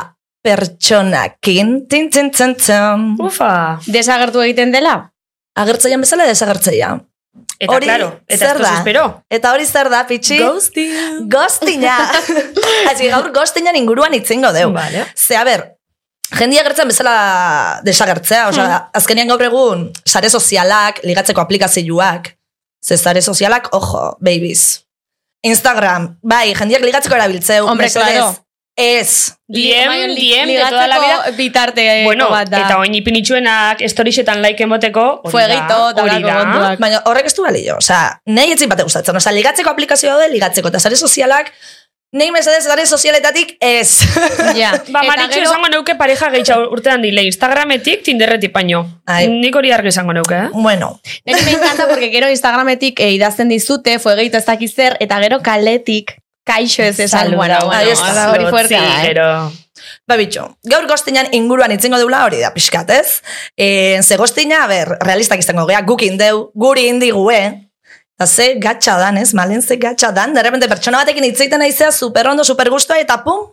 S8: pertsonakin, tin, tin, tin, tin.
S1: Uh. Ufa.
S3: Desagertu egiten dela?
S8: Agertzeian bezala desagertzeia.
S1: Eta,
S8: Hori,
S1: claro, eta
S8: zer
S1: esto
S8: da?
S1: se esperó.
S8: Eta hori zer da, pitxi?
S1: Ghosting.
S8: Gostina. Asi gaur gostinan inguruan itzingo deu.
S1: Vale.
S8: Ze, a ber, jendia gertzen bezala desagertzea, osea, azkenean gaur egun, sare sozialak, ligatzeko aplikazioak, ze sare sozialak, ojo, babies. Instagram, bai, jendiak ligatzeko erabiltzeu.
S3: Hombre,
S8: mesedez.
S3: claro.
S8: Ez.
S1: Diem,
S3: Li-
S1: diem, de toda la vida.
S3: ligatzeko bitarte
S1: Bueno,
S3: Eh, bat da.
S1: eta oin ipinitxuenak, storiesetan like emoteko, hori da,
S3: Fueguito, eta
S1: hori da.
S3: holako kontuak.
S8: Baina horrek ez du balio, osea, nahi etzin bate gustatzen, osea, ligatzeko aplikazioa daude, ligatzeko, eta sare sozialak, nahi mesedez sare sozialetatik ez.
S3: Ja.
S1: Ba,
S3: Eta
S1: maritxu
S3: gero-
S1: esango neuke pareja gehiago urtean dile, Instagrametik, Tinderretik baino.
S8: Ai.
S1: Nik hori argi esango neuke, eh?
S8: bueno,
S3: Neri me encanta porque gero Instagrametik eh, idazten dizute, fuegeito ez dakiz zer, eta gero kaletik, kaixo ez esan,
S8: Saluda,
S3: bueno, bueno,
S8: ahí está.
S3: hor- hori fuerte da, eh.
S1: Pero...
S8: Ba bitxo, gaur gostinan inguruan itzingo deula hori da pixkat, ez? E, ze gostina, a ber, realistak izango gea, guk indeu, guri indigue, eta ze gatxa dan, ez? Malen ze gatxa dan, derrepente pertsona batekin itzeiten aizea super ondo, super gustoa, eta pum,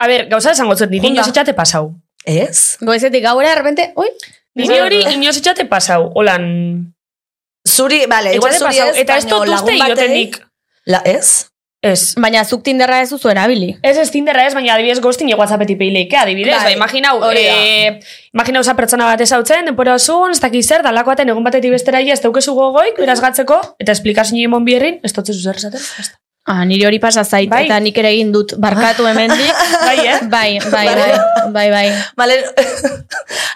S1: A ber, gauza esango zut, niri
S8: Junda.
S1: inoz etxate pasau.
S8: ez?
S3: Goizetik gaur de repente, ui,
S1: Niri hori inoz etxate pasau, holan...
S8: Zuri, bale, igual
S1: Etxate
S8: zuri
S1: pasau,
S8: ez,
S1: eta ez dut uste iotenik.
S8: La, ez?
S1: Ez.
S3: baina zuk tinderra ez duzu erabili.
S1: Ez ez Tinderra ez, baina adibidez ghosting egu WhatsAppetik peileike, adibidez, ba,
S8: Bai,
S1: imaginau,
S8: hori da.
S1: eh, imaginau za pertsona bat ezautzen, denpora osun, ez dakiz zer, dalako baten egun batetik bestera ia, ez daukezu gogoik, beraz gatzeko, eta esplikazio nire mon bierrin, ez dutzu zer esaten.
S3: Ah, niri hori pasa zait,
S1: Bai.
S3: eta nik ere egin dut barkatu hemendik.
S1: Bai, eh?
S3: bai, bai, bai, bai, bai.
S8: Malen,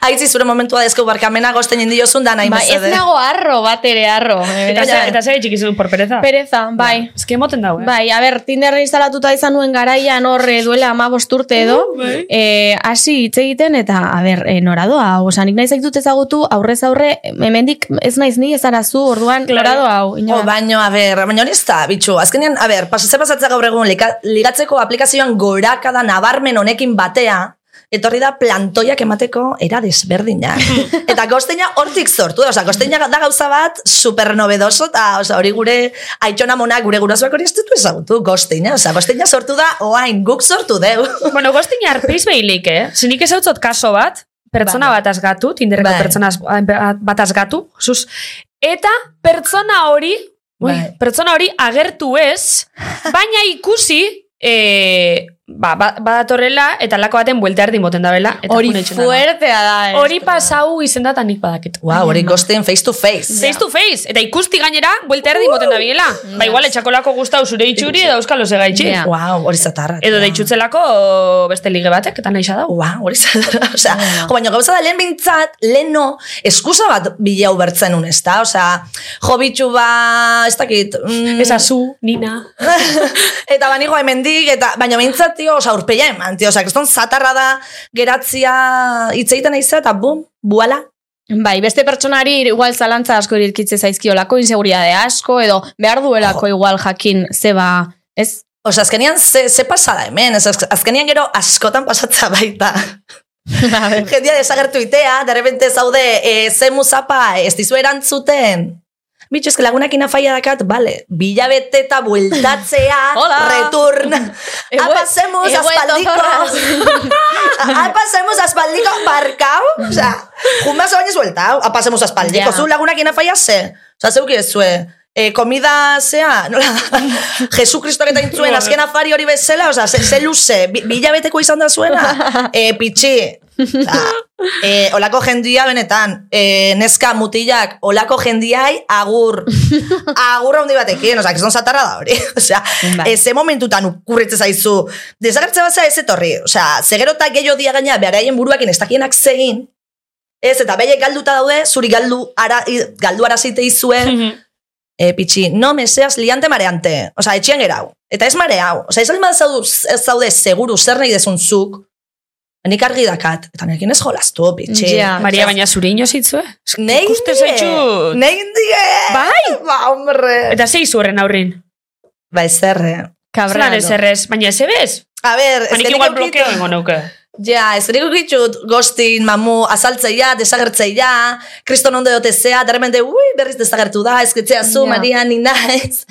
S8: haitzi zure momentua dezko barkamena gostenin diozun da nahi
S3: Bai, ez
S8: mesede.
S3: nago arro bat ere arro. eh,
S1: Eta
S3: beraz.
S1: ze- Eta zer itxik izan por pereza.
S3: Pereza, bai.
S1: Ez que emoten dago, eh?
S3: Bai, a ber, Tinder instalatuta izan nuen garaian hor eh, duela amabost urte edo, eh, hasi hitz egiten eta, a ber, eh, noradoa hau, osa, nik nahi zaitut ezagutu, aurrez aurre, hemendik ez naiz ni ezarazu, orduan,
S1: Claro.
S3: noradoa hau,
S8: O,
S3: inoa.
S8: eh. Oh, baino, a ber, baina hori ez da, bitxu. Azkenean, a ber, pasatze pasatzea gaur egun lika- ligatzeko aplikazioan gorakada nabarmen honekin batea, etorri da plantoiak emateko era desberdinak. eta gosteina hortik sortu da, osea, gosteina da gauza bat supernobedoso, eta osea, hori gure aitxona monak, gure gurasoak hori ez ditu ezagutu, gosteina, osea, gosteina sortu da, oain, guk sortu deu.
S1: Bueno, goztin arpeiz behileik, eh? Zinik ez hautzot kaso bat, pertsona bat azgatu, tinderreko
S8: Bai.
S1: pertsona az- bat azgatu, sus, eta pertsona hori, ui,
S8: Bai.
S1: pertsona hori agertu ez, baina ikusi, eh, ba, ba, badatorrela, eta lako baten buelta erdin boten da bela. Eta
S3: Hori
S1: jun eitzen da, ba.
S3: fuertea da. ez.
S1: Hori pasau izendata nik badakit.
S8: Wow, hori gozten face to face.
S1: Face to face, eta ikusti gainera, buelta erdin boten da bilela. Ba, igual, etxakolako gustau zure itxuri edo euskal osegaitxi.
S3: Uh. Ja.
S8: Wow, hori zatarra.
S1: Edo deitxutzelako beste lige batek, eta naixa dau.
S8: Ua, hori zatarra. Osea, jo, baina gauza da lehen bintzat, lehen no, eskusa bat bilau bertzen un, ez da? Osea, jo bitxu ba, ez dakit. Mm,
S1: Ez azu, nina.
S8: eta bani goa hemendik, eta, baina bintzat, tio, osea, urpeia eman, tio, osea, keston zatarra da, geratzia, hitz egiten aizea, eta bum, buala.
S3: Bai, beste pertsonari igual zalantza asko irkitze zaizkiolako, inseguridade asko, edo behar duelako igual jakin zeba, ez?
S8: Osea, azkenian, ze, ze pasada hemen, ez, az- azkenian gero askotan pasatza baita. Jendia desagertu itea, derrepente zaude, e, ze muzapa, ez dizu erantzuten. Bitxo, eske lagunak inafaia dakat, bale, bilabete eta bueltatzea,
S3: Hola.
S8: return.
S3: He vuel-
S8: Apa zemuz
S3: he vuelto
S8: aspaldiko. Apa zemuz aspaldiko barkau. Osea, junbaz baina zueltau, apa zemuz aspaldiko.
S3: Ja.
S8: Zu lagunak inafaia ze. Osea, zeuki ez zue. Eh, komida zea, nola, Jesu Kristok eta intzuen azken afari hori bezala, osea, ze, ze luze, bi, bilabeteko izan da zuena, eh, pitxi, Osea, eh, olako jendia benetan, eh, neska mutilak, olako jendiai agur, agur handi batekin, osea, kriston zatarra da hori, osea,
S3: Bai.
S8: ez ze momentutan ukurretze zaizu, desagertze bazea ez etorri, osea, ze gero eta gehiago dia gaina, beraien buruakin ez dakienak zegin, ez, eta beraiek galduta daude, zuri galdu ara, i- galdu arazite izue,
S1: Mhm.
S8: e, pitxi, no me seas liante mareante. Osa, etxean gerau. Eta ez mareau. Osa, ez alma zaudu, ez zaude seguru zer nahi dezun zuk, nik argi dakat. Eta nekin ez jolastu, pitxi.
S1: Ah,
S3: Ja.
S1: Maria, baina zure ino zitzue.
S8: Nei
S1: Ikusten zaitut.
S8: Nei indie!
S1: Bai?
S8: Ba, hombre!
S1: Eta zei horren aurrin.
S8: Ba, ez zerre.
S1: Zan ez errez, baina ez ebez.
S8: A ber, ez
S1: Banik
S8: genik
S1: igual
S8: eukitu-
S1: blokeo ingo neuke.
S8: Ja, ez genik ukitxut, gostin, mamu, azaltzeia, desagertzeia, kriston ondo eotezea, derremende, ui, berriz desagertu da, ezketzea zu,
S3: Ja.
S8: Maria, ni naiz.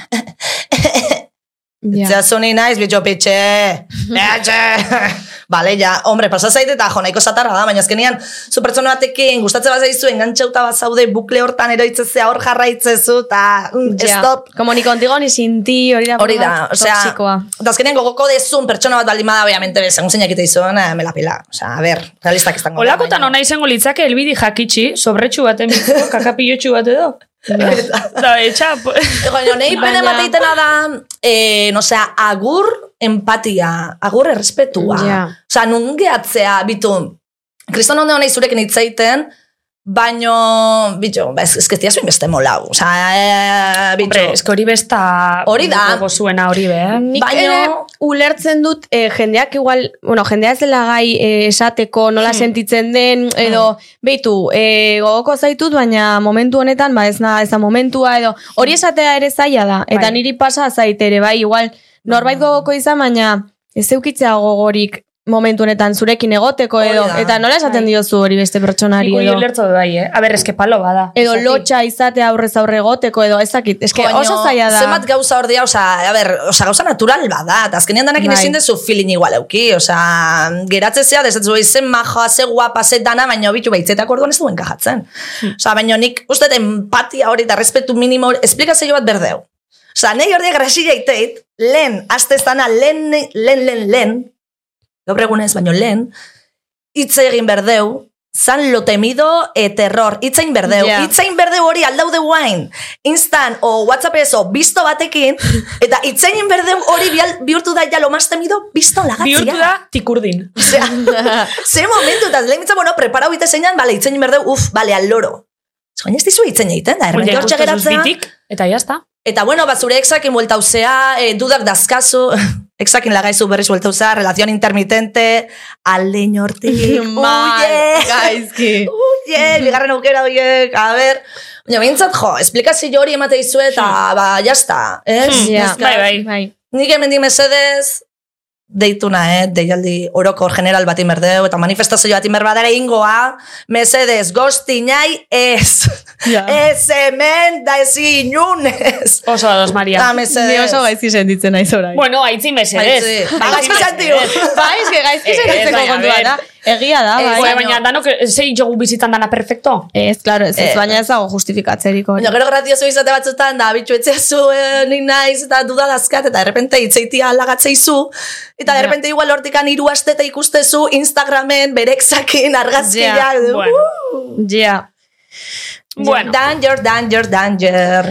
S3: Ja.
S8: Zea zuni naiz, bitxo pitxe. Bitxe. Bale, ja, hombre, pasa zaite eta jo, nahiko zatarra da, baina azkenean, zu pertsona batekin, gustatze bat zaizu, engantxauta bat zaude, bukle hortan eroitzezea, hor jarraitzezu, eta mm,
S3: Ja.
S8: stop.
S3: Como ni contigo ni sin ti, hori da.
S8: Hori da,
S3: forma
S8: osea,
S3: toxikoa.
S8: eta azkenean gogoko dezun pertsona bat baldin bada, obviamente, bez, egun zeinak ite izan, eh, me la pila. Osea, a ber, realistak izango. da,
S1: Olakotan
S8: baina-
S1: ona izango litzake elbidi jakitxi, sobretxu baten bitzeko, kakapilotxu bat edo. Da, etxa, po-
S8: Baina, nahi pene
S3: Baina-
S8: mateitena da, eh, no, osea, agur empatia, agur errespetua.
S3: Ja.
S8: Osea, nun gehatzea, bitu, kriston ondo nahi zurekin hitz egiten, baino, bitu, ba, ez, ez zuin beste molau. Osea, e, bitu,
S1: hombre, eske hori besta...
S8: Hori da.
S1: gogo zuena hori be, eh?
S3: Nik
S8: Baina-
S3: ere ulertzen dut eh, jendeak igual, bueno, jendea ez dela gai eh, esateko nola
S1: Hmm.
S3: sentitzen den, edo, beitu, eh, gogoko zaitut, baina momentu honetan, ba ez na, ez da momentua, edo, hori esatea ere zaila da,
S1: Hmm.
S3: eta
S1: Bai. Ah.
S3: niri pasa zait ere, bai, igual, norbait gogoko izan, baina ez eukitzea gogorik momentu honetan zurekin egoteko,
S8: Hori
S3: edo,
S8: da.
S3: eta nola esaten diozu hori beste pertsonari,
S1: Bai. Nik hori
S3: edo,
S1: ulertu bai, eh? A ber, eske palo bada.
S3: edo
S1: Zati.
S3: lotxa izatea aurrez aurre egoteko, edo, ez dakit, eske
S8: Baino,
S3: oso zaila da.
S8: Zenbat gauza hor dira, osea, a ber, osea, gauza natural bada, eta azkenean danakin
S3: Bai.
S8: ezin dezu feeling igual euki, osea, geratze zea, desetzu behi zen maja, ze guapa, ze dana, baina bitu behitzetak orduan ez duen kajatzen.
S3: Hmm.
S8: Osea, baina nik uste dut empatia hori eta respetu minimo hori, esplikazio bat berdeu. Osea, nahi hori grasi jaiteit, lehen, aste zana, lehen, lehen, lehen, lehen, gaur egunez, baino lehen, hitz egin berdeu, zan lo temido e terror, itzein berdeu,
S3: Ja.
S8: itzein berdeu hori aldaude guain, instan o whatsapp o bisto batekin, eta itzein berdeu hori bial- bihurtu da ja lo más temido bisto lagatzia.
S1: Bihurtu da, tikurdin.
S8: Osea, ze momentu, eta lehen mitza, bueno, preparau ite zeinan, bale, itzein berdeu, uf, bale, al loro. Zoin ez dizu itzein egiten, da,
S1: Oia,
S8: erremete hortxe
S1: ikusten zuz
S8: geratzea.
S1: bitik, eta jazta.
S8: Eta bueno, bat zure exakin bueltauzea, e, dudak dazkazu, exakin lagaizu berriz bueltauzea, relación intermitente, alde inortik,
S3: Mal,
S8: uie,
S3: gaizki.
S8: uie, bigarren aukera horiek, a ber, baina bintzat jo, esplikazio hori emate izu eta,
S3: Hmm.
S8: ba, jazta, ez?
S3: Ja.
S8: Neska.
S1: Bai, bai.
S3: Bai.
S8: Nik hemendik mesedez, deituna, eh? deialdi orokor general bat inberdeu, eta manifestazio bat inberbadara ingoa, mesedez, goztinai ez.
S1: Ja.
S8: Ez hemen da ez inunez.
S1: Oso ados, Maria.
S8: Da, mesedez.
S3: Ni oso gaizki sentitzen naiz orain.
S1: Bueno, aitzin mesedez. Bai,
S8: Aitzi, ba, gaizki sentiu.
S3: Ba, eske gaizki
S1: Ez,
S3: sentitzeko
S1: baina,
S3: kontua
S1: a
S3: da.
S1: ber,
S3: Egia da,
S8: Ez,
S3: bai.
S1: Oe, baina danok eh, zein jogu bizitzan dana perfecto?
S3: Ez, klaro, ez, ez,
S8: Eh.
S3: baina ez dago justifikatzeriko. hori.
S8: Baina gero grazioso izate batzutan, da, bitxu etzea zu, eh, ni naiz, eta duda dazkat, eta errepente itzeitia alagatzeizu, eta
S1: Ja.
S8: errepente igual hortikan hiru aste eta ikustezu Instagramen, berekzakin, argazkia,
S1: Ja,
S8: du,
S1: bueno.
S3: Ja.
S1: Bueno,
S8: Danger, danger, danger.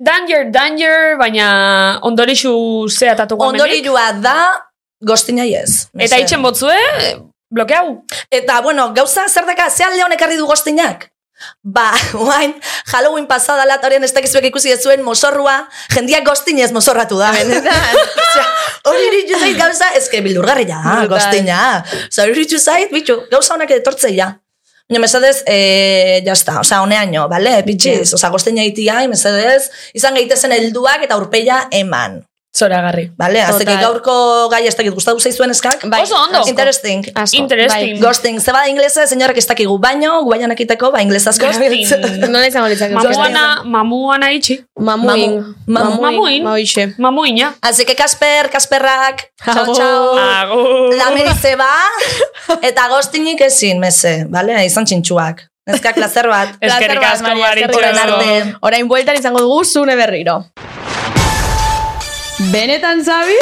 S1: danger, danger, baina ondorixu zeatatuko hemenik.
S8: Ondorioa da, gostina ez.
S1: Eta itxen botzue, blokeau.
S8: Eta, bueno, gauza zer daka, ze alde honek harri du goztinak? Ba, guain, Halloween pasada latorian ez dakizuek ikusi ez zuen mozorrua, jendiak goztinez mozorratu da. Osea, Hori ditu zait gauza, ezke bildurgarri da,
S3: Brutal.
S8: goztina. Osa, hori ditu zait, bitxu, gauza honak etortzeia. Baina, mesedez, e, jazta, oza, honeaino, bale, bitxiz, oza, goztina itiai, mesedez, izan gaitezen helduak eta urpeia eman.
S1: Zora garri.
S8: Bale, azteke
S3: Total.
S8: gaurko gai ez dakit gustatu zaizuen eskak?
S3: Bai,
S1: Oso ondo.
S8: Interesting.
S3: Asko.
S1: Interesting.
S8: Ghosting, ze bada inglesa, señorak ez dakigu baino, guaianak iteko, ba inglesazko.
S1: Ghosting.
S3: Bai. Nola izango litzak?
S1: Mamuana, mamuana itxi.
S3: Mamuin.
S8: Mamu-
S1: mamuin.
S3: Mauixe.
S1: Mamuina.
S8: Así que Kasper, Kasperrak, txau,
S3: Agur.
S8: txau.
S1: Agur.
S8: Lamerize ba, eta ghostinik ezin, meze, bale, izan txintxuak. Nezkak lazer bat.
S1: Eskerrik
S3: Plazer bat,
S1: asko,
S3: Maria, eskerrik
S1: Maritxo.
S3: asko.
S8: Orain arte.
S3: Orain bueltan izango dugu zune berriro.
S4: Benetan zabi?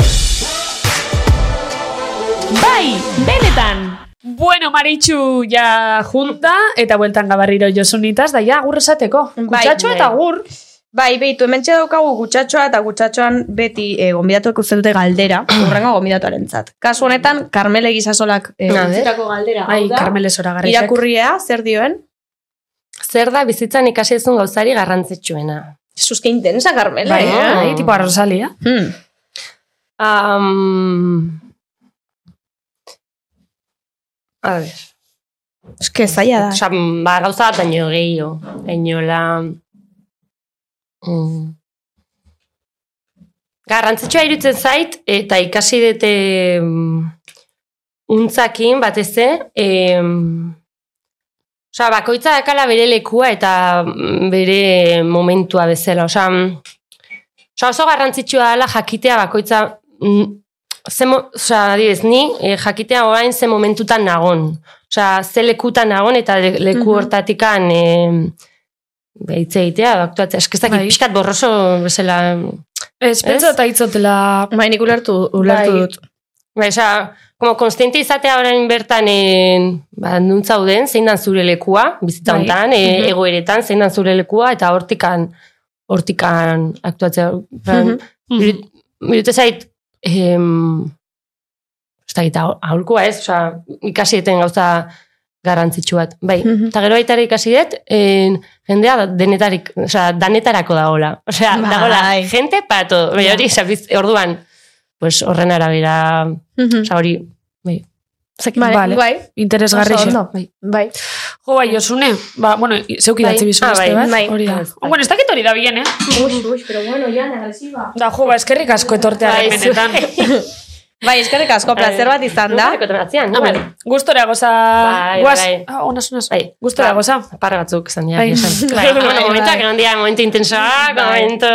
S4: Bai, benetan.
S1: Bueno, Maritxu ja junta, eta bueltan gabarriro josunitaz, da ja agur esateko.
S3: Bai,
S1: Kutsatxo
S3: bai.
S1: eta agur.
S3: Bai, behitu, hemen daukagu gutsatxoa eta gutsatxoan beti eh, gombidatuek uste dute galdera, urrengo gombidatuaren zat. Kasu honetan, Carmele Gizasolak eh,
S5: A ber.
S3: utzitako galdera.
S1: Ai,
S3: hau da,
S1: Carmele zoragarri.
S3: Irakurria, zer dioen?
S5: Zer da bizitzan ikasi duzun gauzari garrantzitsuena?
S3: Jesuz, que intensa, Carmele.
S1: Bai,
S3: eh?
S1: bai, tipo arrosalia.
S3: Hmm.
S5: Um, a ber,
S3: Eske zaila da.
S5: osa, ba, gauza bat baino gehiago. Gainola... Mm, garrantzitsua irutzen zait, eta ikasi dute mm, untzakin batez em, Osa, bakoitza dakala bere lekua eta mm, bere momentua bezala. mm, Osa, osa oso garrantzitsua dela jakitea bakoitza... mm, Ze, mo- osa, adibidez, ni eh, jakitea orain ze momentutan nagon. Osa, ze lekutan nagon eta le- leku
S3: Mhm.
S5: hortatikan eh, behitze egitea, aktuatzea. Eske ez dakit
S1: Bai.
S5: pixkat borroso bezala...
S1: Ez, pentsa eta itzotela...
S3: Bai, nik ulertu, ulertu
S5: Bai.
S3: dut.
S5: Ba, osa, como konstiente izatea orain bertan, eh, ba, nuntzauden, zein dan zure lekua, bizitza
S1: Bai.
S5: honetan, eh,
S1: Mhm.
S5: egoeretan, zein dan zure lekua, eta hortikan, hortikan aktuatzea. Mm
S3: Mhm.
S1: Mhm.
S5: Birute zait, em, ez da gita, aholkua ez, osa, ikasi eten gauza garrantzitsu bat. Bai,
S3: Mhm.
S5: eta gero baita ere ikasi dut, en, jendea denetarik, osa, danetarako dagola. Osea,
S3: Bai.
S5: dagola, gente para todo. Bai, hori, osa, biz- orduan, pues horren arabera
S3: Mhm.
S5: Osa hori, bai. Zaki,
S1: Vale.
S3: Bai,
S1: Interesgarri
S3: Oso
S1: xe.
S3: ondo.
S5: Bai.
S3: bai.
S1: Jo, bai, Josune. Ba, bueno, zeuk idatzi bizu
S5: Ah,
S1: beste
S5: bai,
S1: bat.
S5: bai.
S1: Hori da.
S5: Bai.
S1: Ah, Bueno, ez dakit hori da bien, eh? Da, jo, ba, eskerrik asko etortea
S5: Bai, zu-
S1: benetan.
S3: Bai, eskerrik asko, placer bat izan da.
S5: Nuntzareko tomatzean,
S1: Hombre,
S5: Ah, bueno.
S1: gustora goza...
S5: Bai,
S1: guaz...
S5: bai.
S1: Ah, onas, onas.
S5: Bai.
S1: Gustora
S5: Bai.
S1: goza.
S5: Parra batzuk izan dira.
S1: Bai.
S5: Bai. Bai.
S1: Bai,
S5: Bueno,
S1: bai.
S5: momentuak egon dira, momentu intensoak, momentu...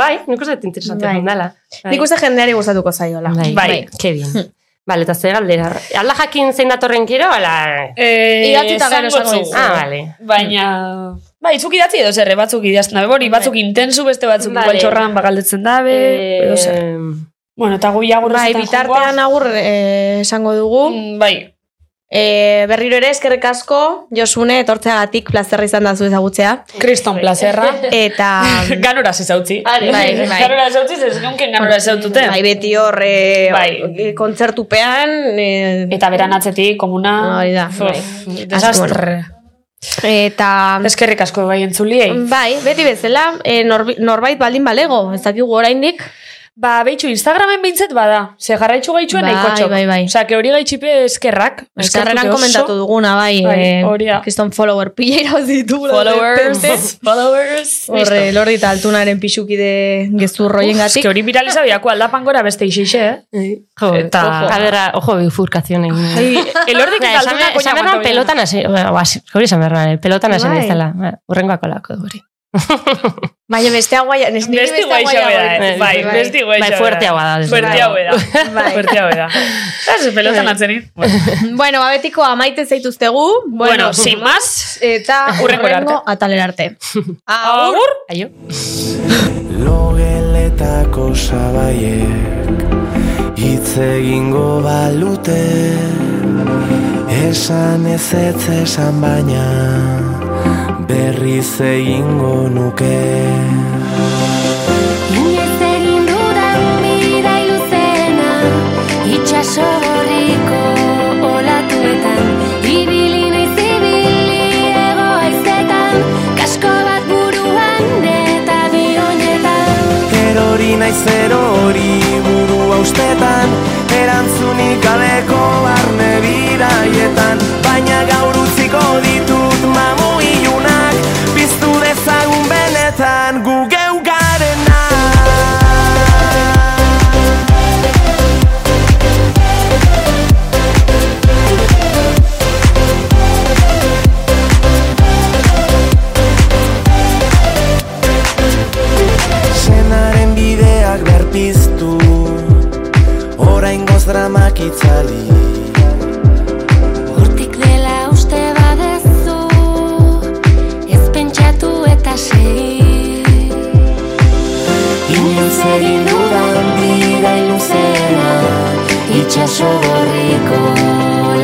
S5: Bai, nik uste dut interesatzen
S3: Bai.
S5: bai. dala.
S3: Nik uste jendeari gustatuko zaiola.
S5: Bai, bai.
S1: Bai.
S5: Ke bien. Bale, eta ze galdera. Ala jakin zein datorren kero, ala...
S1: Eh,
S3: Idatzita gero
S1: esango
S3: esango
S1: dugu.
S5: Ah, bale.
S1: Baina... Bai, zuk idatzi edo zerre, batzuk idazten dabe, hori, batzuk intensu, beste batzuk
S5: Vale.
S1: igual txorran bakaldetzen dabe, edo zer.
S5: Eh,
S1: Bueno, eta gui agur
S3: Bai,
S1: esaten
S3: bitartean
S1: joango
S3: agur eh, esango dugu.
S1: goaz. Mm, Bai,
S3: E, berriro ere eskerrik asko, Josune, etortzeagatik plazerra izan da zu ezagutzea.
S1: kriston plazerra.
S3: Eta... mm,
S1: Ganora zezautzi.
S5: Are,
S3: bai, bai.
S1: Ganora zezautzi, ez genken ganora zezautute.
S3: Bai, beti hor eh,
S1: Bai.
S3: kontzertupean... eh,
S1: Eta beran atzetik, komuna...
S3: Hori da,
S1: Uf,
S3: bai.
S1: Desastre.
S3: Eta...
S1: Eskerrik asko bai entzuliei.
S3: Bai, beti bezala, eh, norbi- norbait baldin balego, ez dakigu oraindik.
S1: Ba, behitxu, Instagramen bintzet bada. Ze jarraitxu gaitxuen
S3: Bai,
S1: nahiko txok.
S3: bai, bai.
S1: Osea, que hori gaitxipe eskerrak.
S3: Eskarreran komentatu duguna, bai,
S1: Bai,
S3: eh,
S1: hori da.
S3: kriston follower pila irauzitugula.
S1: Followers. Followers.
S3: Horre, lordi eta altunaren pixukide gezurroien
S1: Eske
S3: gatik.
S1: hori viraliza diako aldapan gora beste ixixe, eh?
S5: Jo,
S1: Eta-
S5: eta... A ber, ojo, bifurkazioen egin.
S1: Elordik eta
S5: Ba, esan
S1: altunak
S5: behar- esan behar pelotan hasi, ba, hasi- hori esan behar, pelotan hasi
S3: Bai.
S5: nezela, urrengoako lako hori.
S3: Baina beste guai, niri
S1: Beste
S3: bestea
S1: guaixa
S3: guaiago
S1: bera,
S3: iruditzen
S1: eh, bai,
S3: zait,
S1: beste guaixa
S5: Bai,
S1: bera.
S5: fuertea bada, desde
S1: Fuertea
S5: luego.
S1: bera.
S3: Bai.
S1: Fuertea bera. Eta pelotan atzenin. Bueno,
S3: Bueno, abetiko amaite zaituztegu.
S1: bueno, sin más,
S3: Eta
S1: Hurrengora arte.
S3: hurrengo atalera arte.
S1: agur.
S5: Aio.
S9: Logeletako sabaiek hitz egingo balute Esan ez ez esan baina berriz egingo nuke
S6: Inez egin dudan bida iluzena Itxaso horriko olatuetan Ibili naiz ibili ego aizetan Kasko bat buruan eta bionetan
S9: Erori naiz erori buru austetan Erantzunik galeko barne biraietan Baina gaur utziko ditut mamu ilunak Biztu dezagun benetan gu geu garena Senaren bideak berpiztu Orain goz dramak itzali
S6: Hortik dela uste badezu Ez pentsatu eta segi Inez egin dudan bida iluzena Itxaso gorriko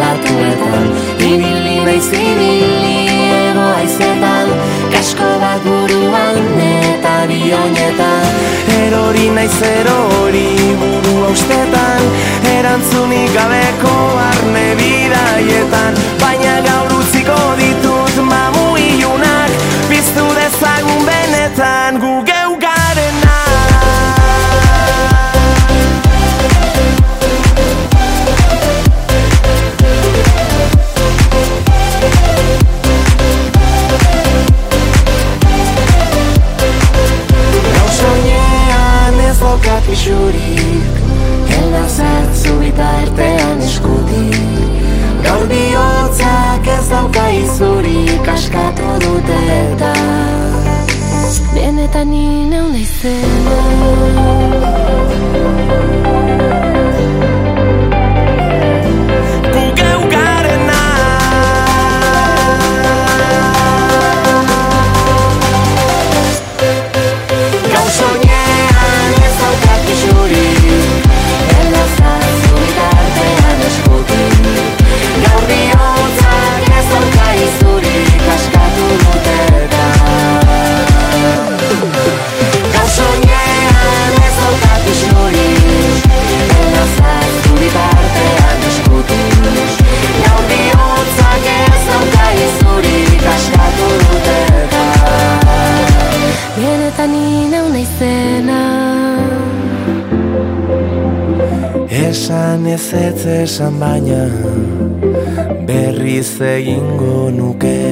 S6: latuetan Ibili naiz ibili ego aizetan Kasko bat buruan eta bionetan
S9: Erori naiz erori buru austetan Erantzunik gabeko arne bidaietan Baina gaur utziko ditut mamu ilunak Biztu dezagun benetan gu geu garena Gau soinean ez dokat pixurik
S6: Ela zartzu bitartean eskutik
S9: Gaur bihotzak ez dauka izurik
S6: askatu dute eta Benetan ni neu naizena
S9: Gu geu garena Gau soinean ez daukat pixurik
S6: Ela zartzu bitartean eskutik Gaur bihotzak ez dauka izurik askatu dute eta
S9: Gau soinean ez daukat pixurik
S6: Ela zartzu bitartean eskutik Gaur bihotzak ez dauka izurik askatu dute eta Benetan ni neu naizena
S9: Esan ez ez esan baina Berriz egingo nuke